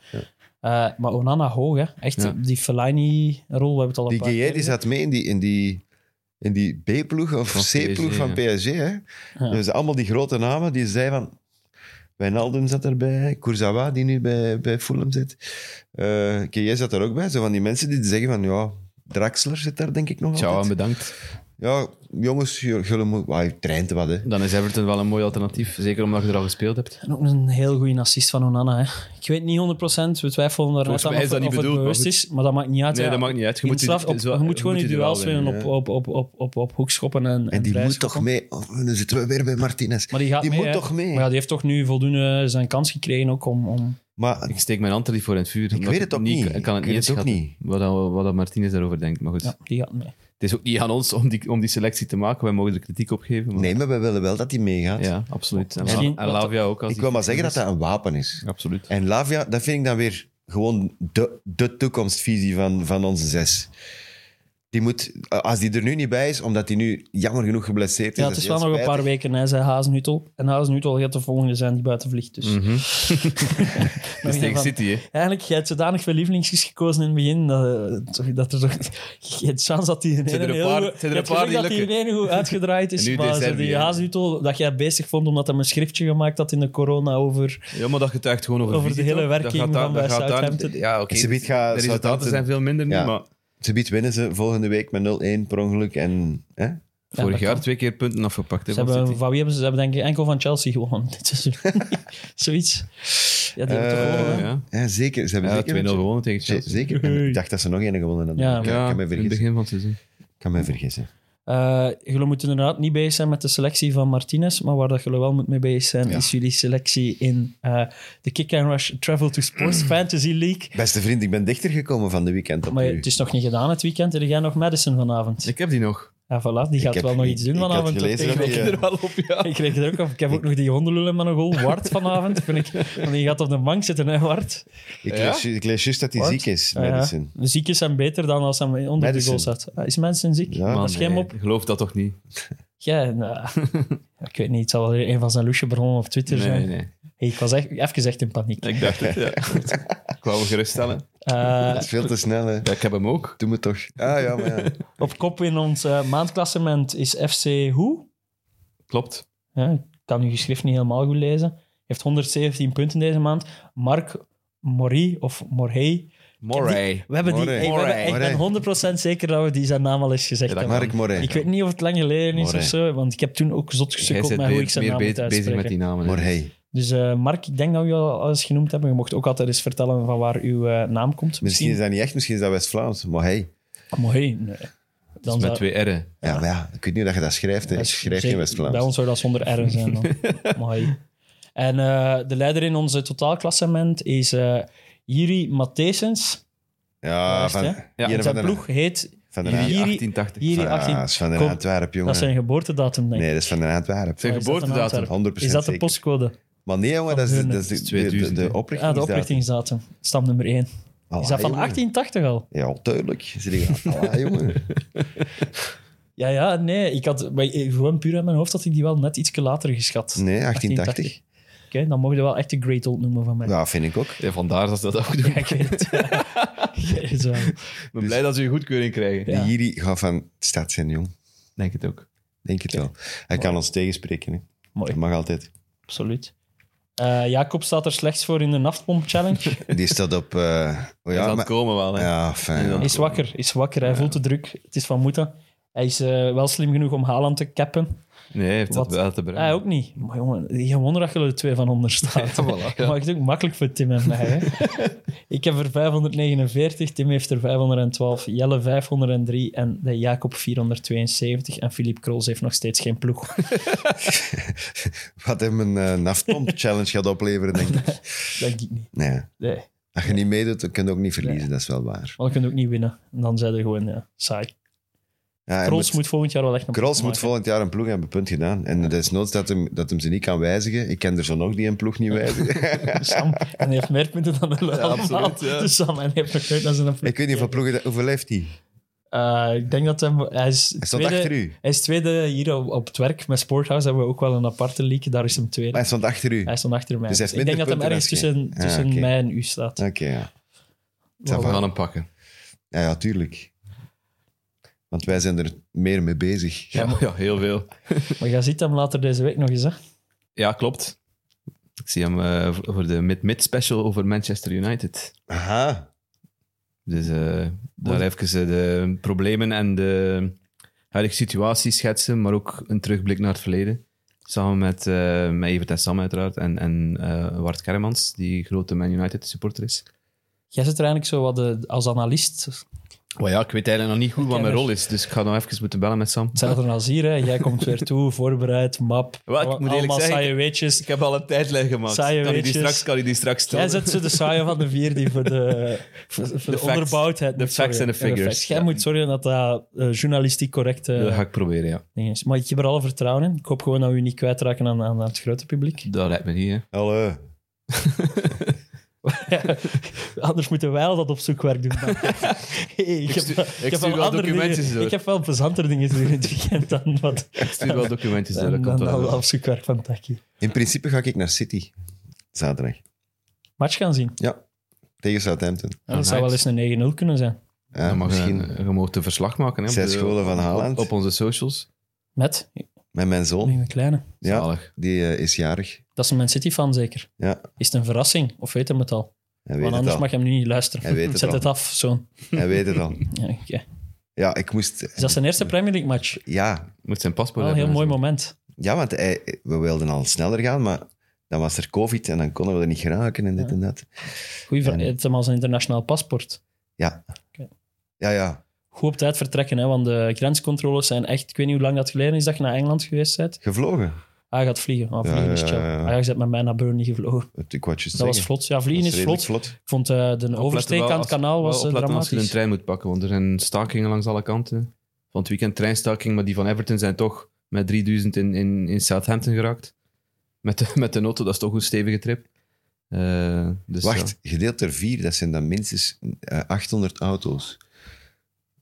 Speaker 4: Eh, maar Onana hoog, hè? echt
Speaker 3: Ja.
Speaker 4: die Fellaini-rol. We hebben het al een
Speaker 2: Die
Speaker 4: paar
Speaker 2: Gueye
Speaker 4: keer
Speaker 2: die
Speaker 4: gezien.
Speaker 2: zat mee in die, in die, in die B-ploeg of
Speaker 3: Van
Speaker 2: C-ploeg
Speaker 3: PSG,
Speaker 2: van PSG. Hè? Dus allemaal die grote namen die zeiden van... Wijnaldum zat erbij, Kurzawa die nu bij, bij Fulham zit. eh Gueye zat er ook bij. Zo van die mensen die zeggen van... Ja, Draxler zit daar denk ik nog
Speaker 3: Ciao en
Speaker 2: altijd.
Speaker 3: bedankt.
Speaker 2: Ja, jongens, j- jullie moeten... Ah, je traint wat, hè.
Speaker 3: Dan is Everton wel een mooi alternatief. Zeker omdat je er al gespeeld hebt.
Speaker 4: En ook een heel goede assist van Onana. Hè? Ik weet niet 100%, we twijfelen daar net
Speaker 3: Volgens
Speaker 4: aan
Speaker 3: mij
Speaker 4: of,
Speaker 3: is dat
Speaker 4: het-
Speaker 3: niet
Speaker 4: of
Speaker 3: bedoeld,
Speaker 4: het bewust
Speaker 3: maar
Speaker 4: is, maar dat maakt niet uit.
Speaker 3: Nee,
Speaker 4: ja.
Speaker 3: dat maakt niet uit. Je
Speaker 4: In
Speaker 3: moet,
Speaker 4: het straf-
Speaker 3: het is wel-
Speaker 4: op, je moet gewoon
Speaker 3: je
Speaker 4: je
Speaker 3: duel
Speaker 4: duels winnen
Speaker 3: ja.
Speaker 4: op, op, op, op, op, op hoekschoppen en, en,
Speaker 2: En die moet
Speaker 4: vrijschoppen.
Speaker 2: toch mee... Oh, dan zitten we weer bij Martinez.
Speaker 4: Maar die gaat
Speaker 2: Die
Speaker 4: mee,
Speaker 2: moet
Speaker 4: hè.
Speaker 2: toch mee?
Speaker 4: Maar ja, die heeft toch nu voldoende zijn kans gekregen ook om... om...
Speaker 2: Maar
Speaker 3: Ik steek mijn hand er niet voor in het vuur. omdat
Speaker 2: weet het ook niet.
Speaker 3: Ik kan het
Speaker 2: Ik
Speaker 3: niet
Speaker 2: weet het ook
Speaker 3: inschatten Wat, dat- wat dat Martinez daarover denkt. Maar goed,
Speaker 4: Ja, die gaat mee.
Speaker 3: het is ook niet aan ons om die, om die selectie te maken. Wij mogen er kritiek op geven. Maar,
Speaker 2: nee, maar we willen wel dat hij meegaat.
Speaker 3: Ja, absoluut. En,
Speaker 4: Misschien-
Speaker 3: en Lavia ook. Als
Speaker 2: Ik
Speaker 3: die-
Speaker 2: wil maar zeggen dat dat een wapen is.
Speaker 3: Absoluut.
Speaker 2: En Lavia, dat vind ik dan weer gewoon de, de toekomstvisie van, van onze zes. Die moet, als die er nu niet bij is, omdat hij nu jammer genoeg geblesseerd is.
Speaker 4: Ja,
Speaker 2: dat
Speaker 4: het is wel
Speaker 2: heel
Speaker 4: nog een paar
Speaker 2: spijtig.
Speaker 4: weken, hè, zei Hazenhutel. En Hazenhutel gaat de volgende zijn die buiten vliegt. Dus
Speaker 3: Dat is Mhm. tegen
Speaker 4: van-
Speaker 3: City, hè.
Speaker 4: eigenlijk, jij hebt zodanig veel lievelingsjes gekozen in het begin, dat, eh, toch- dat er toch... Je hebt chance dat die in
Speaker 3: Zijn er
Speaker 4: één
Speaker 3: een
Speaker 4: heel
Speaker 3: paar- zijn
Speaker 4: goed- je
Speaker 3: er
Speaker 4: hebt
Speaker 3: een paar
Speaker 4: gezien dat
Speaker 3: die
Speaker 4: die in één goed uitgedraaid
Speaker 3: En
Speaker 4: is.
Speaker 3: nu
Speaker 4: Maar
Speaker 3: deze
Speaker 4: zo
Speaker 3: Serbië,
Speaker 4: die
Speaker 3: hè.
Speaker 4: Hazenhutel, dat jij bezig vond omdat hij een schriftje gemaakt had in de corona over...
Speaker 3: Ja, maar dat getuigt gewoon over,
Speaker 4: Over de
Speaker 3: visie,
Speaker 4: hele
Speaker 3: toch? Dat
Speaker 4: werking
Speaker 3: gaat daar-
Speaker 4: van
Speaker 3: dat
Speaker 4: bij
Speaker 3: gaat daar-
Speaker 4: Southampton.
Speaker 3: Ja, oké.
Speaker 2: Ze weet gaan
Speaker 3: De resultaten
Speaker 2: Southampton-
Speaker 3: zijn veel minder nu,
Speaker 2: Ja.
Speaker 3: maar
Speaker 2: Ze biedt winnen ze volgende week met 0-1 per ongeluk. En, hè?
Speaker 4: Ja,
Speaker 3: vorig
Speaker 4: dat
Speaker 3: jaar
Speaker 4: kan.
Speaker 3: twee keer punten afgepakt. hè,
Speaker 4: Ze
Speaker 3: van
Speaker 4: hebben,
Speaker 3: City.
Speaker 4: van wie hebben ze? Ze hebben denk ik enkel van Chelsea gewonnen. Dit is zoiets. Ja, die hebben toch
Speaker 2: Eh,
Speaker 4: gewonnen, hè?
Speaker 3: Ja.
Speaker 2: Ja, zeker. Ze hebben
Speaker 3: Ja, 2-0
Speaker 2: zeker
Speaker 3: gewonnen tegen Chelsea.
Speaker 2: Zeker. En ik dacht dat ze nog één gewonnen hadden.
Speaker 4: Ja.
Speaker 2: ik kan
Speaker 3: Ja,
Speaker 2: me
Speaker 3: in het
Speaker 2: vergissen.
Speaker 3: begin van het seizoen.
Speaker 2: kan me vergissen.
Speaker 4: Eh, jullie moeten inderdaad niet bezig zijn met de selectie van Martinez, maar waar dat jullie wel moet mee bezig zijn, is jullie selectie in eh, de Kick and Rush Travel to Sports Fantasy League.
Speaker 2: Beste vriend, ik ben dichter gekomen van de weekend op
Speaker 4: Maar
Speaker 2: u.
Speaker 4: het is nog niet gedaan het weekend. Heb jij nog Madison vanavond?
Speaker 3: Ik heb die nog.
Speaker 4: Ja, voilà, die
Speaker 2: Ik
Speaker 4: gaat
Speaker 2: heb
Speaker 4: wel nog
Speaker 2: gele-
Speaker 4: iets doen
Speaker 2: ik had
Speaker 4: vanavond.
Speaker 2: gelezen
Speaker 4: Ik
Speaker 2: dat
Speaker 4: kreeg
Speaker 2: hij,
Speaker 4: er-
Speaker 2: eh,
Speaker 3: wel op, ja.
Speaker 4: Ik kreeg er ook af. Ik heb ook nog die hondenlul in mijn goal. Wart vanavond. Vind ik, want die gaat op de bank zitten, hè, Wart.
Speaker 2: Ik,
Speaker 3: Ja?
Speaker 2: lees, ju- ik lees juist dat hij
Speaker 4: Wat?
Speaker 2: ziek is,
Speaker 4: Ja, ja.
Speaker 2: medicine.
Speaker 4: De zieken zijn beter dan als hij onder de
Speaker 2: Madison.
Speaker 4: goal staat. Ah, Is mensen ziek?
Speaker 2: Ja.
Speaker 4: dat is geen mop.
Speaker 3: geloof dat toch niet?
Speaker 4: Ja, nou, ik weet niet. Het zal wel weer een van zijn loesje bronnen op Twitter zijn.
Speaker 3: Nee, nee.
Speaker 4: Hey, ik was echt, even echt in paniek.
Speaker 3: Ik dacht het, ja. Ik wou me geruststellen.
Speaker 4: Eh,
Speaker 2: Dat is veel te snel, hè.
Speaker 3: Ja, ik heb hem ook.
Speaker 2: Doe me toch. Ah ja, maar ja.
Speaker 4: op kop in ons eh, maandklassement is FC Hoe.
Speaker 3: Klopt.
Speaker 4: Ja, ik kan uw geschrift niet helemaal goed lezen. Hij heeft 117 punten deze maand. Mark Mori of Morhey.
Speaker 3: Moray.
Speaker 4: We hebben die,
Speaker 2: Morey.
Speaker 4: hey, we hebben- ik ben 100% zeker dat we die zijn naam al eens gezegd
Speaker 3: Ja, dat
Speaker 4: hebben.
Speaker 2: Mark Moray.
Speaker 4: Ik weet niet of het lang geleden is
Speaker 2: Morey.
Speaker 4: of zo, want ik heb toen ook zot
Speaker 3: Jij
Speaker 4: gesukkeld
Speaker 3: bent
Speaker 4: met hoe ik
Speaker 3: meer,
Speaker 4: zijn
Speaker 3: meer
Speaker 4: naam moet
Speaker 3: be- bezig met
Speaker 4: uitspreken.
Speaker 3: die namen. hè.
Speaker 2: Maar hey,
Speaker 4: Dus eh, Mark, ik denk dat we je al eens genoemd hebben. Je mocht ook altijd eens vertellen van waar uw eh, naam komt.
Speaker 2: misschien is dat niet echt, misschien is dat West-Vlaams. Maar hey,
Speaker 4: Morey, nee.
Speaker 3: Dat
Speaker 4: Dan
Speaker 3: is met
Speaker 4: zou-
Speaker 3: twee R'en.
Speaker 2: ja, maar ja, ik weet niet hoe dat je dat schrijft. Hè.
Speaker 4: dat
Speaker 2: Ik
Speaker 4: is
Speaker 2: schrijf
Speaker 4: zeker-
Speaker 2: geen West-Vlaams.
Speaker 4: Bij ons zou dat zonder R zijn. Dan. Mooi. En eh, de leider in onze totaalklassement is eh Jiri Matthesens.
Speaker 2: ja,
Speaker 4: Juist,
Speaker 2: van,
Speaker 4: hè?
Speaker 3: Ja,
Speaker 2: hier
Speaker 4: En
Speaker 2: van
Speaker 4: zijn
Speaker 2: den-
Speaker 4: ploeg heet
Speaker 2: Van den
Speaker 3: Jullie
Speaker 2: Aan-
Speaker 4: Jullie-
Speaker 3: 1880.
Speaker 4: Jiri
Speaker 2: van-
Speaker 4: 18.
Speaker 2: ah, is van den
Speaker 4: Kom,
Speaker 2: Antwerpen,
Speaker 4: Dat
Speaker 2: jongen.
Speaker 4: is zijn geboortedatum, denk ik.
Speaker 2: Nee, dat is van den Antwerpen.
Speaker 3: Zijn
Speaker 4: Is dat een
Speaker 3: geboortedatum.
Speaker 4: Antwerp?
Speaker 2: 100%
Speaker 4: Is dat de
Speaker 2: zeker.
Speaker 4: postcode?
Speaker 2: Maar nee, jongen, dat is de, dat is de,
Speaker 3: Dat is
Speaker 2: de, de,
Speaker 3: 2000, hè.
Speaker 2: de oprichting.
Speaker 4: Ah, de oprichtingsdatum. Stap nummer 1. Is dat van 1880 al?
Speaker 2: Ja, tuurlijk. Ze denken, "Allee, jongen.
Speaker 4: Ja, ja, nee. Ik had maar ik- gewoon puur in mijn hoofd dat ik die wel net iets later geschat.
Speaker 2: Nee, 1880.
Speaker 4: Oké, dan mogen we wel echt de Great Old noemen van mij.
Speaker 2: Ja, vind ik ook.
Speaker 3: Ja, vandaar dat ze dat ook doen.
Speaker 4: Ja, ik weet het. Ik weet het wel.
Speaker 3: Ik ben blij dat ze een goedkeuring krijgen.
Speaker 4: dus- Ja.
Speaker 2: Die Jiri gaat van de stad zijn, jong.
Speaker 3: Denk het ook.
Speaker 2: Denk het wel. Hij kan ons tegenspreken. Hè.
Speaker 4: Mooi.
Speaker 2: Dat mag altijd.
Speaker 4: Absoluut. Eh, Jacob staat er slechts voor in de Naftpomp Challenge.
Speaker 2: Die staat op... eh, oh
Speaker 3: dat
Speaker 2: ja, maar-
Speaker 3: komen wel, hè.
Speaker 2: ja, fijn.
Speaker 3: Ja.
Speaker 4: Is wakker, is wakker. Hij voelt de druk. Het is van moeten. Hij is eh, wel slim genoeg om Haaland te cappen.
Speaker 3: Nee, hij heeft
Speaker 4: Wat?
Speaker 3: dat wel te bereiken.
Speaker 4: Hij ook niet. Maar jongen, geen wonder dat je er twee van onder staat.
Speaker 3: Ja, voilà, ja.
Speaker 4: Maar het is ook makkelijk voor Tim en mij. Hè? Ik heb er 549, Tim heeft er 512, Jelle 503 en de Jacob 472. En Filip Krols heeft nog steeds geen ploeg.
Speaker 2: Wat hem een eh, naftpomp-challenge gaat opleveren, denk ik.
Speaker 4: Denk ik niet.
Speaker 2: Nee.
Speaker 4: Nee.
Speaker 2: Als je niet meedoet, dan kun je ook niet verliezen. Dat is wel waar.
Speaker 4: Want je kunt ook niet winnen. En dan zijn we gewoon ja, saai.
Speaker 2: Ja, hij
Speaker 4: Krols
Speaker 2: moet-
Speaker 4: moet, Oh, volgend jaar wel echt een
Speaker 2: Krols
Speaker 4: ploeg
Speaker 2: moet
Speaker 4: maken.
Speaker 2: volgend jaar een ploeg hebben, punt gedaan. En het is noods dat hem, dat hem ze niet kan wijzigen. Ik ken er zo nog die een ploeg niet wijzigen.
Speaker 4: Sam, en hij heeft meer punten dan de ja,
Speaker 3: absoluut, ja.
Speaker 4: Dus Sam, en hij heeft nog nooit naar zijn ploeg
Speaker 2: ik weet niet hoeveel ploegen... dat- Hoeveel heeft hij?
Speaker 4: Eh, ik denk dat hem, hij is
Speaker 2: Hij stond
Speaker 4: tweede,
Speaker 2: achter u.
Speaker 4: Hij is tweede hier op, op het werk. Met Sporthouse hebben we ook wel een aparte league. Daar is hem tweede.
Speaker 2: Hij stond achter u.
Speaker 4: hij stond achter mij.
Speaker 2: Dus hij heeft
Speaker 4: ik denk
Speaker 2: minder
Speaker 4: dat hem
Speaker 2: punten
Speaker 4: ergens
Speaker 2: dan
Speaker 4: tussen,
Speaker 2: jij. Ah,
Speaker 4: tussen
Speaker 2: oké.
Speaker 4: mij en u staat.
Speaker 2: Oké, ja.
Speaker 3: We
Speaker 2: Voilà.
Speaker 3: gaan hem pakken.
Speaker 2: ja. Ja, tuurlijk. Want wij zijn er meer mee bezig.
Speaker 3: Ja, ja, heel veel.
Speaker 4: Maar jij ziet hem later deze week nog eens. Hè?
Speaker 3: Ja, klopt. Ik zie hem eh, voor voor de mid-mid special over Manchester United.
Speaker 2: Aha.
Speaker 3: Dus eh, daar even eh, de problemen en de huidige situatie schetsen, maar ook een terugblik naar het verleden. Samen met, eh met Evert en Sam uiteraard en, en eh, Wart Kermans, die grote Man United supporter is.
Speaker 4: Jij zit er eigenlijk zo wat eh, als analist.
Speaker 3: Maar Oh ja, ik weet eigenlijk nog niet goed wat mijn rol is, dus ik ga nog even moeten bellen met Sam.
Speaker 4: Hetzelfde als hier. Hè? Jij komt weer toe, voorbereid, map.
Speaker 3: Wel, ik moet eerlijk
Speaker 4: allemaal
Speaker 3: zeggen,
Speaker 4: saaie
Speaker 3: ik-
Speaker 4: weetjes.
Speaker 3: Dus Ik heb al een tijdlijn gemaakt.
Speaker 4: Saaie
Speaker 3: kan, ik die
Speaker 4: weetjes.
Speaker 3: straks, kan ik die straks
Speaker 4: Jij
Speaker 3: tonen?
Speaker 4: zet ze de saaie van de vier die voor de, voor, voor de,
Speaker 3: facts.
Speaker 4: onderbouwdheid
Speaker 3: De
Speaker 4: moet
Speaker 3: facts
Speaker 4: zorgen.
Speaker 3: en de
Speaker 4: Ja,
Speaker 3: figures.
Speaker 4: facts. Jij
Speaker 3: Ja.
Speaker 4: moet zorgen dat dat eh, journalistiek correct eh,
Speaker 3: Dat ga ik proberen, ja.
Speaker 4: ding is. Maar ik heb er alle vertrouwen in. Ik hoop gewoon dat we u niet kwijtraken aan, aan het grote publiek.
Speaker 3: Dat lijkt me niet, hè.
Speaker 2: Hallo.
Speaker 4: Anders moeten wij al dat opzoekwerk doen. Hey, ik, heb,
Speaker 3: stuur-
Speaker 4: wel-
Speaker 3: ik
Speaker 4: ik heb
Speaker 3: stuur
Speaker 4: wel
Speaker 3: wel
Speaker 4: andere
Speaker 3: documentjes
Speaker 4: dingen-
Speaker 3: door.
Speaker 4: Ik heb wel plezanter dingen te doen in het weekend dan wat
Speaker 3: Ik stuur wel documentjes door, dat
Speaker 4: dan,
Speaker 3: komt
Speaker 4: dan
Speaker 3: wel.
Speaker 4: dat opzoekwerk van Taki.
Speaker 2: In principe ga ik naar City. Zaterdag.
Speaker 4: Match gaan zien.
Speaker 2: Ja. Tegen Southampton.
Speaker 4: Ja, dat zou wel eens een 9-0 kunnen zijn.
Speaker 2: Ja,
Speaker 3: Dan mag eh, je-
Speaker 2: misschien
Speaker 3: je, mag een verslag maken. Hè, op
Speaker 2: Zes
Speaker 3: de-
Speaker 2: golen van
Speaker 3: op-
Speaker 2: Haaland.
Speaker 3: Op, onze socials.
Speaker 4: Met
Speaker 2: met mijn
Speaker 3: Oh.
Speaker 2: zoon.
Speaker 4: een kleine.
Speaker 2: Ja,
Speaker 3: Zalig.
Speaker 2: die eh, is jarig.
Speaker 4: Dat is een Man City-fan zeker.
Speaker 2: Ja,
Speaker 4: Is het een verrassing? Of weet hem het al?
Speaker 2: hij weet
Speaker 4: Want
Speaker 2: het
Speaker 4: anders
Speaker 2: al.
Speaker 4: mag je hem nu niet luisteren.
Speaker 2: Hij weet het
Speaker 4: Zet
Speaker 2: al.
Speaker 4: het af, zoon.
Speaker 2: Hij weet het al.
Speaker 4: Ja, oké.
Speaker 2: Ja, ik moest...
Speaker 4: Is dat zijn eerste Premier League-match?
Speaker 2: Ja,
Speaker 3: Moet zijn paspoort
Speaker 4: Wel een Oh, heel
Speaker 3: hebben.
Speaker 4: mooi moment.
Speaker 2: ja want hij- we wilden al sneller gaan, maar dan was er covid en dan konden we er niet geraken en dit en dat.
Speaker 4: Goeie vraag.
Speaker 2: En-
Speaker 4: Het is hem als een internationaal paspoort.
Speaker 2: Ja.
Speaker 4: Oké.
Speaker 2: Ja, ja.
Speaker 4: Goed op tijd vertrekken, hè, want de grenscontroles zijn echt... Ik weet niet hoe lang dat geleden is dat je naar Engeland geweest bent.
Speaker 2: Gevlogen.
Speaker 4: Ah, je gaat vliegen. Ah,
Speaker 2: Ja,
Speaker 4: vliegen is
Speaker 2: ja,
Speaker 4: chill.
Speaker 2: ja, ja.
Speaker 4: Ah, ja, je bent met mij naar Burnley
Speaker 2: Ik
Speaker 4: gevlogen.
Speaker 2: wou het juist
Speaker 4: Dat was
Speaker 2: zeggen.
Speaker 4: vlot. Ja,
Speaker 2: Dat
Speaker 4: vliegen
Speaker 2: was
Speaker 4: is
Speaker 2: redelijk
Speaker 4: vlot. Ik vond eh, de
Speaker 3: Opletten
Speaker 4: oversteek
Speaker 3: wel
Speaker 4: aan
Speaker 3: als-
Speaker 4: het kanaal was
Speaker 3: wel
Speaker 4: eh,
Speaker 3: opletten als je een
Speaker 4: dramatisch.
Speaker 3: trein moet pakken, want er zijn stakingen langs alle kanten. van het weekend treinstaking, maar die van Everton zijn toch met 3000 in, in, in Southampton geraakt. Met de, met de auto, dat is toch een stevige trip. Eh, dus
Speaker 2: Wacht, gedeeld door vier, dat zijn dan minstens eh, 800 auto's.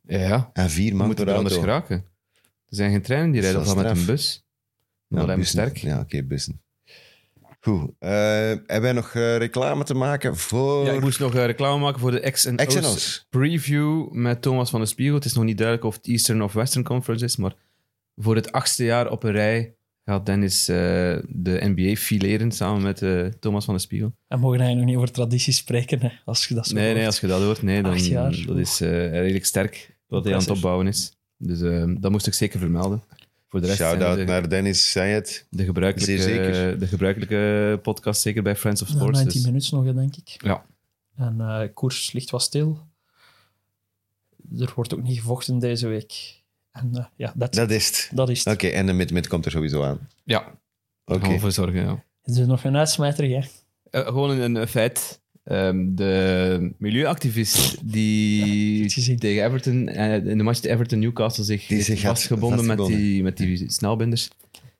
Speaker 3: Ja, ja, ja.
Speaker 2: En vier
Speaker 3: we
Speaker 2: man
Speaker 3: moeten
Speaker 2: per
Speaker 3: er
Speaker 2: auto.
Speaker 3: anders geraken. Er zijn geen treinen die
Speaker 2: Dat
Speaker 3: rijden, of
Speaker 2: is
Speaker 3: dan met een
Speaker 2: straf.
Speaker 3: bus.
Speaker 2: Ja,
Speaker 3: Dat lijkt me
Speaker 2: bussen.
Speaker 3: sterk.
Speaker 2: Ja, oké, bussen. Goed. eh, hebben wij nog eh, reclame te maken voor...
Speaker 3: Ja, ik moest nog eh, reclame maken voor de X en
Speaker 2: X en
Speaker 3: O's
Speaker 2: O's.
Speaker 3: preview met Thomas van der Spiegel. Het is nog niet duidelijk of het Eastern of Western Conference is, maar voor het achtste jaar op een rij gaat Dennis eh, de NBA fileren samen met eh, Thomas van der Spiegel.
Speaker 4: En mogen hij nog niet over tradities spreken, hè, als je dat zo
Speaker 3: nee, nee,
Speaker 4: hoort.
Speaker 3: als je dat hoort, nee, dan
Speaker 4: Acht jaar.
Speaker 3: dat is eh, redelijk sterk wat hij aan het
Speaker 4: Impressive.
Speaker 3: opbouwen is. Dus eh, dat moest ik zeker vermelden. Voor de rest zijn
Speaker 2: Shout-out
Speaker 3: de,
Speaker 2: naar Dennis Sayed.
Speaker 3: de,
Speaker 2: Zeer
Speaker 3: gebruikelijke,
Speaker 2: zeker.
Speaker 3: de gebruikelijke podcast, zeker bij Friends of
Speaker 4: Ja,
Speaker 3: Sports.
Speaker 4: 19
Speaker 3: dus-
Speaker 4: minuten nog, hè, denk ik.
Speaker 3: Ja.
Speaker 4: En eh koers ligt wat stil. Er wordt ook niet gevochten deze week. En eh, ja, dat,
Speaker 2: Dat is het.
Speaker 4: dat is het.
Speaker 2: Oké, en de mid-mid komt er sowieso aan.
Speaker 3: ja, daar
Speaker 2: Oké.
Speaker 3: gaan we voor zorgen, ja.
Speaker 4: Het is nog een uitsmijter, hè.
Speaker 3: Eh, gewoon een, een feit. Ehm, de milieuactivist die
Speaker 4: het gezien.
Speaker 3: tegen Everton, eh, in de match tegen Everton-Newcastle zich,
Speaker 2: Die
Speaker 3: heeft
Speaker 2: zich had
Speaker 3: vastgebonden met
Speaker 2: vastgebonden.
Speaker 3: die, met die snelbinders,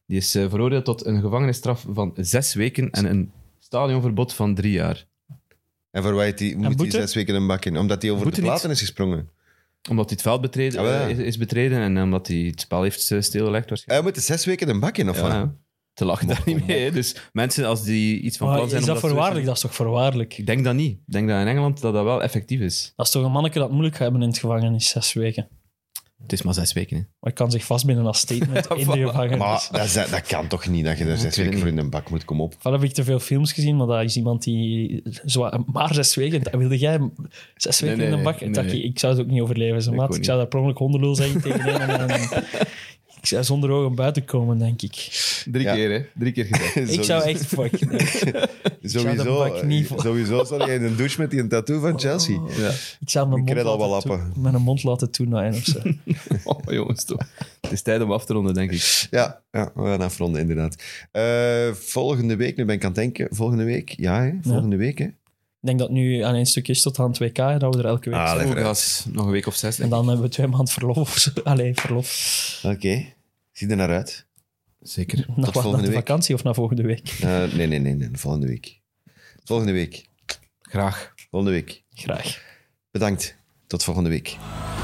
Speaker 3: die is eh, veroordeeld tot een gevangenisstraf van zes weken en een stadionverbod van drie jaar.
Speaker 2: En voor wij die, moet hij
Speaker 4: boete?
Speaker 2: zes weken een bak in. Omdat hij over
Speaker 3: Boete
Speaker 2: de
Speaker 3: niet.
Speaker 2: platen is gesprongen.
Speaker 3: Omdat hij het veld betreden,
Speaker 2: Ah, wel, ja.
Speaker 3: eh, is, is betreden en omdat hij het spel heeft eh, stilgelegd waarschijnlijk.
Speaker 2: Hij moet de zes weken een bak in, of
Speaker 3: Ja,
Speaker 2: wat?
Speaker 3: ja. te lachen daar niet mee. hè. Dus mensen als die iets van
Speaker 4: Maar
Speaker 3: plan
Speaker 4: Ah, is
Speaker 3: zijn...
Speaker 4: dat
Speaker 3: om te-
Speaker 4: voorwaardelijk? Dat is toch voorwaardelijk?
Speaker 3: Ik denk dat niet. Ik denk dat in Engeland dat dat wel effectief is.
Speaker 4: Dat is toch een manneke dat het moeilijk gaat hebben in het gevangenis, zes weken.
Speaker 3: Het is maar zes weken. Hè.
Speaker 4: Maar ik kan zich vastbinden als statement in de
Speaker 3: voilà.
Speaker 4: gevangenis.
Speaker 2: Maar dat, is- dat kan toch niet, dat je er zes
Speaker 3: weet het
Speaker 2: weken voor in een bak moet komen op.
Speaker 4: Wel heb ik te veel films gezien, maar dat is iemand die... zwaar- maar zes weken, dat wilde jij zes weken
Speaker 3: nee,
Speaker 4: in de bak?
Speaker 3: nee,
Speaker 4: dat
Speaker 3: nee.
Speaker 4: je- Ik zou het ook niet overleven, zo,
Speaker 3: Ik
Speaker 4: maat.
Speaker 3: ook
Speaker 4: Ik,
Speaker 3: niet.
Speaker 4: zou daar per ongeluk hondenlul zijn tegen hem. en dan- ik zou zonder ogen buiten komen, denk ik.
Speaker 3: Drie
Speaker 2: Ja.
Speaker 3: keer, hè? Drie keer gedaan.
Speaker 4: Ik zou echt... Fuck, nee. zou de
Speaker 2: Sowieso, eh,
Speaker 4: bak niet voor- Oh.
Speaker 2: sowieso zat jij in een douche met die een tattoo van Chelsea.
Speaker 3: Ja.
Speaker 4: Ik zou mijn
Speaker 2: Ik
Speaker 4: mond,
Speaker 2: red al
Speaker 4: laten
Speaker 2: wel
Speaker 4: toe-
Speaker 2: lappen.
Speaker 4: mijn mond laten toenaaien of zo.
Speaker 3: Oh, jongens, toch. Het is tijd om af te ronden, denk ik.
Speaker 2: Ja, ja, we gaan afronden, inderdaad. Eh, volgende week, nu ben ik aan het denken. Volgende week, ja, hè? volgende week. Hè?
Speaker 4: Ik denk dat het nu aan één stuk is tot aan het WK, dat we er elke week
Speaker 2: Ah,
Speaker 4: zijn.
Speaker 2: lekker.
Speaker 3: Ook als nog een week of zes.
Speaker 4: En
Speaker 3: denk ik.
Speaker 4: dan hebben we twee maanden verlof. of zo. Allee, verlof.
Speaker 2: Oké, zie er naar uit.
Speaker 3: Zeker.
Speaker 4: Naar, wat, naar
Speaker 2: volgende
Speaker 4: de
Speaker 2: week.
Speaker 4: vakantie of naar volgende week?
Speaker 2: Eh, nee, nee, nee, nee, volgende week. Volgende week.
Speaker 3: Graag.
Speaker 2: Volgende week.
Speaker 4: Graag.
Speaker 2: Bedankt. Tot volgende week.